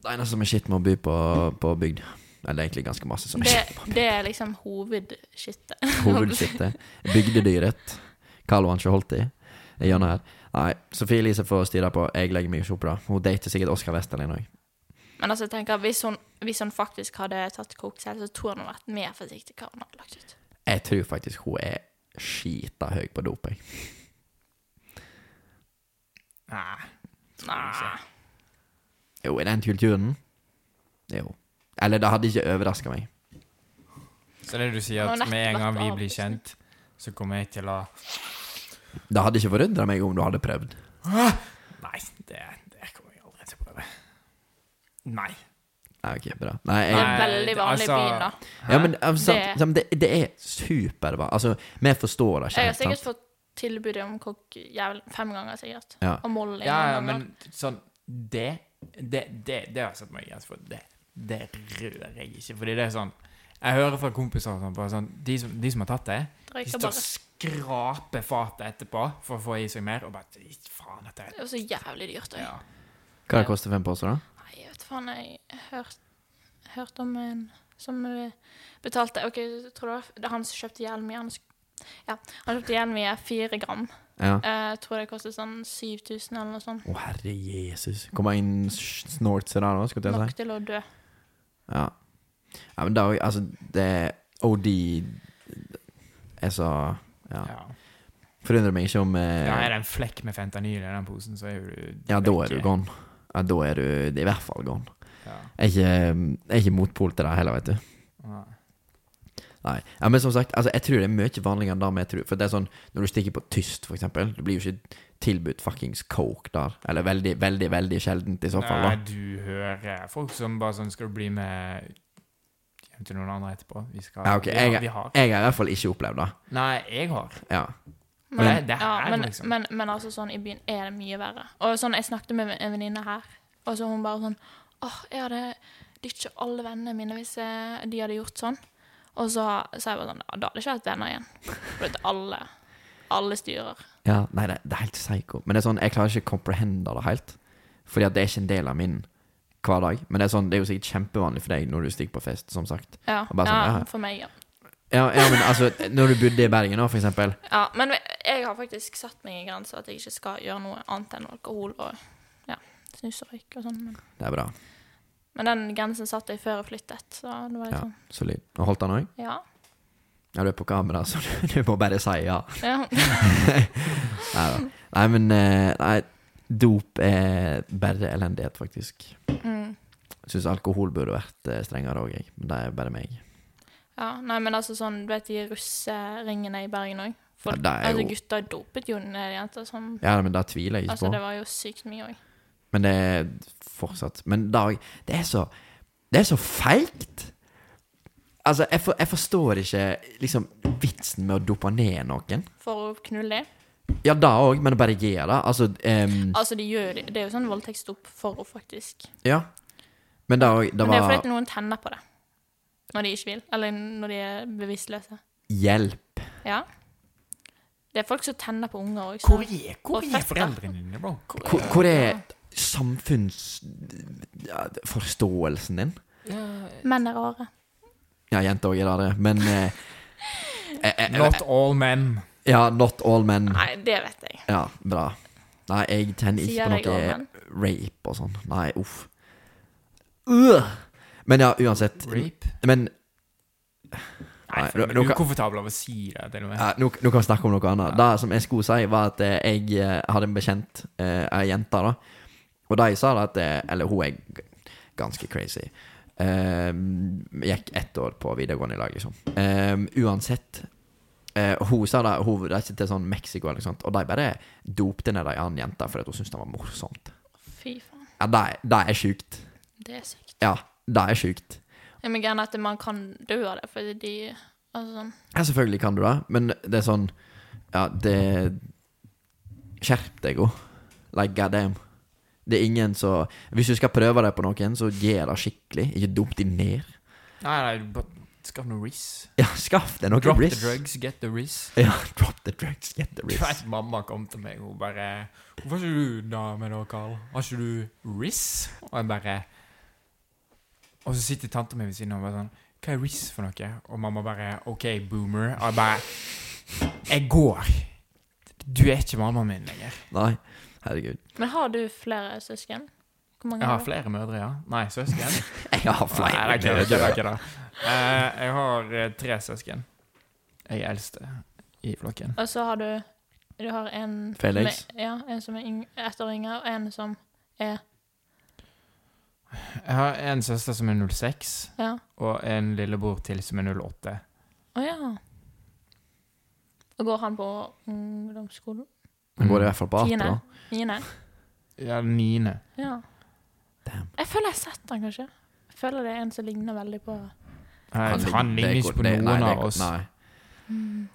Speaker 1: Det eneste som er skitt med å bo på, på bygd Eller det er egentlig ganske masse som er
Speaker 2: Det,
Speaker 1: skitt.
Speaker 2: det er liksom hovedskittet.
Speaker 1: Hovedskittet. Bygdedyret. Karl Johan Holti. Det gjør noe her. Nei, Sofie Elise får styre på. Jeg legger meg ikke opp, da. Hun dater sikkert Oskar Westerlin òg.
Speaker 2: Men altså, jeg tenker, hvis hun, hvis hun faktisk hadde tatt kokt selv, så tror jeg hun hadde vært mer forsiktig hva hun hadde lagt ut.
Speaker 1: Jeg tror faktisk hun er skita høy på dop, jeg.
Speaker 3: Nei.
Speaker 2: Nei.
Speaker 1: Jo, i den kulturen Jo. Eller det hadde ikke overraska meg.
Speaker 3: Så det du sier,
Speaker 2: Hun har
Speaker 3: at med en
Speaker 2: nettopp
Speaker 3: gang vi
Speaker 2: vært liksom.
Speaker 3: blir
Speaker 2: avlyst.
Speaker 3: kjent, så kommer jeg til å
Speaker 1: Det hadde ikke forundra meg om du hadde prøvd.
Speaker 3: Nei, det, det kommer jeg aldri til å prøve. Nei.
Speaker 1: Nei, ok, bra. Nei,
Speaker 2: Det
Speaker 1: jeg,
Speaker 2: er veldig
Speaker 3: det-
Speaker 2: vanlig i
Speaker 3: altså-
Speaker 2: byen, da.
Speaker 1: Ja, men altså,
Speaker 2: Det-
Speaker 1: sant, sant, det, det er superbra. Altså, vi forstår det ikke.
Speaker 2: Jeg har
Speaker 1: helt,
Speaker 2: sikkert
Speaker 1: sant?
Speaker 2: fått tilbudet om kokk jævlig- fem ganger, sikkert.
Speaker 1: Ja.
Speaker 2: Og Molly.
Speaker 3: Ja, ja,
Speaker 2: en gang.
Speaker 3: men sånn Det Det, det, det har jeg satt meg i altså, for. Det, det rører jeg ikke. Fordi det er sånn Jeg hører fra kompiser og sånn, bare sånn de, som, de som har tatt det, de
Speaker 2: Røyker
Speaker 3: står
Speaker 2: bare.
Speaker 3: og skraper fatet etterpå for å få i seg mer, og bare "Fy Faen, dette
Speaker 2: Det er jo så jævlig dyrt.
Speaker 3: er
Speaker 2: Ja.
Speaker 3: ja.
Speaker 1: Hva det koster fem poser, da?
Speaker 2: Nei, jeg vet faen. Jeg hørt- hørte om en som eh, betalte Ok, jeg tror det var det er han som kjøpte hjelm i han sk- Ja, han kjøpte hjelm i fire gram.
Speaker 1: Ja.
Speaker 2: Eh, Jeg tror det kostet sånn 7000 eller noe sånt.
Speaker 1: Å, herre jesus. Kommer inn snortser der nå, skulle jeg til å
Speaker 2: Nok
Speaker 1: si.
Speaker 2: til å dø.
Speaker 1: Ja. ja, men det er jo Altså, det OD er så Ja.
Speaker 3: Ja.
Speaker 1: Forundrer meg ikke om
Speaker 3: Ja, er
Speaker 1: eh,
Speaker 3: det en flekk med fentanyl i den posen, så er jo du
Speaker 1: Ja, da er du
Speaker 3: vekke.
Speaker 1: gone. Ja, da er du i hvert fall gone.
Speaker 3: Ja.
Speaker 1: Jeg er ikke, jeg er ikke motpol til det heller, vet du.
Speaker 3: Ja.
Speaker 1: Nei. Ja, men som sagt, altså, jeg tror det er mye vanligere enn det vi tror. For det er sånn, når du stikker på tyst, for eksempel, du blir jo ikke tilbudt fuckings coke der. Eller veldig, veldig, veldig sjeldent i så fall,
Speaker 3: Nei,
Speaker 1: da.
Speaker 3: du hører folk som bare sånn Skal du bli med hjem til noen andre etterpå? Vi skal
Speaker 1: Ja, ok,
Speaker 3: vi, har,
Speaker 1: jeg-
Speaker 3: vi har.
Speaker 1: Jeg har i hvert fall ikke opplevd det.
Speaker 3: Nei, jeg har.
Speaker 1: Ja.
Speaker 3: Men det, det
Speaker 2: Ja,
Speaker 3: her,
Speaker 2: men,
Speaker 3: liksom.
Speaker 2: men, men altså sånn i byen er det mye verre. Og sånn, Jeg snakket med en venninne her, og så hun bare sånn åh, jeg hadde ditchet alle vennene mine hvis eh, de hadde gjort sånn. Og så sa jeg bare sånn, «Ja, da hadde jeg ikke hatt venner igjen. For at alle, alle styrer.
Speaker 1: ja. Nei, det, det er helt psycho. Men det er sånn, jeg klarer ikke å comprehende det helt. Fordi at det er ikke en del av min hverdag. Men det er sånn, det er jo sikkert kjempevanlig for deg når du stikker på fest, som sagt.
Speaker 2: Ja,
Speaker 1: Og bare sånn, ja, ja.
Speaker 2: ja for meg, ja.
Speaker 1: Ja, ja men altså, når du bodde i Bergen nå, for eksempel.
Speaker 2: ja. Men jeg har faktisk satt meg i grenser at jeg ikke skal gjøre noe annet enn alkohol og ja, snus og røyk og sånn. Men,
Speaker 1: Det er bra.
Speaker 2: men den grensen satt jeg før jeg flyttet, så det var
Speaker 1: Ja.
Speaker 2: liksom
Speaker 1: Solid. Og holdt han òg?
Speaker 2: Ja.
Speaker 1: Ja, du er på kamera, så du, du må bare si ja.
Speaker 2: Ja.
Speaker 1: Neida. Nei, men eh, Nei, dop er bare elendighet, faktisk.
Speaker 2: Mm.
Speaker 1: Syns alkohol burde vært eh, strengere òg, jeg. Men det er bare meg.
Speaker 2: ja. Nei, men altså sånn, du vet de russeringene i Bergen òg?
Speaker 1: Ja, det er
Speaker 2: Altså,
Speaker 1: jo-
Speaker 2: gutter dopet jo ned jenter som
Speaker 1: Ja, men det tviler jeg ikke
Speaker 2: Altså,
Speaker 1: på.
Speaker 2: det var jo sykt mye òg.
Speaker 1: Men det er fortsatt Men da, det er så Det er så feigt! Altså, jeg, for, jeg forstår ikke liksom vitsen med å dope ned noen.
Speaker 2: For å knulle dem.
Speaker 1: Ja, det òg, men bare gjør det. Altså ehm,
Speaker 2: Altså, de gjør det. det er jo sånn voldtektsdop for å faktisk
Speaker 1: Ja. Men det òg Det
Speaker 2: Men det er jo
Speaker 1: var
Speaker 2: fordi at noen tenner på det når de ikke vil, eller når de er bevisstløse.
Speaker 1: hjelp.
Speaker 2: Ja. Det er folk som tenner på unger òg.
Speaker 3: Hvor er, hvor
Speaker 2: Og
Speaker 3: er
Speaker 2: fester.
Speaker 3: foreldrene dine, bro?
Speaker 1: Hvor, hvor er samfunnsforståelsen din?
Speaker 2: Menn er rare.
Speaker 1: Ja, jenter òg er det, men eh, eh, eh,
Speaker 3: Not all men.
Speaker 1: Ja, not all men.
Speaker 2: Nei, det vet jeg.
Speaker 1: Ja, bra. Nei, jeg tenner Mm. ikke
Speaker 2: Sier jeg
Speaker 1: på
Speaker 2: all
Speaker 1: noe
Speaker 2: men.
Speaker 1: rape og sånn. Nei, uff. Øh! Men ja, uansett.
Speaker 3: Rape?
Speaker 1: Men
Speaker 3: Nei,
Speaker 1: Nei,
Speaker 3: for
Speaker 1: nå-
Speaker 3: jeg
Speaker 1: nå
Speaker 3: er
Speaker 1: kan- Ah.
Speaker 3: ukomfortabel av å si det. til og med.
Speaker 1: ja, eh, nå, nå kan vi snakke om noe annet. Det som jeg skulle si, var at eh, jeg eh, hadde en bekjent, eh, ei jente, da. Og de sa da at eh, Eller hun er g- ganske crazy. Eh, gikk ett år på videregående i lag, liksom. Eh, uansett. eh, hun sa da Hun reiste til sånn Mexico, eller noe sånt, og de bare dopte ned ei annen jente fordi hun syntes det var morsomt.
Speaker 2: Fy faen.
Speaker 1: Ja, det er- det er sjukt.
Speaker 2: Det er sykt.
Speaker 1: Ja, det er sjukt.
Speaker 2: Jeg mener gjerne at man kan dø av det, fordi de Altså sånn
Speaker 1: Ja, selvfølgelig kan du det, men det er sånn Ja, det Skjerp deg jo. Like god damn. Det er ingen som Hvis du skal prøve deg på noen, så gjør det skikkelig. Ikke dump de ned.
Speaker 3: Nei, nei, du bare skaff noe riss.
Speaker 1: Ja, skaff deg noe
Speaker 3: Drop
Speaker 1: risk.
Speaker 3: the drugs, get the riss.
Speaker 1: Ja, drop the drugs, get the
Speaker 3: Du
Speaker 1: risk.
Speaker 3: vet, mamma kom til meg, hun bare 'Hvorfor er ikke du dame da, Carl? Har ikke du RIS?' Og jeg bare Og så sitter tanta mi ved siden av og bare sånn 'Hva er RIS for noe?' Og mamma bare 'OK, boomer'. Og jeg bare 'Jeg går. Du er ikke mammaen min lenger.'
Speaker 1: Nei, herregud.
Speaker 2: Men har du flere søsken? Hvor mange
Speaker 3: Jeg har
Speaker 2: du?
Speaker 3: flere mødre, ja. Nei, søsken.
Speaker 1: Jeg har flere
Speaker 3: Nei, det er ikke det, det
Speaker 1: døde.
Speaker 3: er ikke det. Eh, jeg har eh, tre søsken. Jeg er eldste i flokken.
Speaker 2: Og så har du Du har en
Speaker 1: Felix?
Speaker 2: Med, ja, en som er yng, ett år yngre, og en som er
Speaker 3: Jeg har en søster som er 06,
Speaker 2: Ja.
Speaker 3: og en lillebror til som er 08.
Speaker 2: Å ja. Og går han på ungdomsskolen?
Speaker 1: Jeg Går i hvert fall på ape,
Speaker 2: Tiende?
Speaker 1: da.
Speaker 2: Niende?
Speaker 3: Ja, den niende.
Speaker 2: Ja.
Speaker 1: Damn.
Speaker 2: Jeg føler jeg har sett han kanskje. Jeg føler det er en som ligner veldig på
Speaker 3: Han,
Speaker 1: Det-
Speaker 3: han
Speaker 1: det
Speaker 3: ligner
Speaker 1: går-
Speaker 3: ikke på
Speaker 1: det-
Speaker 3: noen
Speaker 1: nei, det
Speaker 3: av
Speaker 1: går-
Speaker 3: oss.
Speaker 1: Nei.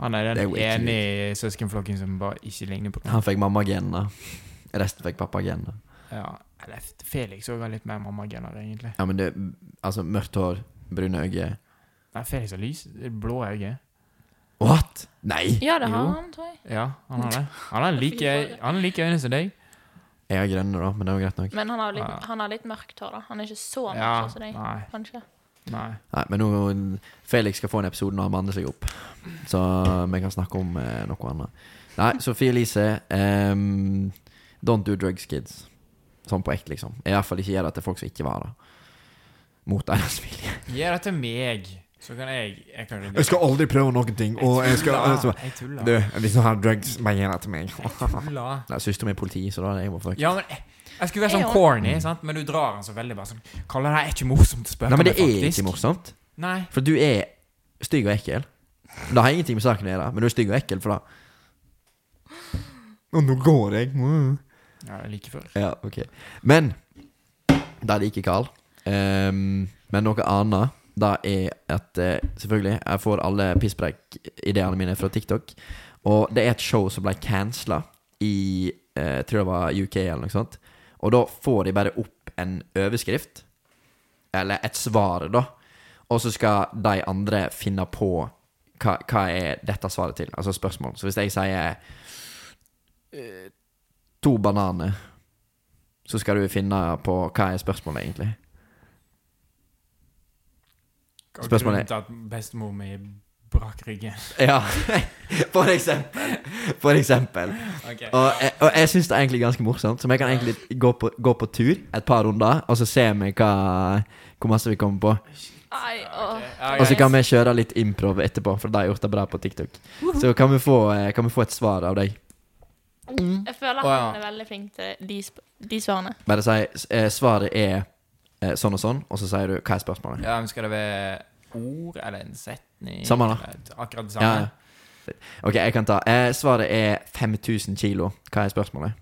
Speaker 3: Han er
Speaker 1: Det
Speaker 3: den
Speaker 1: går ikke
Speaker 3: ene i søskenflokken som bare ikke ligner på noen.
Speaker 1: Han fikk mammagenene. Resten fikk pappagenene.
Speaker 3: Ja, eller F- Felix også har litt mer mammagener, egentlig.
Speaker 1: Ja, men det Altså, mørkt hår, brune øyne
Speaker 3: Nei, Felix har lys, blå øyne.
Speaker 1: What?! Nei!
Speaker 2: Ja, det har
Speaker 3: Jo.
Speaker 2: han, tror jeg.
Speaker 3: Ja, han har det. Han har like, han har like øyne som deg.
Speaker 1: Jeg har grønne, da, men det er jo greit nok.
Speaker 2: Men han har litt,
Speaker 3: Ja.
Speaker 2: han har litt mørkt hår, da. Han er ikke så mørk
Speaker 3: Ja,
Speaker 2: sånn som deg,
Speaker 3: nei,
Speaker 2: kanskje.
Speaker 3: nei.
Speaker 1: Nei, men nå Felix skal få en episode når han manner seg opp, så vi kan snakke om eh, noe annet. Nei, Sofie Elise ehm, Don't do drugs, kids. Sånn på ekte, liksom. I hvert fall ikke gjør det til folk som ikke var det. Mot deres vilje.
Speaker 3: Gi det til meg, så kan jeg Jeg, kan
Speaker 1: aldri prøve noen ting,
Speaker 3: Jeg tuller.
Speaker 1: hvis altså, du har drugs, bare gjør det til meg.
Speaker 3: Jeg tuller.
Speaker 1: Nei, Søstera mi er politi, så da er det jeg må fuck.
Speaker 3: Ja, men jeg, jeg skulle være
Speaker 2: Jeg
Speaker 3: sånn
Speaker 2: også.
Speaker 3: corny, sant? men du drar den så veldig bare sånn Kalle, det er ikke morsomt å spørre
Speaker 1: Nei, men
Speaker 3: meg,
Speaker 1: det er
Speaker 3: faktisk.
Speaker 1: ikke morsomt.
Speaker 3: Nei.
Speaker 1: For du er stygg og ekkel. Det har ingenting med saken å gjøre, men du er stygg og ekkel for det. Og nå går jeg.
Speaker 3: Ja, det er like før.
Speaker 1: Ja, ok. Men det liker Carl. Ehm, men noe annet det er at eh, Selvfølgelig, jeg får alle pisspreik-ideene mine fra TikTok. Og det er et show som ble cancela i eh, tror det var UK eller noe sånt. Og da får de bare opp en overskrift, eller et svar, da. Og så skal de andre finne på hva, hva er dette svaret til, altså spørsmål. Så hvis jeg sier eh, to bananer så skal du finne på hva er spørsmålet egentlig.
Speaker 3: Og
Speaker 1: Spørsmålet er-
Speaker 3: grunnen til at bestemor mi brakk ryggen.
Speaker 1: Ja, for eksempel. For eksempel.
Speaker 3: Ok.
Speaker 1: Og jeg, og jeg syns det er egentlig ganske morsomt, så vi kan egentlig gå på, gå på tur et par runder, og så ser vi hva, hvor masse vi kommer på.
Speaker 2: Ai, åh.
Speaker 3: Ja,
Speaker 1: Og så
Speaker 3: greit.
Speaker 1: kan vi kjøre litt improv etterpå, for de har gjort det bra på TikTok. Så kan vi få, eh, kan vi få et svar av deg.
Speaker 2: Jeg føler
Speaker 3: Å, ja.
Speaker 2: han er veldig flink til de, sp de svarene.
Speaker 1: Bare si eh, svaret er eh, sånn og sånn, og så sier du hva er spørsmålet.
Speaker 3: Ja, men skal det være ord eller en setning?
Speaker 1: Samme da.
Speaker 3: Eller Akkurat det
Speaker 1: Ja,
Speaker 3: samme.
Speaker 1: ja. OK, jeg kan ta. Eh, svaret er 5000 kilo. Hva er spørsmålet?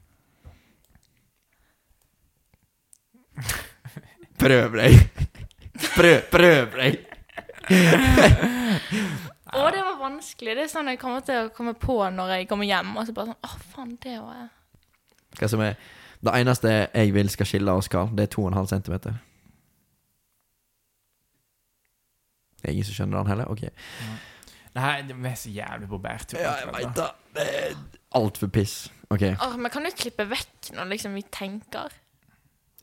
Speaker 1: Prøv deg. Prøv, prøv deg.
Speaker 2: Å, det var vanskelig. Det er sånn jeg kommer til å komme på når jeg kommer hjem. Og så bare sånn Å, faen, det var jeg.
Speaker 1: Hva som er Det eneste jeg vil skal skille oss, Karl, det er 2,5 cm. Det er ingen som skjønner den heller? Ok.
Speaker 3: Nei, det er så jævlig på bærtur.
Speaker 1: det. Det er altfor piss. Ok,
Speaker 2: Åh, men kan du klippe vekk når liksom vi tenker?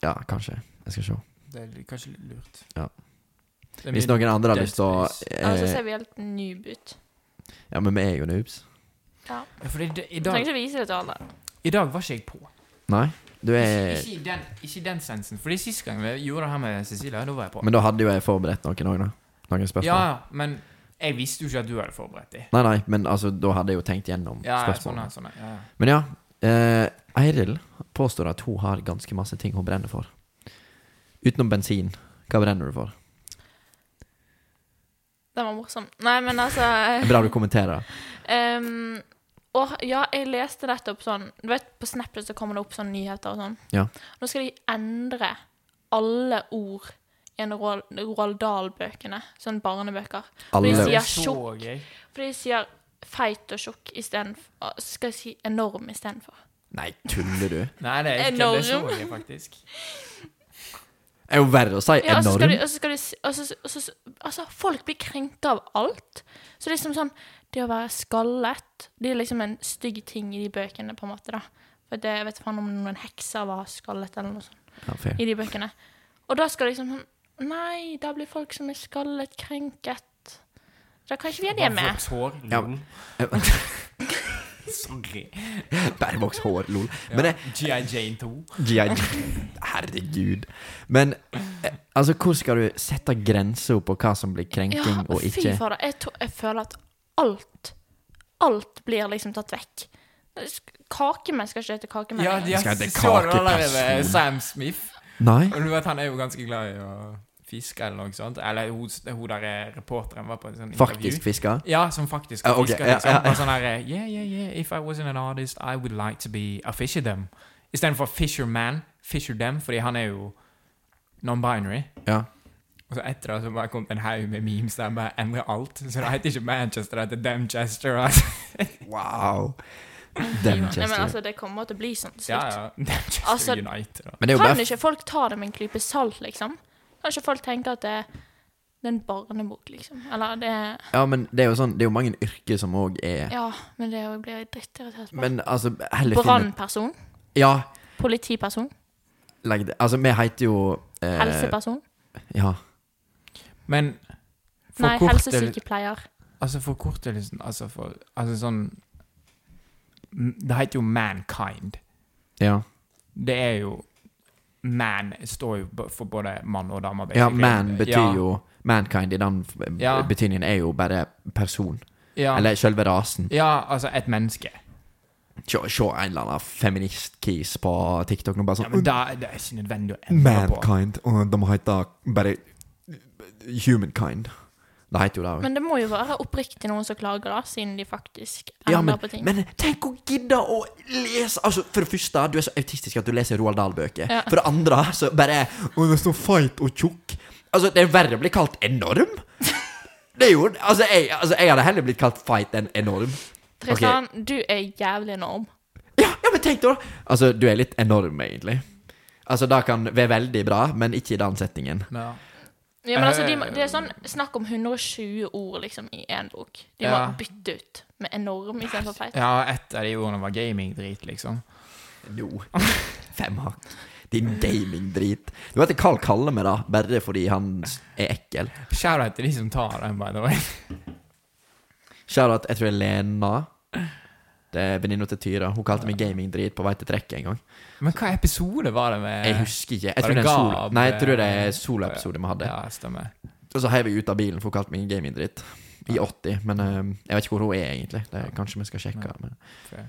Speaker 1: ja, kanskje. Jeg skal se.
Speaker 3: Det er kanskje litt lurt.
Speaker 1: Ja.
Speaker 3: Det er
Speaker 1: Hvis
Speaker 3: min-
Speaker 1: noen andre har lyst til å
Speaker 2: Ja, Altså, så
Speaker 1: eh,
Speaker 2: ser vi helt noob ut.
Speaker 1: Ja, men vi er jo noobs.
Speaker 2: Ja.
Speaker 3: Ja, fordi det, i,
Speaker 2: Du trenger
Speaker 3: dag,
Speaker 2: ikke vise det til alle.
Speaker 3: I dag var ikke jeg på.
Speaker 1: Nei? Du
Speaker 3: Ikke,
Speaker 1: er
Speaker 3: ikke, i den, ikke i den sensen. Fordi sist gang vi gjorde det her med Cecilia, da var jeg på.
Speaker 1: Men da hadde jo jeg forberedt noen òg, da. Noen spørsmål.
Speaker 3: ja, ja, men jeg visste jo ikke at du hadde forberedt deg.
Speaker 1: Nei, nei, men altså, da hadde jeg jo tenkt gjennom
Speaker 3: Ja, ja, sånn,
Speaker 1: spørsmålene.
Speaker 3: ja, sånn, ja, ja.
Speaker 1: Men ja, eh, Eiril påstår at hun har ganske masse ting hun brenner for. Utenom bensin, hva brenner du for?
Speaker 2: Den var morsom. Nei, men altså
Speaker 1: Det er Bra du kommenterer.
Speaker 2: ehm, åh, ja, jeg leste nettopp sånn Du vet, På Snapchat så kommer det opp sånne nyheter og sånn.
Speaker 1: Ja.
Speaker 2: Nå skal de endre alle ord i en Roald, Roald Dahl-bøkene. Sånne barnebøker.
Speaker 1: Alle
Speaker 2: Hvis
Speaker 1: ord.
Speaker 2: jeg
Speaker 3: Det
Speaker 2: er
Speaker 3: så
Speaker 2: tjukk.
Speaker 3: jeg.
Speaker 2: Fordi de sier feit og tjukk istedenfor Skal jeg si enorm istedenfor.
Speaker 1: Nei, tuller du?
Speaker 3: Nei, det, er ikke, det så
Speaker 2: Enorm.
Speaker 3: jeg faktisk.
Speaker 1: Det er jo verre å si
Speaker 2: Ja, og så skal
Speaker 1: enorm.
Speaker 2: de, og så skal de si- og så- og så- Altså, folk blir krenka av alt. Så det er liksom sånn Det å være skallet, det er liksom en stygg ting i de bøkene, på en måte, da. For det, jeg vet faen om noen hekser var skallet, eller noe sånt,
Speaker 1: Ja, fair.
Speaker 2: i de bøkene. Og da skal liksom sånn Nei, da blir folk som er skallet, krenket. Da kan ikke vi ha det med.
Speaker 3: Vårt hår,
Speaker 1: Ja.
Speaker 3: lol. Sorry.
Speaker 1: Bare voks hår, lol. Men
Speaker 3: Ja.
Speaker 1: det,
Speaker 3: G.I. Jane 2.
Speaker 1: G.I. Herregud. Men eh, altså, hvor skal du sette grenser på hva som blir krenking
Speaker 2: Ja,
Speaker 1: og
Speaker 2: fy
Speaker 1: ikke?
Speaker 2: fader. Jeg, to- jeg føler at alt Alt blir liksom tatt vekk. Sk- Kakemenn skal ikke hete kakemenn.
Speaker 3: Ja,
Speaker 2: lenger.
Speaker 3: de har
Speaker 1: Skal det
Speaker 3: så du
Speaker 1: kakeperson?
Speaker 3: allerede eh, Sam Smith.
Speaker 1: Nei?
Speaker 3: Og du vet, han er jo ganske glad i å fiske eller noe sånt. Eller hun, hun der eh, reporteren var på en sånn
Speaker 1: Faktisk
Speaker 3: intervju.
Speaker 1: fiske?
Speaker 3: Ja, som faktisk
Speaker 1: Ja, ok,
Speaker 3: fisker.
Speaker 1: ja,
Speaker 3: Liksom.
Speaker 1: ja, ja.
Speaker 3: Bare sånn her eh, Yeah, yeah, yeah, if I wasn't an artist, I would like to be a fisherdom. Istedenfor fisherman, fisherdom, fordi han er jo non-binary.
Speaker 1: Ja.
Speaker 3: Og så etter det så bare kom det en haug med memes der han bare endrer alt. Så det heter ikke Manchester, det heter Damchester. Altså.
Speaker 1: Wow.
Speaker 2: Jo,
Speaker 1: Damn,
Speaker 2: Nei, men
Speaker 1: Chester.
Speaker 2: altså, det kommer til å bli sånn til
Speaker 3: Ja,
Speaker 2: slutt.
Speaker 3: ja. Damchester
Speaker 2: Altså-
Speaker 3: United. Da.
Speaker 1: Men det er jo
Speaker 2: Kan
Speaker 1: bare
Speaker 2: ikke folk ta det med en klype salt, liksom? Kan ikke folk tenke at det, det er en barnebok, liksom? Eller det
Speaker 1: Ja, men det er jo sånn Det er jo mange yrker som òg er
Speaker 2: Ja, men det blir jeg drittirritert på.
Speaker 1: Men altså, heller finne
Speaker 2: Brannperson?
Speaker 1: Ja,
Speaker 2: Politiperson?
Speaker 1: legg det Altså, vi heter jo eh,
Speaker 2: Helseperson?
Speaker 1: Ja.
Speaker 3: Men
Speaker 2: Nei,
Speaker 3: forkorter-
Speaker 2: helsesykepleier.
Speaker 3: Altså forkortelsen Altså for Altså sånn M- Det heter jo mankind.
Speaker 1: Ja,
Speaker 3: Det er jo Man står jo b- for både mann og dame.
Speaker 1: ja
Speaker 3: basically. eh,
Speaker 1: man betyr
Speaker 3: Ja,
Speaker 1: jo Mankind i den f-
Speaker 3: Ja.
Speaker 1: betydningen er jo bare person.
Speaker 3: ja,
Speaker 1: Eller selve rasen.
Speaker 3: ja, altså et menneske.
Speaker 1: Se se en eller annen feminist-kis på TikTok nå, bare
Speaker 3: Ja, men
Speaker 1: sånn
Speaker 3: da, det er ikke nødvendig å endre på.
Speaker 1: Mankind. Og de heter bare Humankind. Det heter jo det òg.
Speaker 2: Men det må jo være oppriktig noen som klager, da, siden de faktisk endrer
Speaker 1: Ja, men,
Speaker 2: på ting.
Speaker 1: men tenk å gidde å lese Altså, For det første, du er så autistisk at du leser Roald Dahl-bøker.
Speaker 2: Ja.
Speaker 1: For det andre, så bare Å, det er så feit og tjukk. Altså, det er verre å bli kalt enorm. Det er jo Altså, jeg, altså, jeg hadde heller blitt kalt feit enn enorm.
Speaker 2: Tristan, du er jævlig enorm.
Speaker 1: Ja, ja, men tenk da! Altså, du er litt enorm, egentlig. Altså, det kan være veldig bra, men ikke i den settingen.
Speaker 3: Ja.
Speaker 2: Ja, men altså, de, må- det er sånn snakk om 120 ord liksom, i én bok. De må
Speaker 3: Ja.
Speaker 2: bytte ut med enorm istedenfor feit.
Speaker 3: ja, et av de ordene var gaming-drit, liksom.
Speaker 1: No. Fem hakk. Din gaming-drit. Du vet Carl kaller meg det, bare fordi han er ekkel.
Speaker 3: Shout-out til de som tar den, by the way.
Speaker 1: Shoutout, jeg tror det er Lena. Det er venninna til Tyra. Hun kalte meg gamingdrit på vei til trekket en gang.
Speaker 3: Men hva episode var det med
Speaker 1: Jeg husker ikke. Jeg
Speaker 3: Eh, Var
Speaker 1: tror det er en sol
Speaker 3: det Gab?
Speaker 1: Nei, jeg tror det er soloepisode vi hadde.
Speaker 3: Ja, stemmer.
Speaker 1: Og så heiv jeg ut av bilen, for hun kalte meg gamingdritt. I 80, men eh, jeg vet ikke hvor hun er egentlig. Det, er- kanskje vi skal sjekke. Men.
Speaker 3: Fair.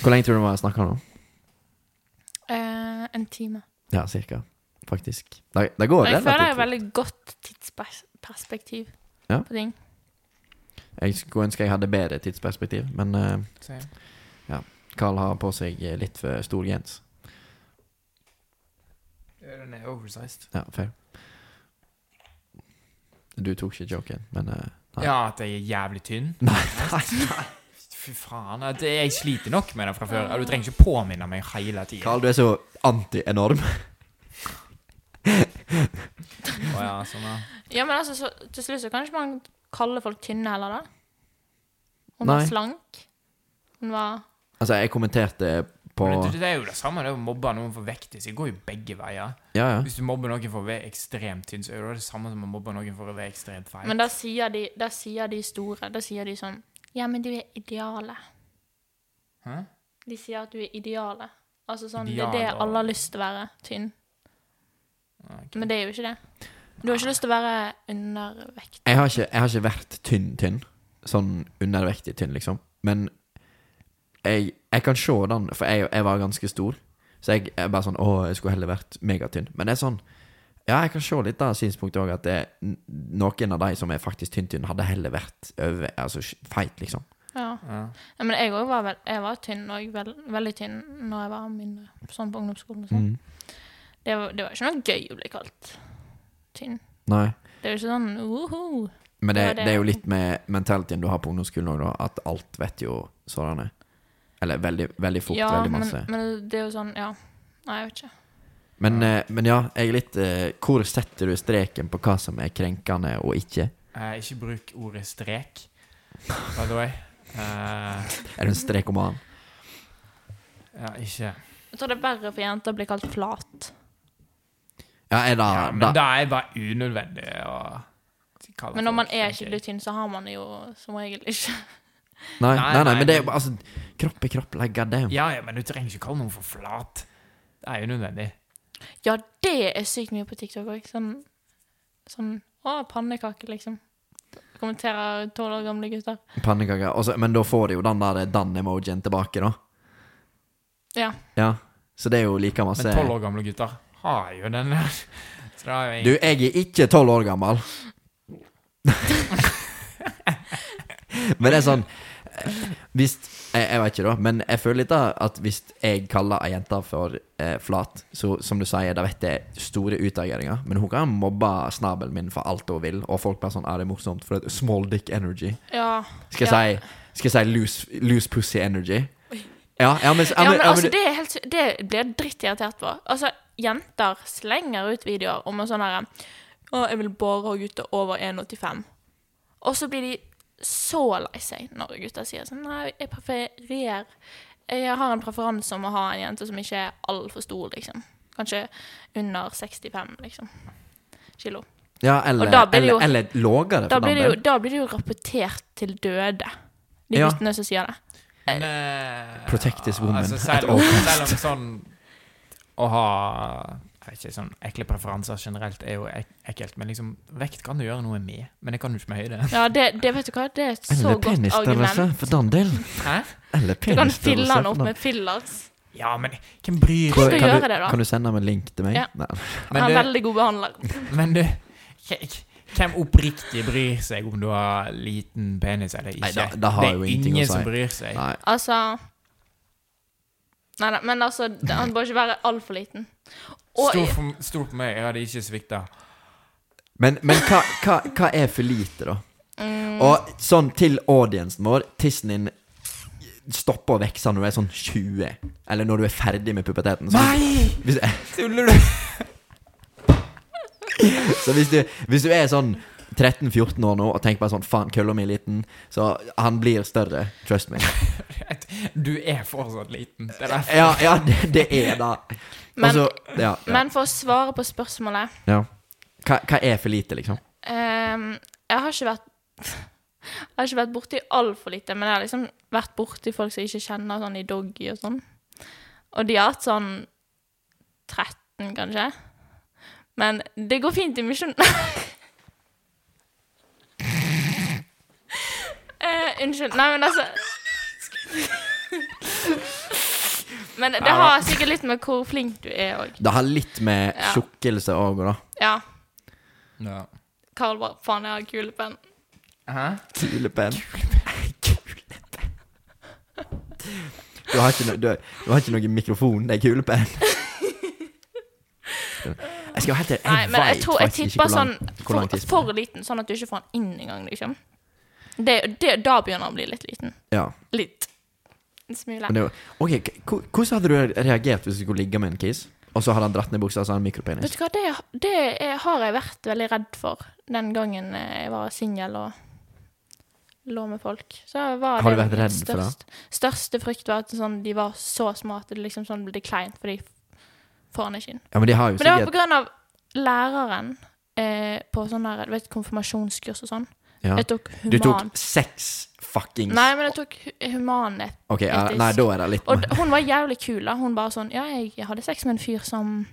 Speaker 1: Hvor lenge tror du vi har snakka nå?
Speaker 2: Eh, en time.
Speaker 1: Ja, cirka. Faktisk. Det, det går
Speaker 2: jeg føler jeg
Speaker 1: relativt
Speaker 2: har veldig godt tidsperspektiv
Speaker 1: Ja.
Speaker 2: på ting.
Speaker 1: Jeg skulle ønske jeg hadde bedre tidsperspektiv, men eh,
Speaker 3: Same.
Speaker 1: Carl har på seg eh, litt for stor gens.
Speaker 3: Ja, Den er oversized.
Speaker 1: Ja, fair. Du tok ikke joken, men eh, Nei.
Speaker 3: Ja, at jeg er jævlig tynn.
Speaker 1: Nei.
Speaker 3: Fy faen. At jeg sliter nok med det fra før. Du trenger ikke påminne meg hele tiden.
Speaker 1: Carl, du er så anti-enorm.
Speaker 3: Å ja, sånn, ja.
Speaker 2: Ja, men altså, så, til slutt så kan ikke man kalle folk tynne heller, da. Hun
Speaker 1: Nei.
Speaker 2: var slank. Hun var
Speaker 1: Altså, jeg kommenterte på
Speaker 3: Men det, det er jo det samme, det er å mobbe noen for vektis. Det går jo begge veier.
Speaker 1: Ja, ja.
Speaker 3: Hvis du mobber noen for å være ekstremt tynn, så er det det samme som å mobbe noen for å være ekstremt feit.
Speaker 2: Men da sier, de, da sier de store Da sier de sånn Ja, men du er idealet.
Speaker 3: Hæ?
Speaker 2: De sier at du er idealet. Altså sånn Det er
Speaker 3: Idealet.
Speaker 2: det alle har lyst til å være. Tynn.
Speaker 3: Ok.
Speaker 2: Men det er jo ikke det. Du har ikke lyst til å være undervekt.
Speaker 1: Jeg har ikke, jeg har ikke vært tynn-tynn. Sånn undervektig tynn, liksom. Men jeg, jeg kan se den, for jeg, jeg var ganske stor. Så jeg er bare sånn Å, jeg skulle heller vært megatynn. Men det er sånn Ja, jeg kan se litt av synspunktet òg, at det, n- noen av de som er faktisk tynn-tynn, hadde heller vært over, altså, feit, liksom.
Speaker 2: Ja.
Speaker 3: Ja.
Speaker 2: Ja, men jeg òg var, vel- jeg var tynn, og jeg vel- veldig tynn når jeg var mindre, sånn på ungdomsskolen.
Speaker 1: Mm.
Speaker 2: og Sånn. Det, var, det var ikke noe gøy å bli kalt tynn.
Speaker 1: Nei.
Speaker 2: Det er jo ikke sånn woho.
Speaker 1: Men det,
Speaker 2: Det var
Speaker 1: det,
Speaker 2: det.
Speaker 1: er jo litt med mentaliteten du har på ungdomsskolen òg, da. At alt vet jo sånn er. Eller veldig, veldig fort,
Speaker 2: ja,
Speaker 1: veldig masse.
Speaker 2: Men, men det er jo sånn, ja. Nei, jeg vet ikke.
Speaker 1: Men, eh, men ja, jeg er litt eh, Hvor setter du streken på hva som er krenkende og ikke?
Speaker 3: Eh, ikke bruk ordet strek, by the way. Eh,
Speaker 1: Er du en strekoman?
Speaker 3: ja, ikke
Speaker 2: Jeg tror det er verre for jenter å bli kalt flat.
Speaker 1: Ja, er det
Speaker 3: ja, Men
Speaker 1: Ah, da,
Speaker 3: da er jeg bare unødvendig å kalle
Speaker 2: Men når man er
Speaker 3: tenker
Speaker 2: skikkelig
Speaker 3: jeg.
Speaker 2: tynn, så har man det jo som regel ikke.
Speaker 1: nei, nei,
Speaker 3: Nei,
Speaker 1: nei,
Speaker 3: nei,
Speaker 1: men det er jo
Speaker 3: men-
Speaker 1: altså Kropp er kropp, like god damn.
Speaker 3: Ja, ja, men du trenger ikke kalle noen for flat. Det er unødvendig.
Speaker 2: Ja, det er sykt mye på TikTok òg. Sånn, sånn Å, pannekake, liksom. Kommenterer tolv år gamle gutter.
Speaker 1: Pannekaker. Og så- Men da får du jo den der Dan-emojien tilbake, da.
Speaker 2: Ja.
Speaker 1: Ja. Så det er jo like
Speaker 3: Men
Speaker 1: masse
Speaker 3: tolv år gamle gutter har jo den der. Så da er jo
Speaker 1: Du, jeg er ikke tolv år gammel. men det er sånn eh, Hvis jeg, jeg vet ikke, da, men jeg føler litt da at hvis jeg kaller ei jente for eh, flat, så som du sier, da vet jeg store utageringer, men hun kan mobbe snabelen min for alt hun vil, og folk blir sånn Er det er morsomt? For det er small dick energy.
Speaker 2: Ja.
Speaker 1: Skal
Speaker 2: Ja.
Speaker 1: jeg si Skal jeg si loose, loose pussy energy? Ja, ja, men,
Speaker 2: Ja, men
Speaker 1: ja,
Speaker 2: altså,
Speaker 1: men-
Speaker 2: det, er helt, sy- det blir jeg drittirritert på. Altså, jenter slenger ut videoer om en sånn herre Å, jeg vil bare ha gutter over 1,85. Og så blir de så lei seg når gutter sier sånn Nei, jeg prefererer Jeg har en preferanse om å ha en jente som ikke er altfor stor, liksom. Kanskje under 65, liksom. Kilo.
Speaker 1: ja, eller,
Speaker 2: og da blir det
Speaker 1: eller,
Speaker 2: jo-
Speaker 1: eller lågere,
Speaker 2: Da
Speaker 1: for
Speaker 2: blir
Speaker 1: den
Speaker 2: det jo,
Speaker 1: del.
Speaker 2: da blir det jo rapportert til døde, de
Speaker 1: Ja.
Speaker 2: guttene som sier det.
Speaker 3: Men, eh,
Speaker 1: Protect this woman
Speaker 3: Altså,
Speaker 1: at
Speaker 3: selv,
Speaker 1: all
Speaker 3: om, selv om sånn å ha jeg vet ikke, sånn ekle preferanser generelt er jo ek ekkelt, men liksom vekt kan du gjøre noe med. Men det kan du ikke med høyde.
Speaker 2: Ja, det, det vet du hva, det er et så
Speaker 1: Eller
Speaker 2: godt argument.
Speaker 1: penisstørrelse, for den del.
Speaker 3: Hæ?
Speaker 1: Eller
Speaker 2: Du kan
Speaker 1: penisstørrelse.
Speaker 2: fylle den
Speaker 1: for
Speaker 2: opp med fillers.
Speaker 3: Ja, men hvem bryr
Speaker 2: Hvor- skal
Speaker 3: seg?
Speaker 1: kan, du,
Speaker 2: gjøre det, da?
Speaker 1: kan du sende meg en link til meg?
Speaker 2: Ja.
Speaker 1: Nei.
Speaker 2: Han er
Speaker 3: Men du,
Speaker 2: veldig god behandler.
Speaker 3: men du k- k- hvem oppriktig bryr seg om du har liten penis eller ikke?
Speaker 1: Nei, da- da har
Speaker 3: det
Speaker 1: jeg jo
Speaker 3: er
Speaker 1: ingenting å
Speaker 3: ingen
Speaker 1: si.
Speaker 3: som bryr seg.
Speaker 1: Nei.
Speaker 2: Altså Nei, nei, men altså, det- han bør ikke være altfor liten. Og
Speaker 3: Stor for, stor for meg, jeg hadde ikke svikta.
Speaker 1: Men, men hva, hva, hva er for lite, da?
Speaker 2: Mm.
Speaker 1: Og sånn til audiencen vår Tissen din stopper å vokse når du er sånn 20, eller når du er ferdig med puberteten. Så,
Speaker 3: Nei!
Speaker 1: hvis,
Speaker 3: Tuller du?
Speaker 1: så hvis, du, hvis du er sånn 13-14 år nå og tenker bare sånn Faen, kølla mi er liten, så han blir større. Trust me.
Speaker 3: Du er fortsatt liten. Det er derfor.
Speaker 1: Ja, ja det, det er det.
Speaker 2: Men-
Speaker 1: Altså, ja, ja,
Speaker 2: Men for å svare på spørsmålet
Speaker 1: ja. Hva, hva er for lite, liksom?
Speaker 2: ehm, Jeg har ikke vært Jeg har ikke vært borti altfor lite, men jeg har liksom vært borti folk som jeg ikke kjenner, sånn i doggy og sånn. Og de har hatt sånn 13, kanskje. Men det går fint i misjon... Eh, unnskyld. Nei, men altså Men det har sikkert litt med hvor flink du er òg.
Speaker 1: Det har litt med
Speaker 2: Ja.
Speaker 1: tjukkelse å gå, da.
Speaker 2: Ja.
Speaker 3: Ja.
Speaker 2: Karl bare Faen, jeg har kulepenn.
Speaker 3: Hæ?
Speaker 1: Kulepenn. Du har ikke, no, du, du har ikke noe mikrofon, det er kulepenn. Jeg skal være helt ærlig,
Speaker 2: Nei,
Speaker 1: jeg
Speaker 2: men jeg
Speaker 1: vet
Speaker 2: tror jeg
Speaker 1: faktisk ikke
Speaker 2: tipper
Speaker 1: hvor
Speaker 2: sånn
Speaker 1: lang, hvor lang
Speaker 2: for,
Speaker 1: tid
Speaker 2: for liten, sånn at du ikke får den inn engang, liksom. Det, det, da begynner han å bli litt liten.
Speaker 1: ja,
Speaker 2: Litt. En smule.
Speaker 1: men det, var- Ok, k- hvor- Hvordan hadde du reagert hvis du skulle ligge med en kis, og så hadde han dratt ned buksa og så hadde han mikropenis?
Speaker 2: Vet du hva, det, det er, har jeg vært veldig redd for den gangen eh, jeg var singel og lå med folk. Så var
Speaker 1: Har du
Speaker 2: det
Speaker 1: vært
Speaker 2: min
Speaker 1: redd for det?
Speaker 2: Største frykt var at sånn, de var så små at det liksom sånn ble kleint, for de får han ikke inn.
Speaker 1: Ja, men de har jo
Speaker 2: Men det var
Speaker 1: sikkert
Speaker 2: på grunn av læreren eh, på sånn der, du vet, konfirmasjonskurs og sånn.
Speaker 1: ja.
Speaker 2: Jeg tok
Speaker 1: Du
Speaker 2: human.
Speaker 1: tok seks fuckings
Speaker 2: Nei, men jeg tok hu- humanhet.
Speaker 1: Ok, ja, nei, da er det litt
Speaker 2: Og d- hun var jævlig kul. da. Hun bare sånn Ja, jeg jeg hadde sex med en fyr som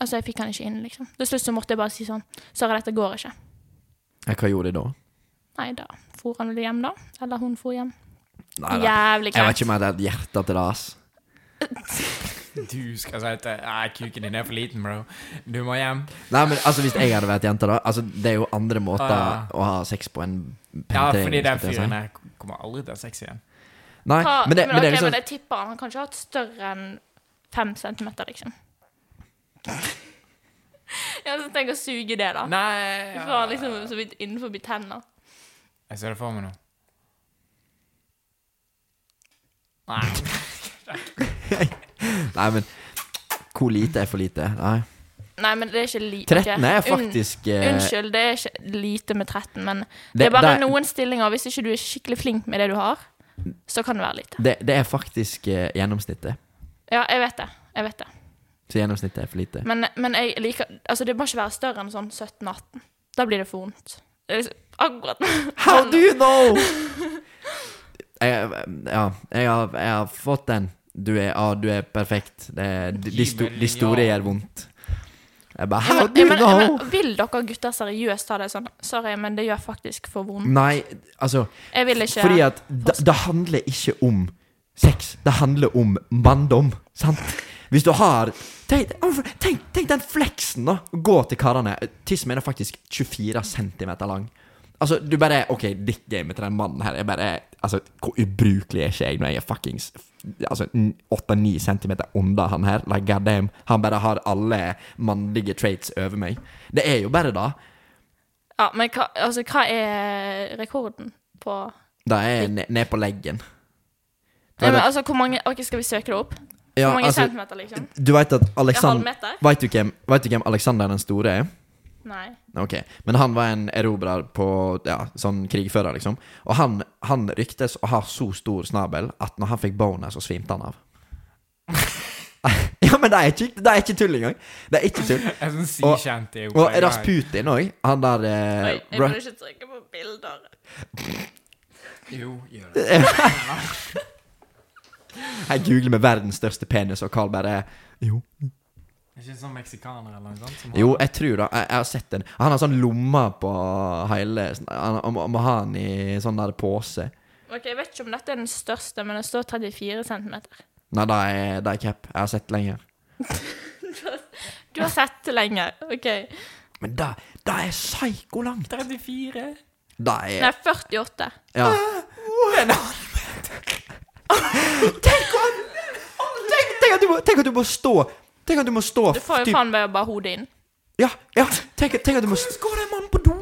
Speaker 2: Altså, jeg fikk han ikke inn, liksom. Til slutt så måtte jeg bare si sånn Sara, dette går ikke.
Speaker 1: Ja, Hva gjorde de da?
Speaker 2: Nei, da for han vel hjem, da. Eller hun for hjem.
Speaker 1: Nei, da.
Speaker 2: Jævlig
Speaker 1: Jeg vet
Speaker 2: greit.
Speaker 1: ikke om jeg hadde et hjerte til det, ass.
Speaker 3: Du skal si at ah, kuken din er for liten, bro. Du må hjem.
Speaker 1: Nei, men altså Hvis jeg hadde vært jente, da altså, Det er jo andre måter
Speaker 3: Ah.
Speaker 1: å ha sex på enn
Speaker 3: Ja,
Speaker 1: penetrering,
Speaker 3: fordi den
Speaker 1: skulle jeg
Speaker 3: fyren
Speaker 1: si.
Speaker 3: her kommer aldri til å ha sex igjen.
Speaker 1: Nei,
Speaker 2: Ha,
Speaker 1: men det, men det er
Speaker 2: ok,
Speaker 1: liksom
Speaker 2: men jeg tipper han kan ikke ha hatt større enn fem centimeter, liksom. ja, så tenk å suge det, da.
Speaker 3: Nei
Speaker 2: Du får han liksom så vidt innenfor tenna.
Speaker 3: Jeg ser det for meg nå. Nei.
Speaker 1: Nei, men Hvor lite er for lite? Nei.
Speaker 2: Nei, men det er ikke lite.
Speaker 1: 13 er faktisk eh,
Speaker 2: Unnskyld, det er ikke lite med 13, men det,
Speaker 1: Det-
Speaker 2: er bare
Speaker 1: det er-
Speaker 2: noen stillinger. Hvis ikke du er skikkelig flink med det du har, så kan det være lite.
Speaker 1: det, det er faktisk eh, gjennomsnittet.
Speaker 2: Ja, jeg vet det. Jeg vet det.
Speaker 1: Så gjennomsnittet er for lite.
Speaker 2: Men, men jeg liker Altså, det må ikke være større enn sånn 17-18. Da blir det for vondt. Det er liksom- Akkurat.
Speaker 1: How do you know?! Jeg, ja, jeg har, jeg har fått den. Du er, ja, du er perfekt. Det, er- de, de, sto, de store gjør vondt. Jeg bare How
Speaker 2: Men-
Speaker 1: do you
Speaker 2: men- men
Speaker 1: know?!
Speaker 2: vil dere gutter seriøst ta det sånn? Sorry, men det gjør faktisk for vondt.
Speaker 1: Nei, altså
Speaker 2: Jeg vil ikke
Speaker 1: Fordi at det, det handler ikke om sex. Det handler om manndom. Sant? Hvis du har Tenk, tenk, tenk den fleksen, da! Gå til karene. Tissen min er faktisk 24 cm lang. Altså, du bare OK, dickgamet til den mannen her er bare Altså, hvor ubrukelig er ikke jeg når jeg er fuckings Altså, 8-9 cm under han her? Like, goddamn. Han bare har alle mannlige traits over meg. Det er jo bare det.
Speaker 2: Ja, men hva, altså, hva er rekorden på
Speaker 1: Det er ne- ned på leggen.
Speaker 2: Nei, men altså, hvor mange Ok, skal vi søke det opp?
Speaker 1: Ja,
Speaker 2: Hvor mange
Speaker 1: altså-
Speaker 2: centimeter, liksom?
Speaker 1: Du veit at Alexander
Speaker 2: Halvmeter?
Speaker 1: Vet du, hvem- vet du hvem Alexander den store er?
Speaker 2: Nei.
Speaker 1: Ok, Men han var en erobrer på Ja, sånn krigfører, liksom. Og han, han ryktes å ha så stor snabel at når han fikk boner, så svimte han av. ja, men det er ikke, det er ikke tull engang! Det er ikke tull.
Speaker 3: Jeg er sånn
Speaker 1: Og-
Speaker 3: sikjent i
Speaker 1: Og Rasputin òg, han der eh,
Speaker 2: Oi, jeg
Speaker 1: Ru-
Speaker 2: burde ikke trykke på bilder.
Speaker 3: Jo, gjør det.
Speaker 1: Jeg googler med verdens største penis, og Carl bare Jo.
Speaker 3: Er ikke sånn meksikaner eller noe sånt? som har-
Speaker 1: Jo, jeg tror det. Jeg, jeg har sett den. Han har sånn lommer på hele sånn, Han han må, må ha den i sånn der pose.
Speaker 2: Ok, Jeg vet ikke om dette er den største, men det står 34 cm.
Speaker 1: Nei, det er, det er cap. Jeg har sett lenger.
Speaker 2: Du har sett det lenge. OK.
Speaker 1: Men det, det er psyko langt.
Speaker 3: 34.
Speaker 1: Det
Speaker 2: Nei,
Speaker 1: er
Speaker 2: 48.
Speaker 1: Ja. Tenk om tenk, tenk, at du må, tenk at du må stå Tenk at du må stå
Speaker 2: Du får jo
Speaker 1: typ-
Speaker 2: faen meg bare hodet inn.
Speaker 1: Ja, ja. Tenk, tenk at du må Hvordan går en mann på do?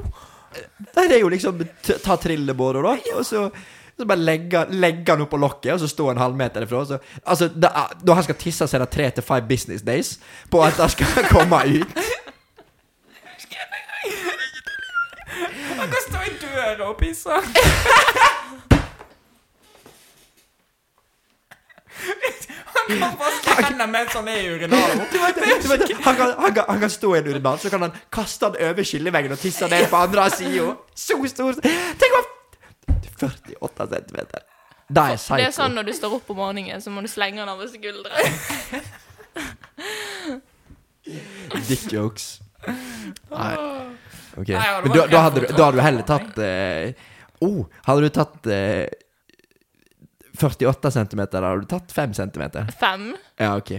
Speaker 1: Nei, det er jo liksom t- ta trillebåret, da, og så så bare legge, legge han opp på lokket, og så stå en halvmeter ifra. Så, altså, det er, når han skal tisse, så er det tre til five business days på at han skal komme ut.
Speaker 3: Han kan stå i døra og pisse. Han kan vaske hendene mens han er i urinalen.
Speaker 1: Du vet, du vet, han, kan, han, kan, han kan stå i en urinal, så kan han kaste den over skilleveggen og tisse ned på andre sida. Så stor Tenk om 48 centimeter. Det er psycho.
Speaker 2: Det er sånn når du står opp om morgenen, så må du slenge den over skulderen.
Speaker 1: Dick jokes. Nei. Ok.
Speaker 3: Nei, ja, det var
Speaker 1: da, da,
Speaker 3: rett
Speaker 1: hadde,
Speaker 3: på
Speaker 1: du- da hadde du heller tatt eh, oh, Hadde du tatt eh, 48 cm, eller hadde du tatt 5 cm?
Speaker 2: Fem?
Speaker 1: Ja, OK.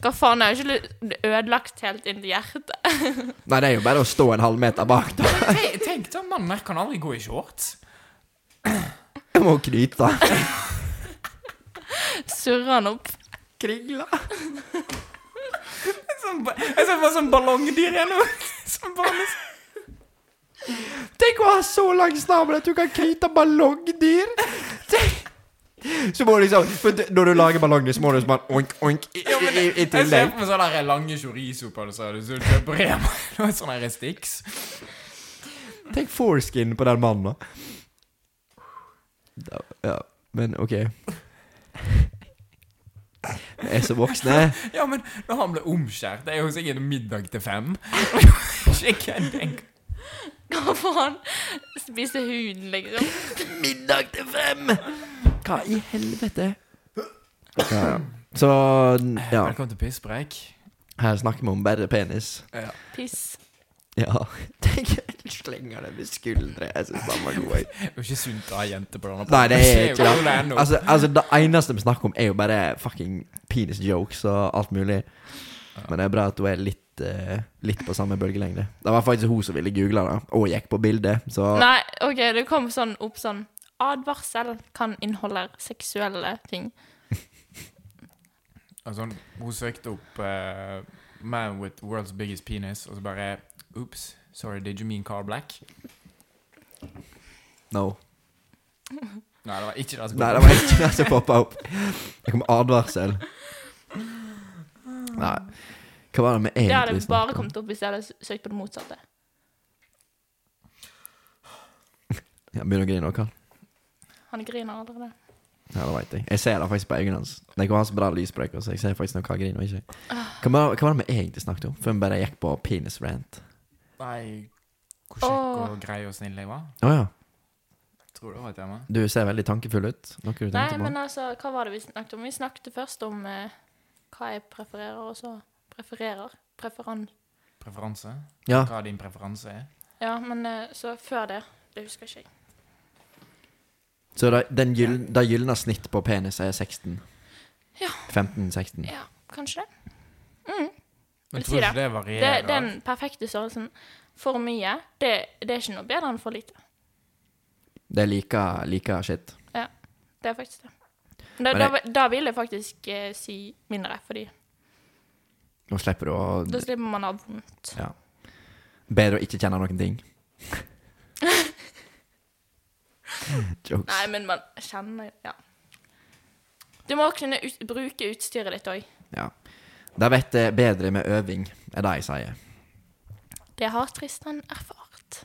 Speaker 2: Hva faen, jeg har ikke lyst- ødelagt helt inn i hjertet.
Speaker 1: Nei, det er jo bare å stå en halvmeter bak, da.
Speaker 3: Tenk, tenk da, mannen her kan aldri gå i shorts.
Speaker 1: Jeg må knyte.
Speaker 2: Surrer han opp.
Speaker 3: Krigla. Sånn, ba- jeg ser bare sånn ballongdyr igjen nå. Som bare liksom
Speaker 1: Tenk å ha så lang snabel at du kan knyte ballongdyr! Tenk- Så må du liksom for d- Når du lager ballongdyr, så må du sånn oink, oink i,
Speaker 3: ja, men
Speaker 1: i, i
Speaker 3: Jeg ser
Speaker 1: tillegg.
Speaker 3: på meg sånne der lange chorizo-pølser du kjøper på Rema. Noen sånne her sticks.
Speaker 1: Tenk foreskin på den mannen, da. da. Ja, men OK. Vi er så voksne.
Speaker 3: Ja, men når han ble omskjært, det er jo sikkert middag til fem. Ikke kødd engang.
Speaker 2: Hva faen? Spiser huden, liksom.
Speaker 1: Middag til fem! Hva i helvete? Ja, ja. Så ja,
Speaker 3: Velkommen til pisspreik.
Speaker 1: her snakker vi om bare penis.
Speaker 2: Piss.
Speaker 1: Ja. Tenk, du slenger det med skuldre. Jeg syns den var god. jeg.
Speaker 3: Det er jo ikke sunt å ha jenter på denne
Speaker 1: Nei, det er
Speaker 3: podden.
Speaker 1: ikke
Speaker 3: Det er jo
Speaker 1: det.
Speaker 3: ennå.
Speaker 1: Altså, altså, det eneste vi snakker om, er jo bare fucking penis jokes og alt mulig. Men det er bra at hun er litt, eh, litt på samme bølgelengde. Det var faktisk hun som ville google det, og gikk på bildet, så
Speaker 2: Nei, OK, det kom sånn opp sånn Advarsel kan inneholde seksuelle ting.
Speaker 3: Altså, hun- hun søkte opp eh, 'Man with world's biggest penis', og så bare Oops, sorry, did you mean Car Black?
Speaker 1: no.
Speaker 3: Nei, det var ikke det. som kom
Speaker 1: Nei, det
Speaker 3: opp.
Speaker 1: var ikke det som poppa opp. Det kom advarsel. Nei. Hva var det vi
Speaker 2: Det hadde
Speaker 1: egentlig
Speaker 2: bare
Speaker 1: snakket om?
Speaker 2: kommet opp hvis jeg hadde søkt på det motsatte.
Speaker 1: Ja, Begynner å grine nå, Karl.
Speaker 2: Han griner allerede.
Speaker 1: Ja, det vet jeg. Jeg ser det faktisk på øynene hans. Det kan ha så bra lysbrekker, så jeg ser faktisk når han griner og ikke.
Speaker 2: Ah.
Speaker 1: Hva var, hva var det vi egentlig snakket om? Før vi bare gikk på penis rant.
Speaker 3: Nei, hvor kjekk og grei og snill jeg var.
Speaker 1: Å ja.
Speaker 3: Tror det var et tema.
Speaker 1: Du ser veldig tankefull ut. Noe du
Speaker 2: Nei,
Speaker 1: tenkte på?
Speaker 2: men altså, hva var det vi snakket om? Vi snakket først om eh, hva jeg prefererer, og så prefererer. Preferan.
Speaker 3: Preferanse?
Speaker 1: Ja.
Speaker 3: Hva din preferanse er?
Speaker 2: Ja, men eh, så før det. Det husker ikke jeg.
Speaker 1: Så det, den gyll, det gylne snitt på penis er 16?
Speaker 2: Ja.
Speaker 1: 15-16?
Speaker 2: Ja, kanskje det.
Speaker 3: Men
Speaker 2: Jeg
Speaker 3: tror du
Speaker 2: sier
Speaker 3: ikke det
Speaker 2: det
Speaker 3: varierer?
Speaker 2: den perfekte størrelsen. For mye, det, det er ikke noe bedre enn for lite.
Speaker 1: Det er like, like shit.
Speaker 2: Det er faktisk det. Da,
Speaker 1: Men
Speaker 2: da,
Speaker 1: det-
Speaker 2: da vil jeg faktisk eh, si mindre, fordi
Speaker 1: Nå slipper du å
Speaker 2: da slipper man å ha vondt.
Speaker 1: Ja. Bedre å ikke kjenne noen ting. Jokes.
Speaker 2: Nei, men man kjenner Ja. Du må kunne ut, bruke utstyret ditt òg.
Speaker 1: Ja. Da vet jeg bedre med øving, er det jeg sier.
Speaker 2: Det har Tristan erfart.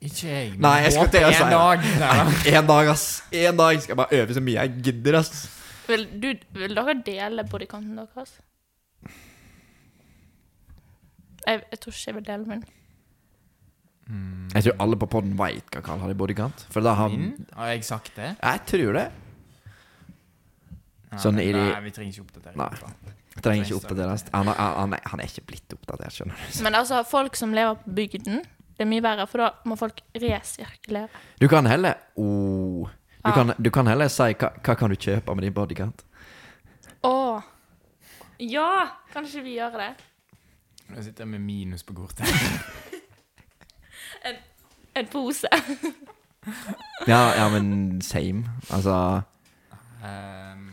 Speaker 3: Ikke jeg. men
Speaker 1: Nei, jeg skulle
Speaker 3: håper
Speaker 1: til å si
Speaker 3: en
Speaker 1: det.
Speaker 3: dag. Nei, da.
Speaker 1: En dag, ass. En dag skal jeg bare øve så mye jeg gidder, ass.
Speaker 2: Vil, du, vil dere dele bodycounten deres? Jeg, jeg tror ikke jeg vil dele min.
Speaker 1: Jeg tror alle på podden veit hva Karl har i bodyguard. For da har han
Speaker 3: Min? Har jeg sagt det?
Speaker 1: Jeg tror det.
Speaker 3: Nei,
Speaker 1: Sånn
Speaker 3: men-
Speaker 1: i de-
Speaker 3: Nei, vi trenger ikke oppdatere.
Speaker 1: Nei.
Speaker 3: dette.
Speaker 1: Trenger ikke oppdateres. Han, er- han, er- han er ikke blitt oppdatert, skjønner du.
Speaker 2: Men altså, folk som lever på bygden, det er mye verre, for da må folk resirkulere.
Speaker 1: Du kan heller oh, du,
Speaker 2: Ja.
Speaker 1: kan, du kan heller si hva, hva kan du kjøpe med din bodyguard.
Speaker 2: Å! Ja! Kanskje vi gjør det?
Speaker 3: Nå sitter jeg med minus på kortet.
Speaker 2: En pose.
Speaker 1: Ja, ja, men same. Altså
Speaker 3: Ehm,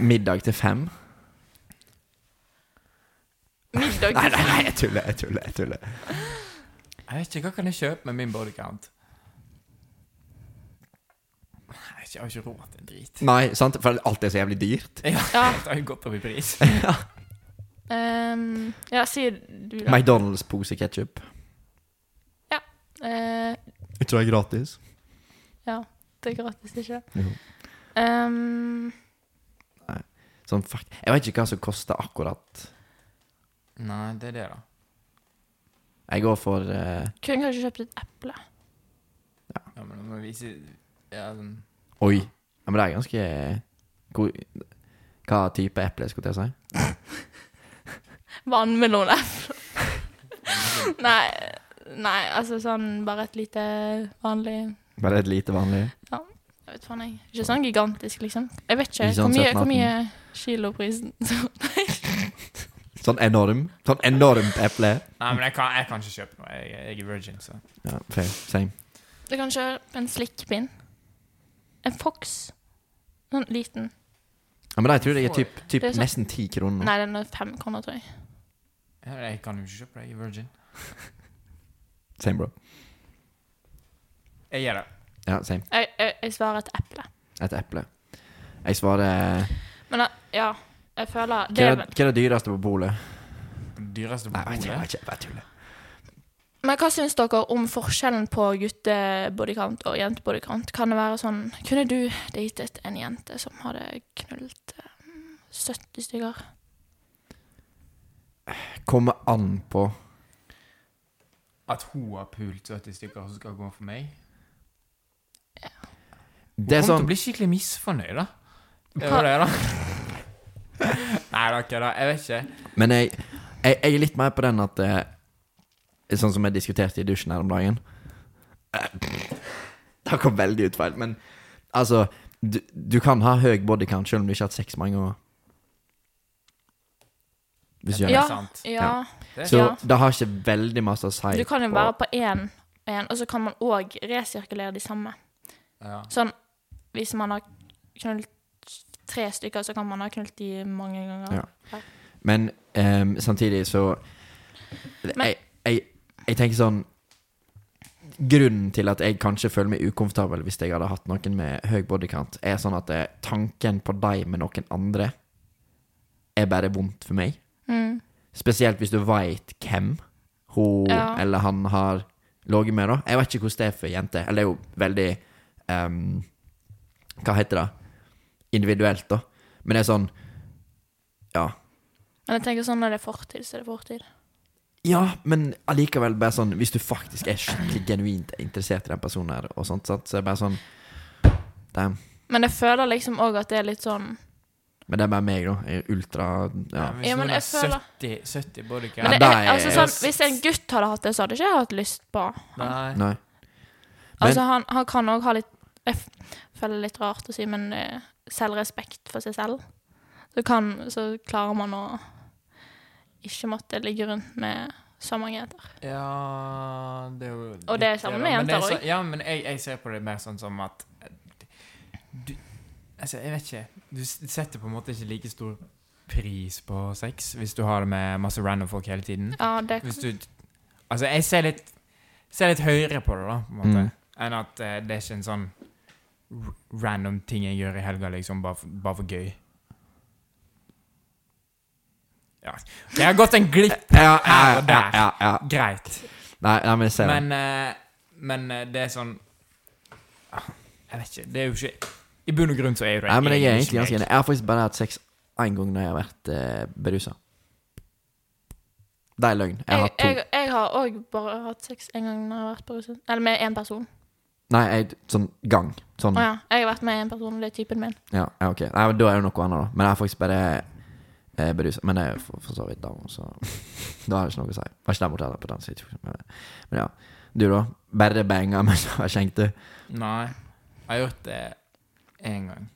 Speaker 1: Middag til fem.
Speaker 2: Middag
Speaker 1: Nei, nei, nei, jeg tuller, jeg tuller. jeg tuller
Speaker 3: jeg vet ikke, hva kan jeg kjøpe med min bodycount? Jeg vet ikke, jeg har ikke råd til en drit.
Speaker 1: Nei, sant? For alt er så jævlig dyrt.
Speaker 2: Ja.
Speaker 3: Det har jo gått opp i pris.
Speaker 2: ehm, ja, sier du da.
Speaker 1: McDonald's pose ketsjup.
Speaker 2: Eh,
Speaker 1: Jeg tror det er gratis.
Speaker 2: ja, det er gratis, ikke det?
Speaker 1: Jo.
Speaker 2: Ehm,
Speaker 1: Sånn, fuck. Jeg vet ikke hva som koster akkurat.
Speaker 3: Nei, det er det, da.
Speaker 1: Jeg går for eh,
Speaker 2: kunne kanskje kjøpt et eple.
Speaker 3: Ja, men nå må vi vise ja, sånn.
Speaker 1: Oi. Ja, men det er ganske Hvor- eh, Hva type eple, skulle jeg til å si?
Speaker 2: Vannmelone. nei, nei, altså sånn bare et lite vanlig
Speaker 1: Bare et lite vanlig
Speaker 2: Jeg vet faen, jeg. Ikke sånn gigantisk, liksom. Jeg vet ikke.
Speaker 1: Ikke sånn
Speaker 2: Hvor mye, hvor
Speaker 1: 17-18.
Speaker 2: mye kiloprisen Nei.
Speaker 1: Sånn enorm. Sånn enormt eple.
Speaker 3: Nei, men jeg kan, jeg kan ikke kjøpe noe. Jeg, jeg er virgin, så
Speaker 1: Ja, fair. Same.
Speaker 2: Du kan kjøpe en slikkpinn. En fox. Sånn liten.
Speaker 1: Ja, men de tror jeg er typ, typ
Speaker 2: Det er sånn-
Speaker 1: nesten ti kroner.
Speaker 2: Nei, den er fem kroner, tror jeg.
Speaker 3: Ja, Jeg kan jo ikke kjøpe det. Jeg er virgin.
Speaker 1: Same, bro.
Speaker 3: Jeg gjør det.
Speaker 1: Ja, same.
Speaker 2: Jeg, jeg, jeg svarer et eple.
Speaker 1: Et eple. Jeg svarer
Speaker 2: Men eh, ja, jeg føler
Speaker 1: Hva
Speaker 2: det,
Speaker 1: er hva er det dyreste på bolet?
Speaker 3: Den dyreste
Speaker 1: Nei, jeg vet ikke.
Speaker 3: bolet.
Speaker 1: Jeg vet ikke, jeg bare tuller.
Speaker 2: Men hva syns dere om forskjellen på guttebodycount og jentebodycount? Kan det være sånn Kunne du datet en jente som hadde knullet eh, 70 stykker?
Speaker 1: Kommer an på
Speaker 3: At hun har pult 70 stykker som skal gå for meg.
Speaker 1: Det er
Speaker 3: Hun kommer
Speaker 1: sånn
Speaker 3: til å bli skikkelig misfornøyd, da. Det var det, da. Nei, det er ikke det. Jeg vet ikke.
Speaker 1: Men jeg, jeg, jeg er litt mer på den at eh, Sånn som jeg diskuterte i dusjen her om dagen Eh, Det kom veldig ut feil, men altså Du, du kan ha høy body count selv om du ikke har hatt sex mange år. Hvis du gjør
Speaker 3: Det er
Speaker 1: det.
Speaker 2: Ja.
Speaker 3: sant.
Speaker 2: Ja.
Speaker 3: Ja.
Speaker 1: Så
Speaker 2: Ja.
Speaker 1: det har ikke veldig masse å si.
Speaker 2: Du kan jo
Speaker 1: på-
Speaker 2: være på én, og én, og så kan man òg resirkulere de samme.
Speaker 3: Ja.
Speaker 2: Sånn hvis man har knullet tre stykker, så kan man ha knullet de mange ganger.
Speaker 1: Ja. Men ehm, samtidig så jeg, jeg, jeg tenker sånn Grunnen til at jeg kanskje føler meg ukomfortabel hvis jeg hadde hatt noen med høy bodycount, er sånn at eh, tanken på deg med noen andre er bare vondt for meg.
Speaker 2: Mm.
Speaker 1: Spesielt hvis du veit hvem hun
Speaker 2: Ja.
Speaker 1: eller han har ligget med, da. Jeg vet ikke hvordan det er for jenter. Eller det er jo veldig ehm, Hva heter det? Individuelt, da. Men det er sånn Ja.
Speaker 2: Men jeg tenker sånn når det er fortid, så er det fortid.
Speaker 1: Ja, men allikevel bare sånn Hvis du faktisk er skikkelig genuint interessert i den personen her, og sånt, sant, så er det bare sånn Damn.
Speaker 2: Men jeg føler liksom òg at det er litt sånn
Speaker 1: Men det er bare meg, da. Jeg er ultra Ja.
Speaker 3: men hvis
Speaker 2: Ja, men
Speaker 3: noen har
Speaker 2: jeg føler-
Speaker 3: 70, 70 bodycam
Speaker 2: Men det,
Speaker 1: Nei,
Speaker 2: er-
Speaker 1: nei,
Speaker 2: altså,
Speaker 1: jeg-
Speaker 2: sånn, Hvis en gutt hadde hatt det, så hadde ikke jeg hatt lyst på
Speaker 3: Nei.
Speaker 1: Nei. Men-
Speaker 2: Altså, han, han kan òg ha litt Jeg f- føler det er litt rart å si, men eh, selvrespekt for seg selv. Så, kan, så klarer man å ikke måtte ligge rundt med så mange jenter.
Speaker 3: Ja det er jo
Speaker 2: Og det er
Speaker 3: litt
Speaker 2: sammen
Speaker 3: da,
Speaker 2: med
Speaker 3: men det er
Speaker 2: jenter
Speaker 3: så-
Speaker 2: også.
Speaker 3: Ja, men jeg, jeg ser på det mer sånn som at eh, du, Altså, jeg vet ikke. Du s- setter på en måte ikke like stor pris på sex hvis du har det med masse random folk hele tiden.
Speaker 2: Ja, det
Speaker 3: Hvis du Altså, jeg ser litt Ser litt høyere på det, da, på en måte,
Speaker 1: Mm.
Speaker 3: enn at eh, det er ikke en sånn r- random ting jeg gjør i helga, liksom, bare for, bare for gøy. Ja. Jeg har gått en glipp.
Speaker 1: Ja, ja,
Speaker 3: Her og
Speaker 1: ja,
Speaker 3: der.
Speaker 1: ja, ja.
Speaker 3: Greit.
Speaker 1: Nei, nei, men jeg ser det.
Speaker 3: Men, eh, men eh, det er sånn Ah, Jeg vet ikke. Det er jo ikke I bunn og grunn så er jo det
Speaker 1: Nei, men jeg er
Speaker 3: ikke
Speaker 1: egentlig ganske
Speaker 3: meg.
Speaker 1: enig. Jeg har faktisk bare hatt sex én gang når jeg har vært eh, berusa. Det er løgn. Jeg har
Speaker 2: Jeg,
Speaker 1: hatt to.
Speaker 2: jeg, jeg har òg bare hatt sex en gang når jeg har vært på rusen. Eller med én person.
Speaker 1: Nei, jeg, sånn gang. Sånn
Speaker 2: Å ja. Jeg har vært med én person, og det er typen min.
Speaker 1: Ja, ja, ok. Nei, men da er det noe annet, da. Men jeg er faktisk bare eh, berusa. Men det er jo for, for så vidt dame, så da er det ikke noe å si. Var ikke der borte heller på den situasjonen. Men, men ja. Du, da? Bare banga mens jeg skjenkte?
Speaker 3: Nei. Jeg har gjort det én gang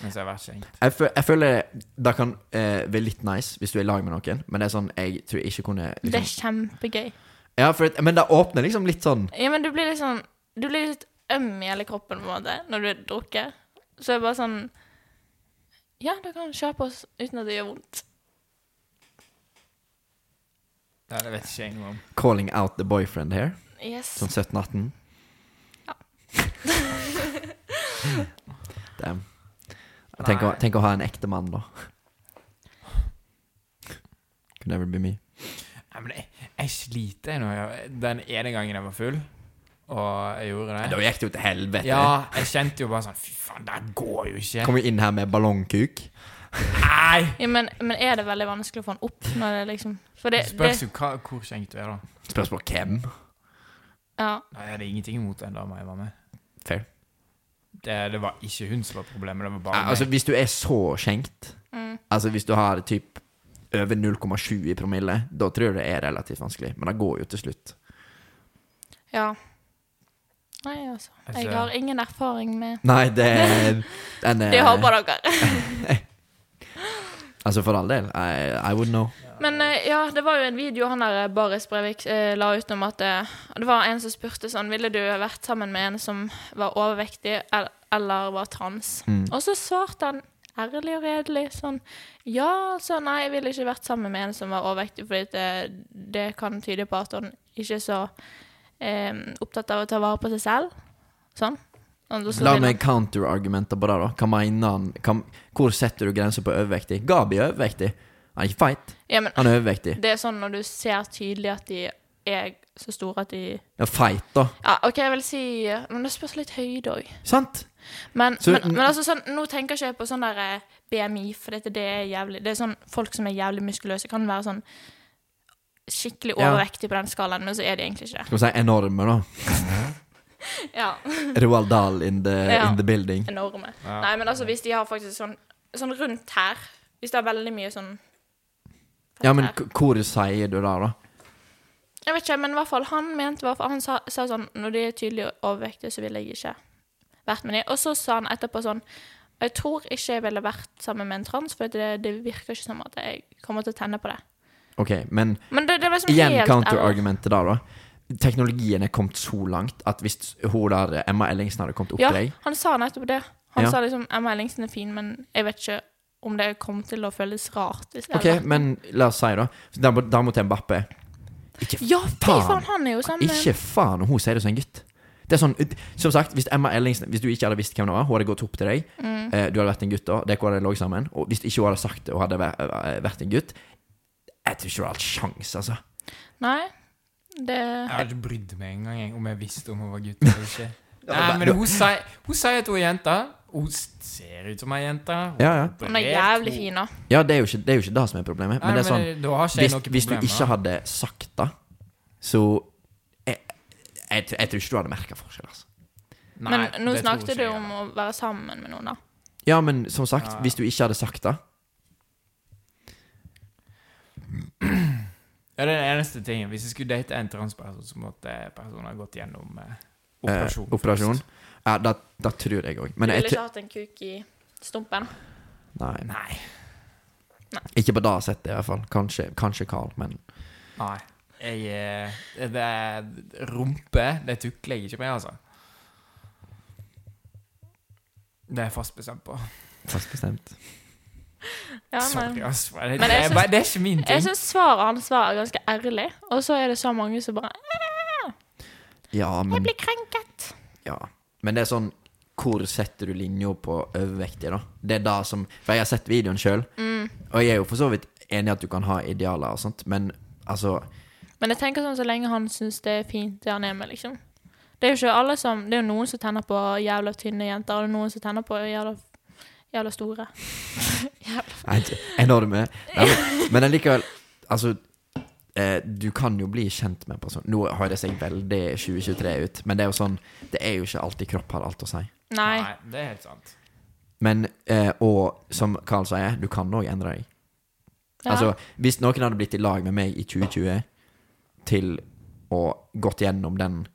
Speaker 3: mens jeg har vært skjenkt.
Speaker 1: Jeg, fø- jeg føler det kan eh, være litt nice hvis du er i lag med noen, men det er sånn jeg tror jeg ikke kunne
Speaker 2: Det er
Speaker 1: liksom,
Speaker 2: kjempegøy.
Speaker 1: Ja, for, at- Men det åpner liksom litt sånn
Speaker 2: Ja, men du blir litt sånn Du blir litt øm i hele kroppen på en måte når du er drukket. Så det er bare sånn Ja, da kan du kjøre på oss uten at det gjør vondt.
Speaker 3: Nei, det vet ikke jeg noe om.
Speaker 1: 'calling out the boyfriend' here.
Speaker 2: Yes.
Speaker 1: Sånn 17-18.
Speaker 2: Ja.
Speaker 1: Damn. Tenk å,
Speaker 3: Nei.
Speaker 1: tenk å ha en ekte mann, da. Could never be me.
Speaker 3: Nei, men jeg, jeg sliter jeg nå. Jeg- Den ene gangen jeg var full, og jeg gjorde det
Speaker 1: gikk det jo til helvete.
Speaker 3: Ja, jeg kjente jo bare sånn Fy faen, det her går jo ikke.
Speaker 1: Kommer inn her med ballongkuk.
Speaker 3: Nei!
Speaker 2: Ja, men, men er det veldig vanskelig å få den opp når det liksom For det, det
Speaker 3: Det spørs jo hva, hvor skjenkt du er, da.
Speaker 1: Spørsmål hvem?
Speaker 2: Ja.
Speaker 3: Nei, Jeg hadde ingenting imot den dama jeg var med.
Speaker 1: Fair.
Speaker 3: Det, det var ikke hun som var problemet, det var bare
Speaker 1: Altså,
Speaker 3: meg.
Speaker 1: hvis du er så skjenkt,
Speaker 2: Mm.
Speaker 1: Altså Hvis du har typ over 0,7 i promille, da tror jeg det er relativt vanskelig. Men det går jo til slutt.
Speaker 2: Ja. Nei, altså. Jeg
Speaker 4: Altså-
Speaker 2: har ingen erfaring med
Speaker 1: Nei, det er en, eh,
Speaker 2: Det håper dere.
Speaker 1: Altså, for all del. I, I would know.
Speaker 2: Men eh, ja, det var jo en video han der eh, Baris Brevik eh, la ut om at eh, det var en som spurte sånn Ville du vært sammen med en som var overvektig el- eller var trans?
Speaker 1: Mm.
Speaker 2: Og så svarte han ærlig og redelig sånn Ja, altså, nei, jeg ville ikke vært sammen med en som var overvektig, fordi det, det kan tyde på at han ikke er så eh, opptatt av å ta vare på seg selv. Sånn. Og da så
Speaker 1: La
Speaker 2: ville-
Speaker 1: meg counterargumenter på det, da. Hva mener han? Hva, hvor setter du grenser på overvektig? Gabi er overvektig. Han er ikke feit,
Speaker 2: Ja, men
Speaker 1: han er overvektig.
Speaker 2: det er sånn når du ser tydelig at de er så store at de
Speaker 1: Ja, feit, da.
Speaker 2: Ja, OK, jeg vil si Men det spørs litt høyde òg.
Speaker 1: Sant?
Speaker 2: Men,
Speaker 1: Så-
Speaker 2: men, men altså, sånn, nå tenker ikke jeg på sånn der eh, BMI, for dette, det er jævlig Det er sånn folk som er jævlig muskuløse, kan være sånn skikkelig
Speaker 1: Ja.
Speaker 2: overvektige på den skalaen, men så er de egentlig ikke det.
Speaker 1: Skal vi si enorme, da.
Speaker 2: Ja,
Speaker 1: Roald Dahl in the,
Speaker 2: Ja.
Speaker 1: in the building.
Speaker 2: Enorme.
Speaker 4: Ja.
Speaker 2: Nei, men altså, hvis de har faktisk sånn, sånn rundt her Hvis de har veldig mye sånn
Speaker 1: Ja, men
Speaker 2: her.
Speaker 1: k- hvor sier du det, da?
Speaker 2: Jeg vet ikke, men i hvert fall han mente i hvert fall, Han sa, sa sånn Når de er tydelig overvektige, så ville jeg ikke vært med dem. Og så sa han etterpå sånn Jeg tror ikke jeg ville vært sammen med en trans, for det, det virker ikke som at jeg kommer til å tenne på det.
Speaker 1: OK, men
Speaker 2: Men det, det var liksom
Speaker 1: Igjen
Speaker 2: helt
Speaker 1: counterargumentet der, da. Teknologien er kommet så langt at hvis hun der Emma Ellingsen hadde kommet opp
Speaker 2: Ja,
Speaker 1: til deg
Speaker 2: han sa nettopp det. Han
Speaker 1: Ja.
Speaker 2: sa liksom Emma Ellingsen er fin, men jeg vet ikke om det kom til å føles rart. Hvis jeg
Speaker 1: OK,
Speaker 2: hadde vært-
Speaker 1: men la oss si, da. Da må- da må til Mbappé. Ikke
Speaker 2: Ja, fy
Speaker 1: faen.
Speaker 2: faen, han er jo sammen med
Speaker 1: Ikke faen, og hun sier det som en gutt. Det er sånn, som sagt, Hvis Emma Ellingsen Hvis du ikke hadde visst hvem det var, hun hadde gått opp til deg. Eh, du hadde vært en gutt da, dere hadde ligget sammen. Og hvis ikke hun hadde sagt det, hun hadde vært, vært en gutt Jeg tror ikke du har hatt sjans, altså.
Speaker 2: Nei, det
Speaker 4: Jeg hadde ikke brydd meg engang jeg, om jeg visste om hun var gutt eller ikke. Nei,
Speaker 1: men-
Speaker 4: men hun sier hun sier at hun er jente. Hun ser ut som ei jente. Hun
Speaker 1: Ja, ja.
Speaker 2: Hun er jævlig fin, da.
Speaker 1: Ja, det er jo ikke det, er jo ikke det som er problemet. Men det er sånn
Speaker 4: da har ikke jeg
Speaker 1: hvis,
Speaker 4: noe problem.
Speaker 1: hvis du ikke
Speaker 4: da.
Speaker 1: hadde sagt det, så Jeg, jeg, tr- jeg tror ikke du hadde merka forskjell, altså.
Speaker 4: Nei,
Speaker 2: Men nå
Speaker 4: det tror
Speaker 2: snakket
Speaker 4: ikke
Speaker 2: du
Speaker 4: jeg
Speaker 2: om
Speaker 4: heller.
Speaker 2: å være sammen med noen, da.
Speaker 1: Ja, men som sagt,
Speaker 4: Ja, ja.
Speaker 1: hvis du ikke hadde sagt det eh,
Speaker 4: Ja, det er den eneste tingen. Hvis jeg skulle date en transperson, så måtte personen ha gått gjennom eh, operasjon.
Speaker 1: eh, operasjon
Speaker 4: først.
Speaker 1: Ja, det, det tror jeg òg.
Speaker 2: Du
Speaker 1: Men jeg,
Speaker 2: ville
Speaker 1: tr-
Speaker 2: ikke hatt en kuk i stumpen.
Speaker 1: Nei.
Speaker 4: Nei.
Speaker 1: Ikke på det settet, i hvert fall. Kanskje, kanskje Carl, men
Speaker 4: Nei. Jeg eh, det er Rumpe, det tukler jeg ikke med, altså. Det er jeg fast bestemt på.
Speaker 1: fast bestemt.
Speaker 2: Ja, men
Speaker 4: Sorry, ass. Det,
Speaker 2: Men
Speaker 4: det,
Speaker 2: jeg
Speaker 4: er
Speaker 2: syns-
Speaker 4: bare- det er ikke min
Speaker 2: jeg
Speaker 4: ting.
Speaker 2: syns svaret hans var ganske ærlig, og så er det så mange som bare
Speaker 1: Ja,
Speaker 2: Jeg
Speaker 1: men,
Speaker 2: blir krenket.
Speaker 1: ja. men det er sånn Hvor setter du linja på overvektig, da? Det er det som For jeg har sett videoen sjøl, og jeg er jo for så vidt enig i at du kan ha idealer og sånt, men altså
Speaker 2: Men jeg tenker sånn så lenge han syns det er fint, det han er med, liksom. Det er jo ikke alle som Det er jo noen som tenner på jævla tynne jenter, og det er noen som tenner på jævla, jævla store. jævla.
Speaker 1: Nei, ikke enorme. Nei, men- men allikevel Altså, eh, du kan jo bli kjent med en person. Nå høres jeg veldig 2023 ut, men det er jo sånn Det er jo ikke alltid kropp har alt å si.
Speaker 2: Nei.
Speaker 4: Nei, det er helt sant.
Speaker 1: Men, eh, og som Carl sier, du kan òg endre deg.
Speaker 2: Ja.
Speaker 1: Altså, hvis noen hadde blitt i lag med meg i 2020 til å gått gjennom den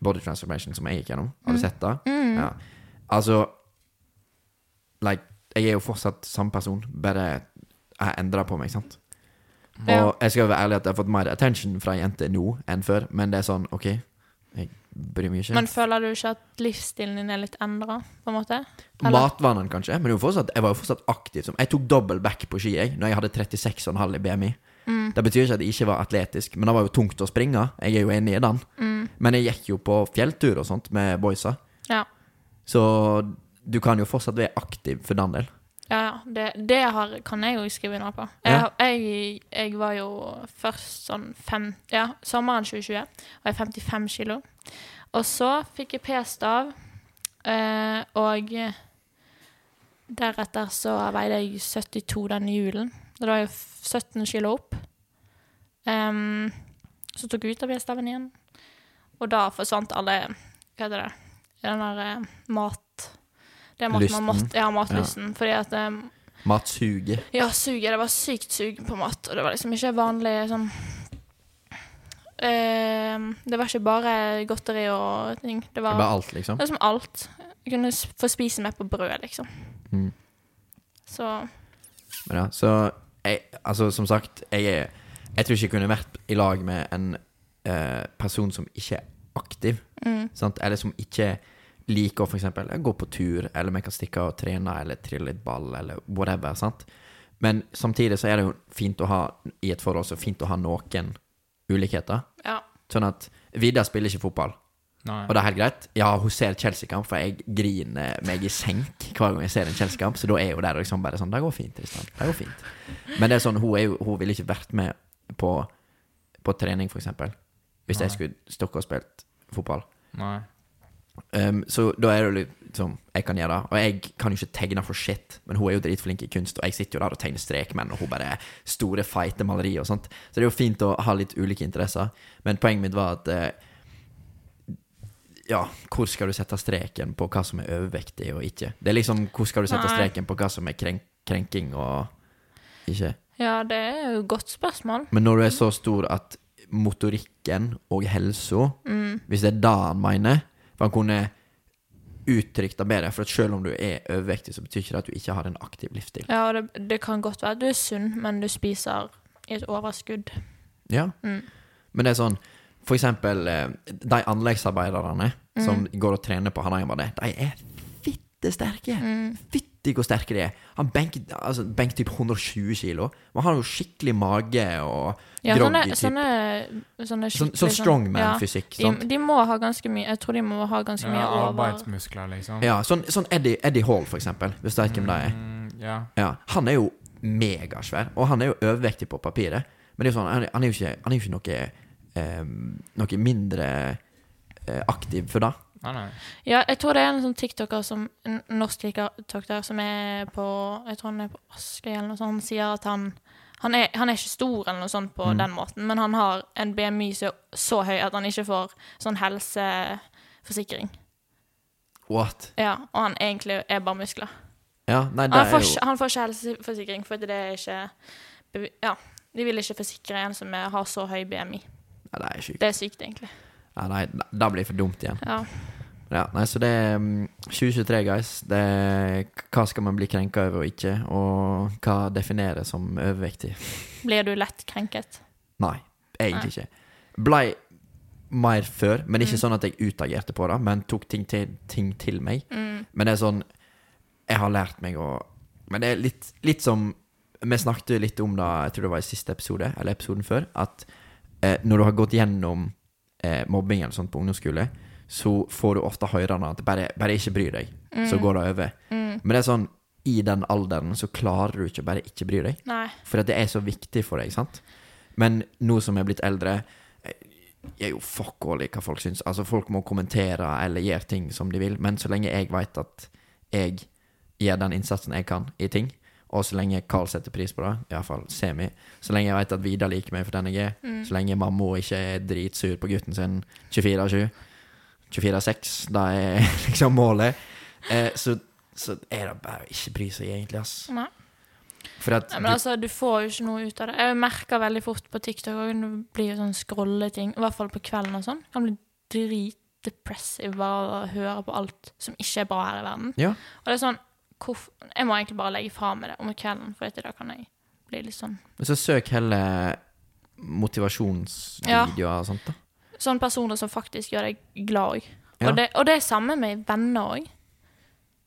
Speaker 1: body transformation som jeg gikk gjennom Har du
Speaker 2: Mm.
Speaker 1: sett det? Ja. Altså Like, jeg er jo fortsatt samme person, bare jeg har endra på meg, sant?
Speaker 2: Ja.
Speaker 1: Og jeg skal være ærlig at jeg har fått mer attention fra jenter nå enn før, men det er sånn, OK, jeg bryr meg ikke.
Speaker 2: Men føler du ikke at livsstilen din er litt endra, på en måte? eller?
Speaker 1: Matvanene, kanskje, men jeg var, fortsatt, jeg var jo fortsatt aktiv. Som, jeg tok dobbel back på ski jeg, når jeg hadde 36,5 i BMI.
Speaker 2: Mm.
Speaker 1: Det betyr ikke at jeg ikke var atletisk, men det var jo tungt å springe. Jeg er jo enig i den. Men jeg gikk jo på fjelltur og sånt med boysa,
Speaker 2: Mm. Ja.
Speaker 1: så du kan jo fortsatt være aktiv for den del.
Speaker 2: Ja, ja. Det, det har, kan jeg jo skrive under på. Jeg,
Speaker 1: Ja.
Speaker 2: jeg, jeg var jo først sånn fem Ja, sommeren 2020 var jeg 55 kilo. Og så fikk jeg p-stav, eh, og deretter så veide jeg 72 denne julen. Da var jeg f- 17 kilo opp. Em, så tok jeg ut av p-staven igjen, og da forsvant alle Hva heter det? Den der eh, mat... Det er mat man
Speaker 1: Lysten.
Speaker 2: måtte, ja, matlysten. Fordi at eh,
Speaker 1: Matsuge.
Speaker 2: Ja, suget. Det var sykt sug på mat, og det var liksom ikke vanlig sånn eh, Det var ikke bare godteri og ting. Det
Speaker 1: Det
Speaker 2: var,
Speaker 1: var alt, liksom.
Speaker 2: det var liksom alt. Jeg kunne s- få spise meg på brød, liksom.
Speaker 1: Mm.
Speaker 2: Så
Speaker 1: Men ja, så jeg, altså, Som sagt, jeg, er- jeg tror ikke jeg kunne vært i lag med en eh, person som ikke er aktiv.
Speaker 2: mm,
Speaker 1: Sant? Eller som ikke liker å for eksempel gå på tur, eller vi kan stikke og trene, eller trille litt ball, eller whatever. Sant? Men samtidig så er det jo fint å ha i et forhold så fint å ha noen ulikheter.
Speaker 2: ja.
Speaker 1: Sånn at Vidar spiller ikke fotball,
Speaker 4: Nei.
Speaker 1: og det er helt greit. Ja, hun ser Chelsea-kamp, for jeg griner meg i senk hver gang jeg ser en Chelsea-kamp, så da er hun der og liksom bare sånn Det går fint, Tristan. Det går fint. Men det er sånn, hun, er jo, hun ville ikke vært med på, på trening, for eksempel, hvis jeg
Speaker 4: Nei.
Speaker 1: skulle stukket og spilt fotball.
Speaker 4: Nei.
Speaker 1: Um, så da er det jo liksom Jeg kan gjøre det. Og jeg kan jo ikke tegne for shit, men hun er jo dritflink i kunst, og jeg sitter jo der og tegner strekmenn, og hun bare er store, feite malerier og sånt. Så det er jo fint å ha litt ulike interesser, men poenget mitt var at eh, ja, hvor skal du sette streken på hva som er overvektig og ikke? Det er liksom hvor skal du sette
Speaker 2: Nei.
Speaker 1: streken på hva som er krenk krenking og ikke?
Speaker 2: ja, det er jo et godt spørsmål.
Speaker 1: Men når du er så stor at motorikken og helsa
Speaker 2: Mm.
Speaker 1: Hvis det er det han mener For han kunne uttrykt det bedre For at selv om du er overvektig Så betyr ikke det at du ikke har en aktiv livsstil
Speaker 2: Ja, og det, det kan godt være at du er sunn, men du spiser i et overskudd.
Speaker 1: Ja
Speaker 2: Mm.
Speaker 1: Men det er sånn For eksempel eh, De anleggsarbeiderne
Speaker 2: Mm.
Speaker 1: Som går og trener på Hanayama det De er fitte sterke
Speaker 2: Mm.
Speaker 1: Fitte hvor sterke de er Han benker altså, benk typ 120 kilo Men han har jo skikkelig mage og
Speaker 2: Ja, sånne,
Speaker 1: groggy typ
Speaker 2: sånne, sånne
Speaker 1: Sånn,
Speaker 2: skikkelig
Speaker 1: sånn
Speaker 2: sånn-
Speaker 1: strongman-fysikk
Speaker 2: Ja,
Speaker 1: sant?
Speaker 2: de, de må ha ganske mye Jeg tror de må ha ganske mye
Speaker 4: Ja,
Speaker 2: over
Speaker 4: arbeidsmuskler, liksom.
Speaker 1: Ja, sånn, sånn Eddie, Eddie Hall, for eksempel. Hvis du vet hvem det er.
Speaker 4: Mm, ja.
Speaker 1: Ja, han er jo megasvær, og han er jo overvektig på papiret. Men det er jo sånn, han, han er jo ikke, han er jo ikke noe, ehm, noe mindre eh, aktiv for det.
Speaker 4: Nei, nei.
Speaker 2: Ja, jeg tror det er en sånn TikToker som En norsk TikToker som er på Jeg tror han er på Askøy eller noe sånt. Han sier at han han er, han er ikke stor eller noe sånt på
Speaker 1: Mm.
Speaker 2: den måten, men han har en BMI så, så høy at han ikke får sånn helseforsikring.
Speaker 1: What?
Speaker 2: Ja, og han egentlig er bare muskler.
Speaker 1: Ja, nei, det
Speaker 2: Han
Speaker 1: er
Speaker 2: får,
Speaker 1: jo
Speaker 2: ikke, han får ikke helseforsikring fordi det er ikke bevi- Ja, de vil ikke forsikre en som er, har så høy BMI.
Speaker 1: Nei, det er sjukt.
Speaker 2: Det er sykt, egentlig.
Speaker 1: Ja, nei, det blir det for dumt igjen.
Speaker 2: Ja.
Speaker 1: Ja, nei, så det er mm, 2023, guys. Det er, hva skal man bli krenka over og ikke? Og hva defineres som overvektig?
Speaker 2: Blir du lett krenket?
Speaker 1: Nei, egentlig ikke. Blei mer før, men ikke sånn at jeg utagerte på det, men tok ting til, ting til meg. Men det er sånn Jeg har lært meg å Men det er litt, litt som Vi snakket litt om det, jeg tror det var i siste episode, eller episoden før, at eh, når du har gått gjennom eh, mobbing eller sånt på ungdomsskole, så får du ofte høre noe at bare, bare ikke bry deg, så går det over. Men det er sånn i den alderen så klarer du ikke å bare ikke bry deg.
Speaker 2: Nei.
Speaker 1: For at det er så viktig for deg, sant? Men nå som jeg er blitt eldre Jeg er jo fuck all i hva folk syns. Altså, folk må kommentere eller gjøre ting som de vil, men så lenge jeg veit at jeg gjør den innsatsen jeg kan i ting, og så lenge Carl setter pris på det, iallfall semi, så lenge jeg veit at Vidar liker meg for den jeg er,
Speaker 2: Mm.
Speaker 1: så lenge mamma ikke er dritsur på gutten sin 24 av 7 24-6, det er liksom målet, eh, så, så er det bare å ikke bry seg, egentlig, ass.
Speaker 2: Nei.
Speaker 1: For at
Speaker 2: Nei, men altså, du får jo ikke noe ut av det. Jeg merker veldig fort på TikTok og det blir jo sånn scrolleting, i hvert fall på kvelden og sånn. Kan bli dritdepressiv bare av å høre på alt som ikke er bra her i verden.
Speaker 1: Ja.
Speaker 2: Og det er sånn hvorf- Jeg må egentlig bare legge fra meg det om kvelden, for etter det kan jeg bli litt sånn
Speaker 1: Men så søk heller motivasjonsvideoer og sånt, da.
Speaker 2: Sånne sånn personer som faktisk gjør deg glad òg.
Speaker 1: Ja.
Speaker 2: Og, det- og det er samme med venner òg.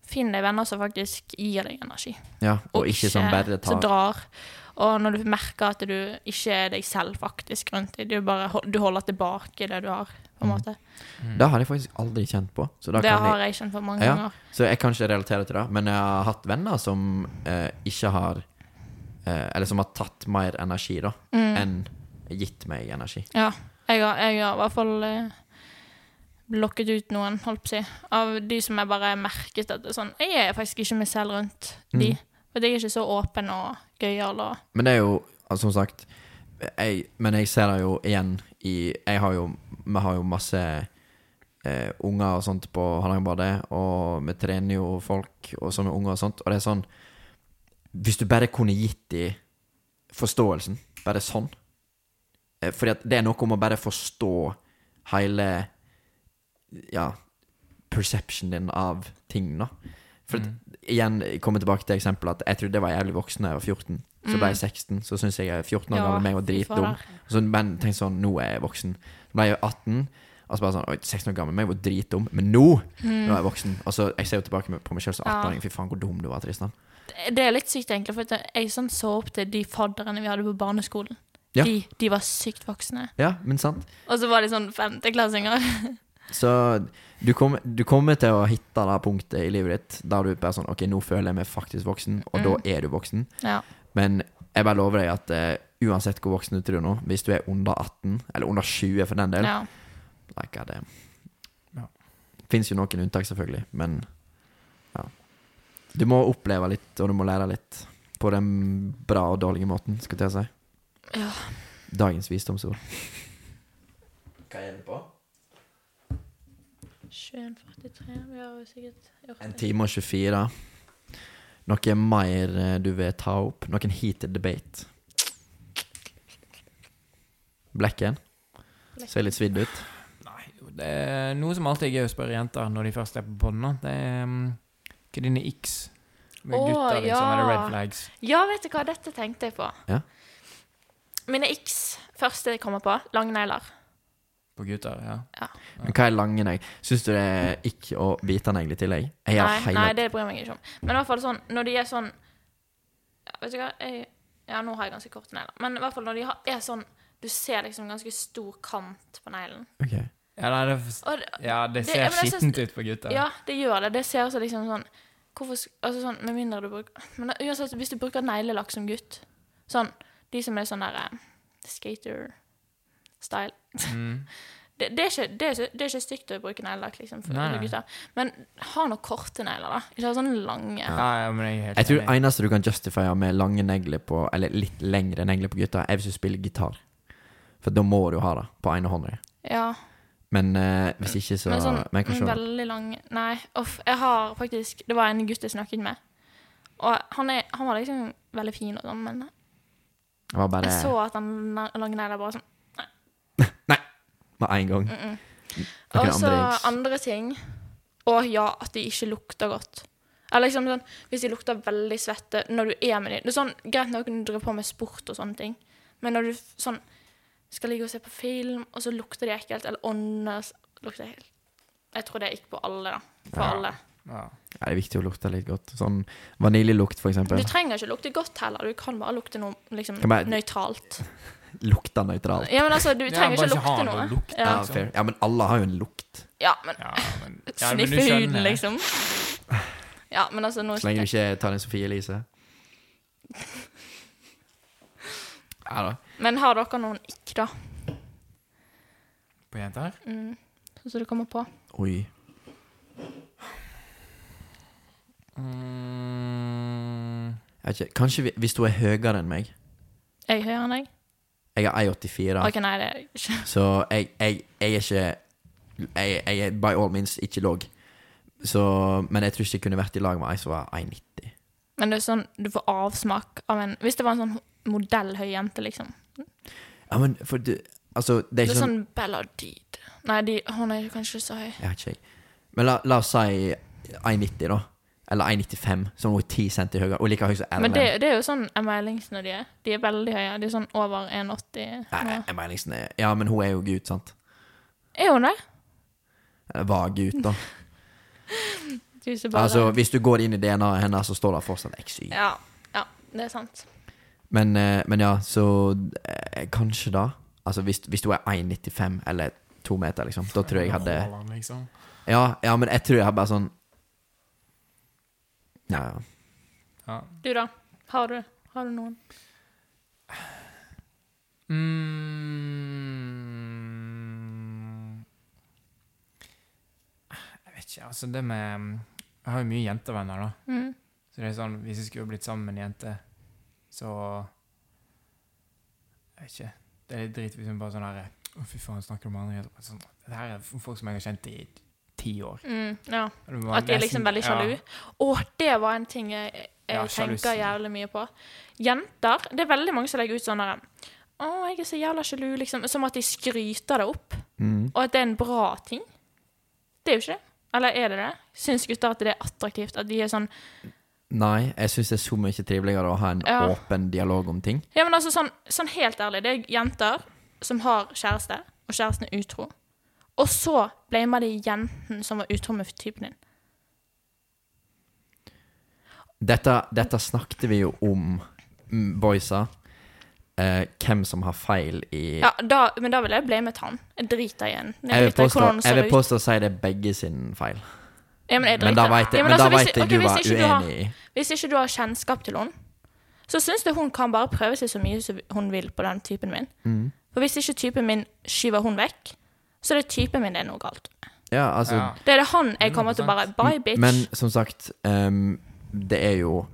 Speaker 2: Finn deg venner som faktisk gir deg energi.
Speaker 1: Ja, og, ikke som bare
Speaker 2: som
Speaker 1: tar
Speaker 2: drar. Og når du merker at du ikke er deg selv faktisk rundt deg, du, bare, hol- du holder tilbake det du har, på en måte.
Speaker 1: Det har jeg faktisk aldri kjent på. Så, Mm. da
Speaker 2: Det
Speaker 1: kan
Speaker 2: har
Speaker 1: jeg,
Speaker 2: jeg kjent for mange
Speaker 1: Ja.
Speaker 2: ganger.
Speaker 1: så jeg kan ikke relatere til det. Men jeg har hatt venner som eh, ikke har eh, Eller som har tatt mer energi, da, enn gitt meg energi.
Speaker 2: Ja. Mm. Jeg har, jeg har i hvert fall eh, blokket ut noen, holdt på å si, av de som jeg bare merket at det er sånn Jeg er faktisk ikke meg selv rundt de.
Speaker 1: Mm.
Speaker 2: For jeg er ikke så åpen og gøyal og
Speaker 1: Men det er jo, altså, som sagt jeg, Men jeg ser det jo igjen i Jeg har jo Vi har jo masse eh, unger og sånt på Hardangerbadet, og vi trener jo folk og som er unger og sånt, og det er sånn Hvis du bare kunne gitt dem forståelsen, bare sånn Eh, Fordi at det er noe om å bare forstå hele Ja, perception din av ting, da. For
Speaker 4: Mm.
Speaker 1: at, igjen, jeg kommer tilbake til eksempelet at jeg trodde jeg var jævlig voksen da jeg var 14. Så ble jeg 16, så syns jeg jeg er 14 år gammel meg og
Speaker 2: Mm. fy
Speaker 1: dritdum.
Speaker 2: fader.
Speaker 1: Så, men tenk sånn, nå er jeg voksen. Så ble jeg 18, og så bare sånn, oi, 16 år gammel, men jeg var dritdum. Men nå, nå er jeg voksen. Og så, jeg ser jo tilbake med- på meg selv som
Speaker 2: Mm. Ja.
Speaker 1: 18-åring, fy faen, hvor dum du var, Tristan.
Speaker 2: Det er litt sykt, egentlig, for at jeg sånn så opp til de fadderne vi hadde på barneskolen.
Speaker 1: Ja.
Speaker 2: De, de var sykt voksne.
Speaker 1: Ja, men sant.
Speaker 2: Og så var de sånn femteklassinger.
Speaker 1: Så du, kom, du kommer til å hitte det punktet i livet ditt der du bare sånn, ok, nå føler jeg meg faktisk voksen, og da
Speaker 2: Mm.
Speaker 1: er du voksen.
Speaker 2: Ja.
Speaker 1: Men jeg bare lover deg at eh, uansett hvor voksen du tror nå, hvis du er under 18, eller under 20 for den del,
Speaker 2: ja.
Speaker 1: like, god damn.
Speaker 4: Ja.
Speaker 1: Fins jo noen unntak, selvfølgelig, men ja. Du må oppleve litt, og du må lære litt. På den bra og dårlige måten, skal jeg til å si.
Speaker 2: Ja.
Speaker 1: Dagens visdomsord. Hva er det på?
Speaker 2: 2143, vi har jo sikkert gjort
Speaker 1: En
Speaker 2: det.
Speaker 1: time og 24. Noe mer eh, du vil ta opp? Noen heated debate? Blekken? Ser litt svidd ut.
Speaker 4: Nei, jo, det er noe som alltid er gøy å spørre jenter når de først er på bånda. Det er um, hva er dine x med
Speaker 2: Å,
Speaker 4: gutter, liksom,
Speaker 2: ja.
Speaker 4: eller red flags.
Speaker 2: Ja, vet du hva, dette tenkte jeg på.
Speaker 1: Ja.
Speaker 2: Mine x, første jeg kommer på, langnegler.
Speaker 4: På gutter, ja.
Speaker 1: Men hva er lange negler? Syns du det er ikke å bite negler i tillegg? Jeg har
Speaker 2: nei,
Speaker 1: hele
Speaker 2: nei, det bryr jeg meg ikke om. Men i hvert fall sånn, når de er sånn ja, Vet du hva, jeg, ja, nå har jeg ganske korte negler. Men i hvert fall når de har, er sånn Du ser liksom ganske stor kant på neglen.
Speaker 1: Ok.
Speaker 4: Ja, nei, det, er-
Speaker 2: Og,
Speaker 4: ja, det
Speaker 2: Det-
Speaker 4: ser
Speaker 2: ja, men jeg synes-
Speaker 4: skittent ut på gutter.
Speaker 2: Ja, det gjør det. Det ser også liksom sånn Hvorfor sk- Altså sånn, med mindre du bruker Men uansett, hvis du bruker neglelakk som gutt Sånn, de som er sånn der eh, skater-style
Speaker 4: Mm.
Speaker 2: det, det, er ikke, det, er ikke, det er ikke stygt å bruke neglelakk, liksom, for
Speaker 4: Nei,
Speaker 2: for
Speaker 4: nei.
Speaker 2: gutter. Men ha nå korte negler, da. Ikke ha sånne lange.
Speaker 4: Ja, ja, men jeg er helt
Speaker 1: Jeg tror
Speaker 4: enig.
Speaker 1: det eneste du kan justifiere med lange negler på Eller litt lengre negler på gutta, er hvis du spiller gitar. For da må du ha det på ene hånda. di.
Speaker 2: Ja.
Speaker 1: Men eh, hvis ikke, så
Speaker 2: Men sånn
Speaker 1: men jeg kan
Speaker 2: men
Speaker 1: se.
Speaker 2: veldig lang Nei, uff. Jeg har faktisk Det var en gutt jeg snakket med. Og han, er, han var liksom veldig fin, og sånn, men
Speaker 1: Det var bare
Speaker 2: jeg så at han la- lange negler bare sånn
Speaker 1: med én gang.
Speaker 2: Mm-mm.
Speaker 1: Noen
Speaker 2: Og så
Speaker 1: andre eggs.
Speaker 2: andre ting. Og ja, at de ikke lukter godt. Eller liksom sånn, Hvis de lukter veldig svette når du er med dem det er sånn, Greit nok når du driver på med sport og sånne ting, men når du f- sånn skal ligge og se på film, og så lukter de ekkelt, eller ånder s- lukter ekkelt Jeg tror det gikk på alle, da. For
Speaker 4: Ja.
Speaker 2: alle.
Speaker 4: Ja.
Speaker 1: Ja, det er viktig å lukte litt godt. Sånn vaniljelukt, for
Speaker 2: Du
Speaker 1: eksempel.
Speaker 2: trenger ikke lukte godt heller, du kan bare lukte noe liksom,
Speaker 1: Kan bare-
Speaker 2: nøytralt.
Speaker 1: Lukter nøytralt.
Speaker 2: Ja, men altså, du
Speaker 4: Ja,
Speaker 2: trenger
Speaker 4: bare
Speaker 2: ikke
Speaker 4: ikke ha
Speaker 2: lukte
Speaker 4: noe
Speaker 2: noe.
Speaker 4: lukt,
Speaker 1: Ja,
Speaker 2: Ja,
Speaker 4: liksom.
Speaker 1: fair. ja, men alle har jo en lukt.
Speaker 2: ja men
Speaker 4: Ja, men, ja, men du
Speaker 2: sniffe huden,
Speaker 4: skjønner.
Speaker 2: liksom. Ja, men altså, nå
Speaker 1: Så lenge du ikke tar en Sofie Elise. Ja da.
Speaker 2: Men har dere noen ikk, da?
Speaker 4: På jenter?
Speaker 2: Mm. Sånn som du kommer på?
Speaker 1: Oi.
Speaker 4: Mm.
Speaker 1: Jeg vet ikke. Kanskje vi, hvis hun er høyere enn meg.
Speaker 2: Jeg er høyere enn deg?
Speaker 1: Jeg er 1,84.
Speaker 2: OK, nei, det er jeg ikke.
Speaker 1: Så jeg, jeg, jeg er ikke jeg, jeg er by all means ikke låg. Så, men jeg tror ikke jeg kunne vært i lag med ei som var 1,90.
Speaker 2: Men det er sånn, du får avsmak av en Hvis det var en sånn modellhøy jente, liksom.
Speaker 1: Ja, men for du Altså, det er
Speaker 2: Det
Speaker 1: ikke
Speaker 2: er
Speaker 1: sånn
Speaker 2: sånn Bella Deed. Nei, de, hun er kanskje ikke så høy.
Speaker 1: Jeg vet ikke, jeg. Men la, la oss si 1,90, da. Eller 1,95, som hun er 10 cm høyere. Og like høy som Ellen.
Speaker 2: Men det, det er jo sånn Emma Ellingsen og de er. De er veldig høye. De er sånn over 1,80 nå.
Speaker 1: Nei, Emma Ellingsen er Ja, men hun er jo gutt, sant?
Speaker 2: Er hun det?
Speaker 1: Eller var gutt, da.
Speaker 2: Du ser bare
Speaker 1: Altså, hvis du går inn i DNA-et hennes, så står det fortsatt XY.
Speaker 2: ja, ja, det er sant.
Speaker 1: Men, eh, men ja, så eh, kanskje da. Altså hvis, hvis du er 1,95 eller to meter, liksom, da tror jeg jeg hadde
Speaker 4: Haaland, liksom.
Speaker 1: Ja, ja men jeg tror jeg hadde bare sånn Ja, ja.
Speaker 4: Ja.
Speaker 2: Du, da? Har du, har du noen?
Speaker 4: Mm. Jeg vet ikke, altså det med Jeg har jo mye jentevenner, da.
Speaker 2: Mm.
Speaker 4: Så det er sånn, hvis jeg skulle blitt sammen med en jente, så Jeg vet ikke. Det er litt drit hvis hun bare sånn herre Å, fy faen, snakker du med andre jenter? Sånn, det her er folk som jeg har kjent i ti år.
Speaker 2: Mm, ja.
Speaker 4: Og det var
Speaker 2: At de er
Speaker 4: nesten-
Speaker 2: liksom veldig
Speaker 4: ja.
Speaker 2: sjalu. Å, det var en ting jeg jeg
Speaker 4: Ja,
Speaker 2: tenker
Speaker 4: sjalusi.
Speaker 2: jævlig mye på. Jenter Det er veldig mange som legger ut sånn der Å, jeg er så jævla sjalu, liksom. Som at de skryter det opp.
Speaker 1: Mm.
Speaker 2: Og at det er en bra ting. Det er jo ikke det. Eller er det det? Syns gutter at det er attraktivt? At de er sånn
Speaker 1: Nei, jeg syns det er så mye triveligere å ha en
Speaker 2: Ja.
Speaker 1: åpen dialog om ting.
Speaker 2: Ja, men altså sånn, sånn helt ærlig, det er jenter som har kjæreste, og kjæresten er utro. Og så blamer de jenten som var utro med typen din.
Speaker 1: Dette, dette snakket vi jo om, mm, boysa. Eh, hvem som har feil i
Speaker 2: Ja, da, men da vil jeg blamet han. Jeg driter i en.
Speaker 1: Jeg vil
Speaker 2: driter i
Speaker 1: påstå,
Speaker 2: hvordan han
Speaker 1: jeg
Speaker 2: ser
Speaker 1: vil
Speaker 2: ut.
Speaker 1: påstå å si det er begge sin feil.
Speaker 2: Ja, men jeg
Speaker 1: Men da
Speaker 2: driter.
Speaker 1: veit jeg,
Speaker 2: Ja,
Speaker 1: men da
Speaker 2: altså, hvis-
Speaker 1: vet jeg
Speaker 2: ok,
Speaker 1: du
Speaker 2: hvis
Speaker 1: var
Speaker 2: ikke har-
Speaker 1: uenig i.
Speaker 2: Hvis ikke du har kjennskap til henne, så syns jeg hun kan bare prøve seg så mye som hun vil på den typen min.
Speaker 1: Mm.
Speaker 2: For hvis ikke typen min skyver hun vekk, så er det typen min det er noe galt.
Speaker 1: Ja, altså
Speaker 4: Ja.
Speaker 2: Det er det han jeg kommer til å bare Bye, bitch.
Speaker 1: Men som sagt, ehm, det er jo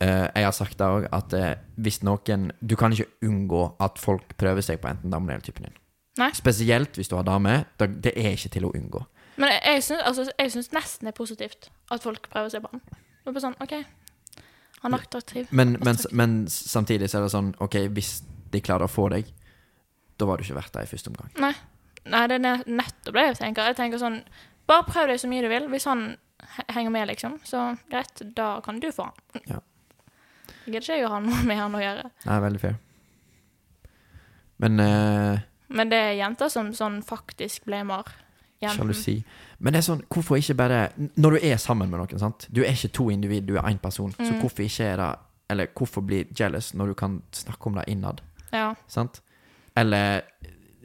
Speaker 1: eh, Jeg har sagt det òg, at eh, hvis noen Du kan ikke unngå at folk prøver seg på enten damen eller typen din.
Speaker 2: Nei.
Speaker 1: Spesielt hvis du har dame. da- Det er ikke til å unngå.
Speaker 2: Men jeg- jeg syns, altså, jeg syns nesten det er positivt at folk prøver seg på han. Det er bare sånn, ok, Han er attraktiv.
Speaker 1: Men, men, men samtidig så er det sånn OK, hvis de klarer å få deg, da var du ikke verdt det i første omgang.
Speaker 2: Nei, det er ne- nettopp det jeg tenker. Jeg tenker sånn, Bare prøv deg så mye du vil. Hvis han he- henger med, liksom, så greit, da kan du få han.
Speaker 1: Ja.
Speaker 2: Jeg gidder ikke jeg å ha noe med han å gjøre.
Speaker 1: Nei, veldig fair. Men eh,
Speaker 2: Men det er jenter som sånn faktisk blamer jenten.
Speaker 1: Sjalusi. Men det er sånn, hvorfor ikke bare n- Når du er sammen med noen, sant? Du er ikke to individ, du er én person.
Speaker 2: Mm.
Speaker 1: Så hvorfor ikke er det Eller hvorfor bli jealous når du kan snakke om det innad?
Speaker 2: Ja.
Speaker 1: Sant? Eller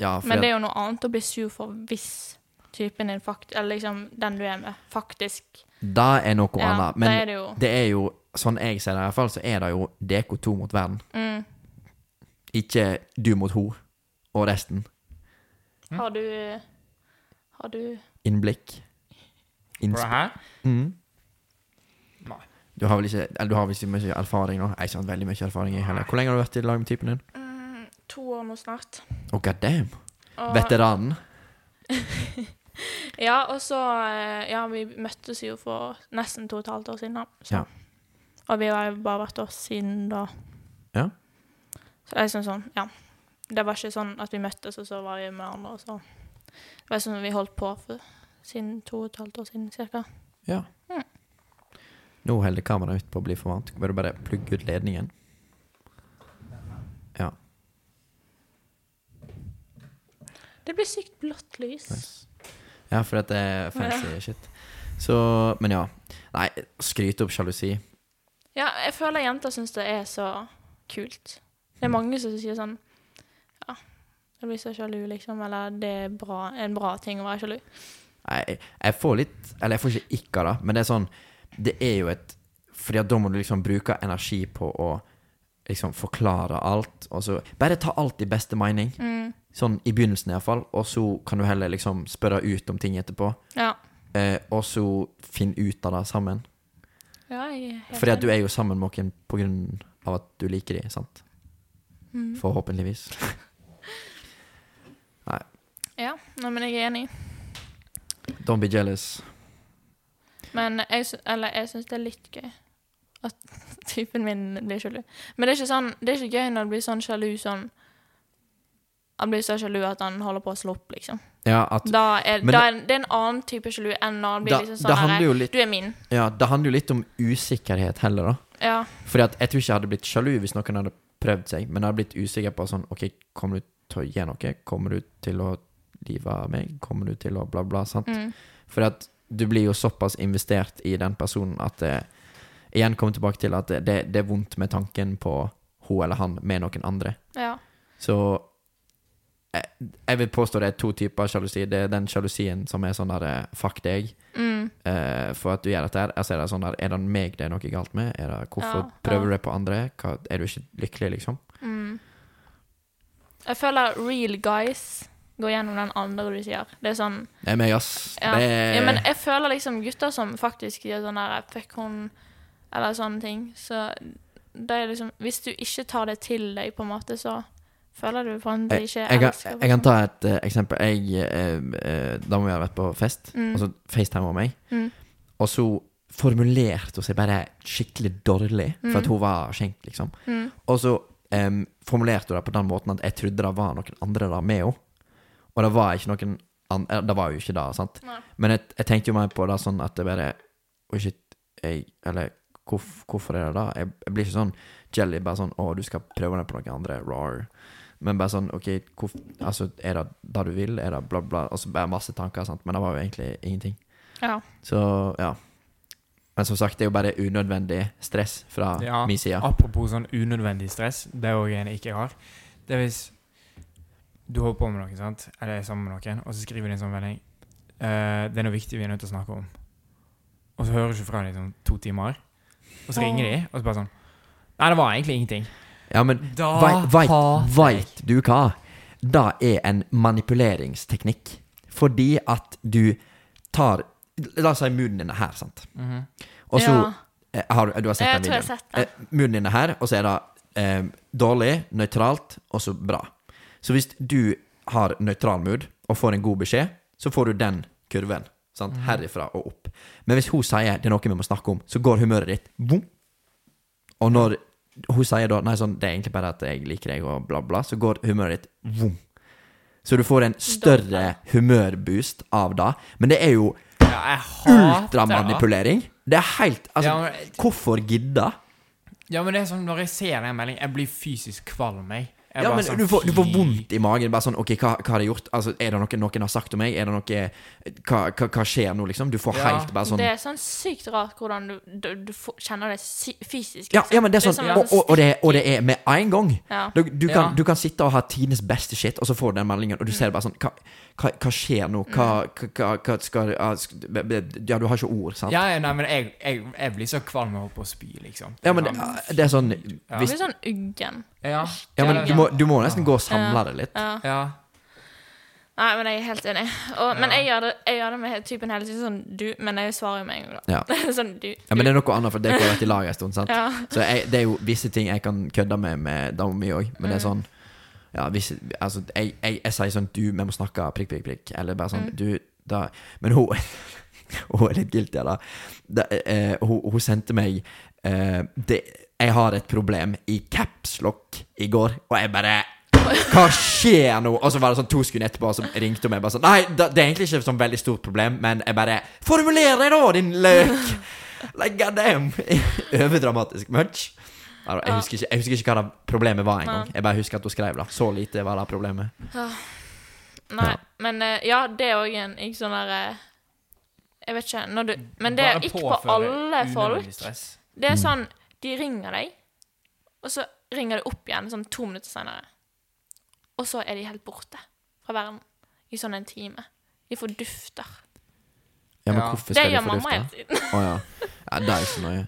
Speaker 1: Ja, for
Speaker 2: Men det er jo noe annet å bli sur for hvis typen din, fakt eller liksom den du er med, faktisk
Speaker 1: det er noe
Speaker 2: Ja,
Speaker 1: annet.
Speaker 2: da er
Speaker 1: Men
Speaker 2: det jo
Speaker 1: det er jo, sånn jeg ser det i hvert fall, så er det jo deko to mot verden.
Speaker 2: mm.
Speaker 1: Ikke du mot ho og resten.
Speaker 2: Har du Har du
Speaker 1: Innblikk.
Speaker 4: Bra
Speaker 1: Innspill.
Speaker 4: her?
Speaker 1: Mm.
Speaker 4: Nei.
Speaker 1: Du har vel ikke eller du har vel ikke mye erfaring nå? Jeg har ikke hatt veldig mye erfaring jeg heller. Hvor lenge har du vært i lag med typen din?
Speaker 2: mm, to år nå snart?
Speaker 1: Oh, God damn.
Speaker 2: Og,
Speaker 1: Veteranen.
Speaker 2: Ja, og så eh, Ja, vi møttes jo for nesten to og et halvt år siden, da. Så.
Speaker 1: Ja.
Speaker 2: Og vi har jo bare vært oss siden da.
Speaker 1: Ja.
Speaker 2: Så det er liksom sånn, ja. Det var ikke sånn at vi møttes, og så var vi med andre, og så Det var sånn vi holdt på for, siden to og et halvt år siden, cirka.
Speaker 1: Ja.
Speaker 2: Mm.
Speaker 1: Nå holder kameraet mitt på å bli for varmt. Bør du bare plugge ut ledningen? Ja.
Speaker 2: Det blir sykt blått lys.
Speaker 1: Nice. Ja, for dette er fancy shit. Så Men ja. Nei, skryte opp sjalusi.
Speaker 2: Ja, jeg føler jenter syns det er så kult. Det
Speaker 1: Mm.
Speaker 2: er mange som sier sånn Ja, jeg blir så sjalu, liksom. Eller det er bra, en bra ting å være sjalu.
Speaker 1: Nei, jeg får litt Eller jeg får ikke ikk av det, men det er sånn Det er jo et Fordi at da må du liksom bruke energi på å liksom forklare alt, og så Bare ta alt i beste mening.
Speaker 2: Mm,
Speaker 1: Sånn i begynnelsen iallfall. Og så kan du heller liksom spørre ut om ting etterpå.
Speaker 2: ja.
Speaker 1: Eh, og så finne ut av det sammen.
Speaker 2: ja jeg er helt
Speaker 1: Fordi at du
Speaker 2: enig.
Speaker 1: er jo sammen med noen på grunn av at du liker dem, sant?
Speaker 2: Mm.
Speaker 1: Forhåpentligvis.
Speaker 2: Ja, nei, men jeg er enig.
Speaker 1: Don't be jealous.
Speaker 2: Men jeg, sy- eller jeg syns det er litt gøy at typen min blir sjalu. Men det er ikke, sånn, det er ikke gøy når det blir sånn sjalu sånn Han blir så sjalu at han holder på å slå opp, liksom.
Speaker 1: Ja, at
Speaker 2: Da er,
Speaker 1: Men
Speaker 2: da er, det er en annen type sjalu enn når han blir
Speaker 1: da,
Speaker 2: liksom
Speaker 1: det
Speaker 2: sånn
Speaker 1: handler
Speaker 2: her,
Speaker 1: jo litt,
Speaker 2: Du er min.
Speaker 1: ja, det handler jo litt om usikkerhet heller, da.
Speaker 2: Ja.
Speaker 1: Fordi at jeg tror ikke jeg hadde blitt sjalu hvis noen hadde prøvd seg, men jeg hadde blitt usikker på sånn OK, kommer du til å gjøre noe? Kommer du til å live av meg? Kommer du til å bla, bla? Sant?
Speaker 2: Mm.
Speaker 1: For at du blir jo såpass investert i den personen at det Igjen kommer tilbake til at det, det, det er vondt med tanken på hun eller han med noen andre.
Speaker 2: Ja.
Speaker 1: Så jeg, jeg vil påstå det er to typer sjalusi. Det er den sjalusien som er sånn der eh, Fuck deg
Speaker 2: Mm.
Speaker 1: eh, for at du gjør dette her. Altså er det sånn der Er det meg det er noe galt med? Er det, hvorfor
Speaker 2: Ja,
Speaker 1: prøver
Speaker 2: ja.
Speaker 1: du det på andre? Hva, er du ikke lykkelig, liksom?
Speaker 2: Mm. Jeg føler real guys går gjennom den andre du sier. Det er sånn
Speaker 1: Det er meg, ass.
Speaker 2: Ja.
Speaker 1: Det er
Speaker 2: ja, Men jeg føler liksom gutter som faktisk gjør sånn der Fuck hun Eller sånne ting. Så det er liksom Hvis du ikke tar det til deg, på en måte, så føler du på en måte ikke
Speaker 1: jeg, kan-
Speaker 2: elsker
Speaker 1: jeg kan ta et eh, eksempel. Jeg, eh, eh, da må vi ha vært på fest,
Speaker 2: Mm.
Speaker 1: og så facetimer meg.
Speaker 2: Mm.
Speaker 1: Og så formulert og seg bare skikkelig dårlig, for at
Speaker 2: Mm.
Speaker 1: hun var skjenk, liksom.
Speaker 2: Mm.
Speaker 1: Og så em, formulerte hun det på den måten at jeg trodde det var noen andre der med henne. Og det var ikke noen an- eh, Det var jo ikke det, sant?
Speaker 2: Nei.
Speaker 1: Men jeg, jeg tenkte jo mer på det sånn at det bare Oi, shit, jeg Eller hvorf, hvorfor er det det? Jeg, jeg blir ikke sånn jelly, bare sånn Å, du skal prøve det på noen andre. Rar. Men bare sånn OK, hvorf, altså, er det det du vil? Er det bla, bla? Og så bare masse tanker, sant? Men det var jo egentlig ingenting.
Speaker 2: Ja.
Speaker 1: Så ja. Men som sagt, det er jo bare unødvendig stress fra
Speaker 4: Ja,
Speaker 1: min side.
Speaker 4: Apropos sånn unødvendig stress, det er òg en jeg ikke har. Det er hvis du holder på med noe, sant? eller er sammen med noen, og så skriver de en sånn melding eh, 'Det er noe viktig vi er nødt til å snakke om.' Og så hører du ikke fra dem i sånn to timer. Og så ringer de, og så bare sånn 'Nei, det var egentlig ingenting'.
Speaker 1: Ja, men
Speaker 4: Da
Speaker 3: Ah,
Speaker 1: Veit, veit,
Speaker 4: hater jeg.
Speaker 1: veit du hva? Det er en manipuleringsteknikk. Fordi at du tar La oss si munnen din er her, sant.
Speaker 4: Mhm.
Speaker 1: Og så
Speaker 2: ja.
Speaker 1: eh, har du- du har sett
Speaker 2: Jeg
Speaker 1: den
Speaker 2: tror jeg har
Speaker 1: videoen.
Speaker 2: sett det.
Speaker 1: Eh, munnen din er her, og så er det eh, dårlig, nøytralt, og så bra. Så hvis du har nøytral mood og får en god beskjed, så får du den kurven. Sant?
Speaker 4: Mm.
Speaker 1: Herifra og opp. Men hvis hun sier det er noe vi må snakke om, så går humøret ditt boom. Og når hun sier da Nei, sånn, det er egentlig bare at jeg liker deg, og bla, bla, så går humøret ditt boom. Så du får en større humørboost av det. Men det er jo
Speaker 4: Ja, jeg hater det.
Speaker 1: ultramanipulering. Det er helt Altså,
Speaker 4: Ja, men-
Speaker 1: hvorfor gidde?
Speaker 4: Ja, men det er sånn når jeg ser den meldingen, jeg blir fysisk kvalm, jeg. jeg.
Speaker 1: Ja,
Speaker 4: bare
Speaker 1: men
Speaker 4: sånn,
Speaker 1: du, får, du får
Speaker 4: fy.
Speaker 1: vondt i magen. Bare sånn OK, hva, hva har jeg gjort? Altså, er det noe noen har sagt om meg? Er det noe Hva, hva, hva skjer nå, liksom? Du får
Speaker 4: Ja.
Speaker 1: helt bare sånn
Speaker 2: Det er sånn sykt rart hvordan du, du, du får- kjenner det sy fysisk. liksom.
Speaker 1: ja, ja, men det er
Speaker 2: Det er
Speaker 1: sånn
Speaker 2: som
Speaker 1: Og, og, og, det, og det er med en gang.
Speaker 2: Ja.
Speaker 1: Du, du, kan,
Speaker 4: Ja.
Speaker 1: du kan sitte og ha tidenes beste shit, og så får du den meldingen, og du ser bare sånn Hva, hva, hva skjer nå? Hva,
Speaker 2: Mm.
Speaker 1: hva, hva skal ja, sk- be- be- Ja, du har ikke ord, sant? Ja,
Speaker 4: Ja, ja, nei, men jeg, jeg, jeg blir så kvalm og holder på å spy, liksom.
Speaker 1: men det, det er sånn
Speaker 2: Du
Speaker 1: hvis,
Speaker 2: blir sånn uggen.
Speaker 4: Ja,
Speaker 1: Ja, men
Speaker 4: ja,
Speaker 1: du
Speaker 4: ja.
Speaker 1: må, du må nesten gå og samle det litt.
Speaker 2: Ja.
Speaker 4: Ja.
Speaker 2: Nei, men jeg er helt enig. Og, men jeg gjør, det, jeg gjør det med typen hele tiden sånn du, men jeg svarer jo med en gang, da.
Speaker 1: Ja.
Speaker 2: sånn du.
Speaker 1: Ja, men det er noe annet, for det har vært i lag en stund. sant?
Speaker 2: Ja.
Speaker 1: Så jeg, det er jo visse ting jeg kan kødde med med dama mi òg, men det er sånn ja, visse, altså, jeg, jeg, jeg sier sånn Du, vi må snakke prikk, prikk, prikk. Eller bare sånn Du, da Men hun Hun er litt guilty av det. Det, eh, Hun hun sendte meg eh, det, 'Jeg har et problem' i capslock i går, og jeg bare hva skjer nå? Og så var det sånn to sekunder etterpå, så ringte hun meg bare sånn Nei, da- det er egentlig ikke et sånn veldig stort problem, men jeg bare Formuler deg, da, din løk! Like, god damn! Overdramatisk much. Ja, da, Jeg
Speaker 2: Ja.
Speaker 1: husker, ikke, jeg husker ikke hva det problemet var engang.
Speaker 2: Nei.
Speaker 1: Jeg bare husker at hun skrev det. Så lite var det problemet.
Speaker 2: Nei,
Speaker 1: Ja.
Speaker 2: men eh, ja, det er òg en ikke sånn derre Jeg vet ikke. Når du, men det
Speaker 4: Bare
Speaker 2: er ikke på
Speaker 4: påføre
Speaker 2: alle
Speaker 4: unødvendig
Speaker 2: folk.
Speaker 4: stress.
Speaker 2: Det
Speaker 1: Mm.
Speaker 2: er sånn De ringer deg, og så ringer de opp igjen sånn to minutter senere. Og så er de helt borte fra verden i sånn en time. De fordufter.
Speaker 1: Ja, men
Speaker 4: Ja.
Speaker 1: hvorfor
Speaker 2: Det
Speaker 1: skal
Speaker 2: gjør
Speaker 1: jeg få
Speaker 2: mamma hele
Speaker 1: lufta?
Speaker 2: tiden.
Speaker 1: Å ja. ja. Det er ikke så nøye.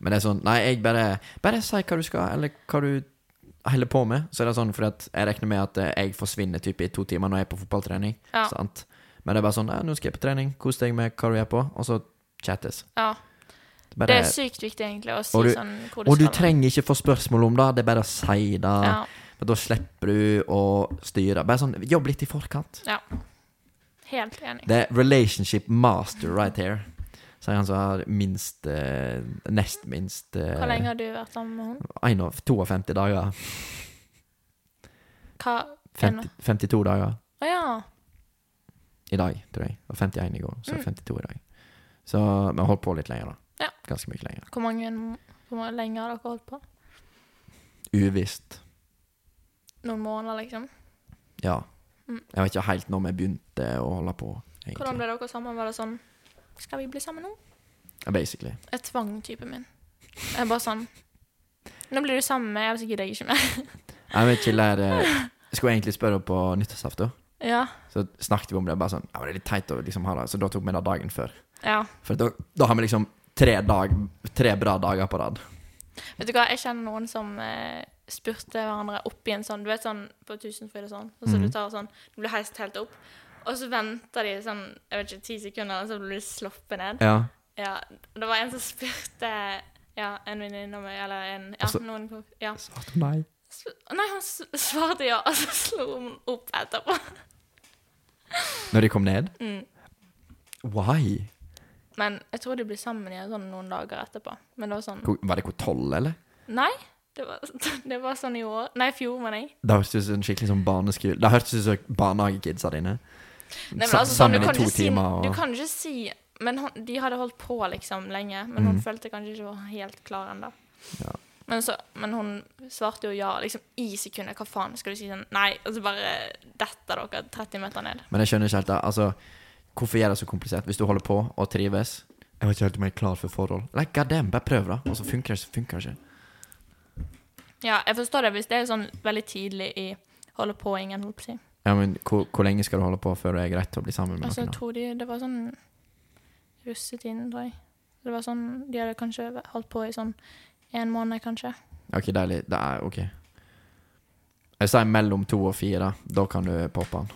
Speaker 1: Men det er sånn Nei, jeg bare Bare si hva du skal, eller hva du holder på med. Så er det sånn fordi at jeg regner med at eh, jeg forsvinner typ i to timer når jeg er på fotballtrening.
Speaker 2: Ja.
Speaker 1: Sant? Men det er bare sånn ja, 'Nå skal jeg på trening. Kos deg med hva du er på.' Og så chattes.
Speaker 2: Ja,
Speaker 1: Bare,
Speaker 2: det er sykt viktig egentlig å si
Speaker 1: Og du-
Speaker 2: sånn hvor
Speaker 1: og du
Speaker 2: skal.
Speaker 1: trenger ikke få spørsmål om det. Det er bare å si det.
Speaker 2: ja.
Speaker 1: Men Da slipper du å styre. Bare sånn Jobb litt i forkant.
Speaker 2: Helt enig.
Speaker 1: Det er relationship master right here. Sier han som har minst eh, Nest minst eh,
Speaker 2: Hvor lenge har du vært sammen med henne?
Speaker 1: en av 52 dager.
Speaker 2: Hva er nå?
Speaker 1: 50, 52 dager
Speaker 2: Å ja.
Speaker 1: i dag, tror jeg. Og 51 i går, så
Speaker 2: Mm.
Speaker 1: 52 i dag. Så vi har holdt på litt lenger, da.
Speaker 2: Ja.
Speaker 1: Ganske mye lenger.
Speaker 2: Hvor mange hvor mange lenge har dere holdt på?
Speaker 1: Uvisst.
Speaker 2: Noen måneder, liksom?
Speaker 1: Ja.
Speaker 2: Mm.
Speaker 1: Jeg vet ikke helt når vi begynte å holde på,
Speaker 2: Hvordan
Speaker 1: egentlig.
Speaker 2: ble dere sammen? Var det sånn Skal vi bli sammen nå?
Speaker 1: Ja, Basically.
Speaker 2: Jeg tvang typen min. Jeg bare sånn Nå blir du sammen med Ellers gidder jeg ikke mer.
Speaker 1: Jeg vet ikke, lær, eh, skulle egentlig spørre på nyttårsaften.
Speaker 2: Ja.
Speaker 1: Så snakket vi om det, bare sånn Ja, men det er litt teit å liksom ha det. Så da tok vi det dagen før.
Speaker 2: ja.
Speaker 1: For da, da har vi liksom tre, dag, tre bra dager på rad.
Speaker 2: Vet du hva, jeg kjenner noen som eh, spurte hverandre opp i en sånn Du vet sånn på Tusenfryd og sånn, og så du tar sånn Du blir heist helt opp, og så venter de sånn Jeg vet ikke, ti sekunder, og så blir du sluppet ned.
Speaker 1: Ja.
Speaker 2: Ja. Det var en som spurte ja, en venninne av meg, eller en Ja,
Speaker 1: Og så-
Speaker 2: noen kom- Ja.
Speaker 1: Svarte nei.
Speaker 2: Sp- Nei, hun s- svarte ja, og så slo hun opp etterpå.
Speaker 1: Når de kom ned?
Speaker 2: Mm.
Speaker 1: Why?
Speaker 2: Men jeg tror de blir sammen igjen sånn noen dager etterpå. Men det var sånn
Speaker 1: Hvor- Var det hvor tolv, eller?
Speaker 2: Nei, det var, det var sånn i år. Nei, i fjor, mener jeg.
Speaker 1: Det hørtes ut som en skikkelig sånn barneskole Det hørtes ut som barnehagekidsa dine.
Speaker 2: Nei, men
Speaker 1: Sa-
Speaker 2: altså, sånn,
Speaker 1: Sammen
Speaker 2: du kan
Speaker 1: i to
Speaker 2: ikke si-
Speaker 1: timer. Og...
Speaker 2: Du kan ikke si Men hun- de hadde holdt på liksom lenge, men hun følte kanskje ikke var helt klar ennå.
Speaker 1: Mhm. Ja.
Speaker 2: Men, så- men hun svarte jo ja liksom i sekundet. Hva faen skal du si sånn? Nei, og så bare detter dere 30 meter ned.
Speaker 1: Men jeg skjønner ikke helt det. Altså, hvorfor gjør det så komplisert hvis du holder på og trives? Jeg var ikke helt om jeg er klar for forhold. Like, god damn, bare prøv, da. Og så funker det, så funker det ikke.
Speaker 2: Ja, jeg forstår det hvis det er sånn veldig tidlig i holde på ingen, holdt på å si.
Speaker 1: Ja, men hvor, hvor lenge skal du holde på før det er greit å bli sammen med
Speaker 2: Altså, jeg
Speaker 1: noen? da?
Speaker 2: tror de Det var sånn russetiden, tror jeg. Det var sånn, De hadde kanskje holdt på i sånn en måned, kanskje.
Speaker 1: Ok, deilig. Det er ok. Jeg sier mellom to og fire. Da kan du poppe den.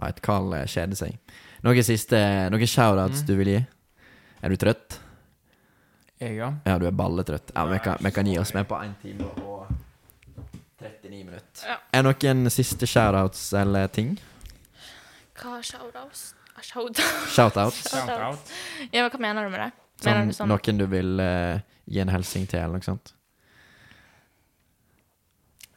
Speaker 1: Nei, Carl eh, kjeder seg. Noen siste Noen eh, shoutouts
Speaker 4: Mm.
Speaker 1: du vil gi? Er du trøtt?
Speaker 4: Jeg, ja.
Speaker 1: Ja, du er balletrøtt. Ja, vi kan, vi kan gi oss med på 1 time og 39 minutter.
Speaker 2: Ja.
Speaker 1: Er noen siste shoutouts eller ting?
Speaker 2: Hva er shoutouts? Ah, Shoutouts?
Speaker 1: Shoutouts?
Speaker 4: Shout-out.
Speaker 2: Ja, men hva mener du med det? Mener
Speaker 1: Sånn,
Speaker 2: du sånn
Speaker 1: Noen du vil eh, gi en hilsing til, eller noe sånt?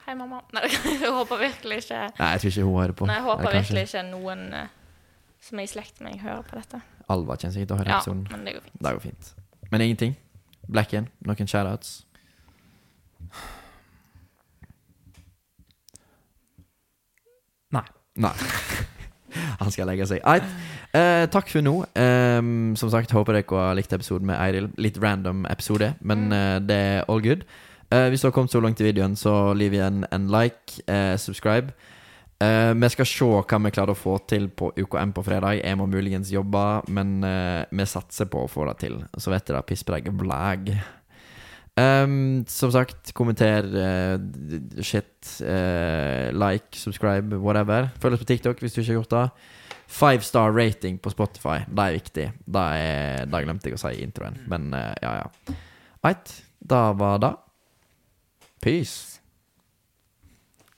Speaker 2: Hei, mamma. Nei, jeg håper virkelig ikke
Speaker 1: Nei, jeg tror ikke hun hører på.
Speaker 2: Nei, jeg håper
Speaker 1: Eller kanskje
Speaker 2: virkelig ikke noen eh, som er i slekt med meg, hører på dette.
Speaker 1: Alva kommer sikkert til å høre
Speaker 2: Ja,
Speaker 1: episoden.
Speaker 2: men det går fint.
Speaker 1: Det går fint. Men ingenting. Blacken, noen shoutouts?
Speaker 4: Nei.
Speaker 1: Nei. Han skal legge seg. Eit. Eh, takk for nå. Ehm, som sagt, håper dere har likt episoden med Eiril. Litt random episode, men
Speaker 2: Mm.
Speaker 1: eh, det er all good. Eh, hvis du har kommet så langt i videoen, så liv igjen en like, eh, subscribe. Eh, vi skal se hva vi klarer å få til på UKM på fredag. Jeg må muligens jobbe, men eh, vi satser på å få det til. Så vet dere, pisspreik blæg. Ehm, som sagt, kommenter eh, d- d- shit. eh, like, subscribe, whatever. Følg oss på TikTok hvis du ikke har gjort det. Five star rating på Spotify, det er viktig. Det, er, det glemte jeg å si i introen, men eh, ja, ja. Eit, det var det. Peace.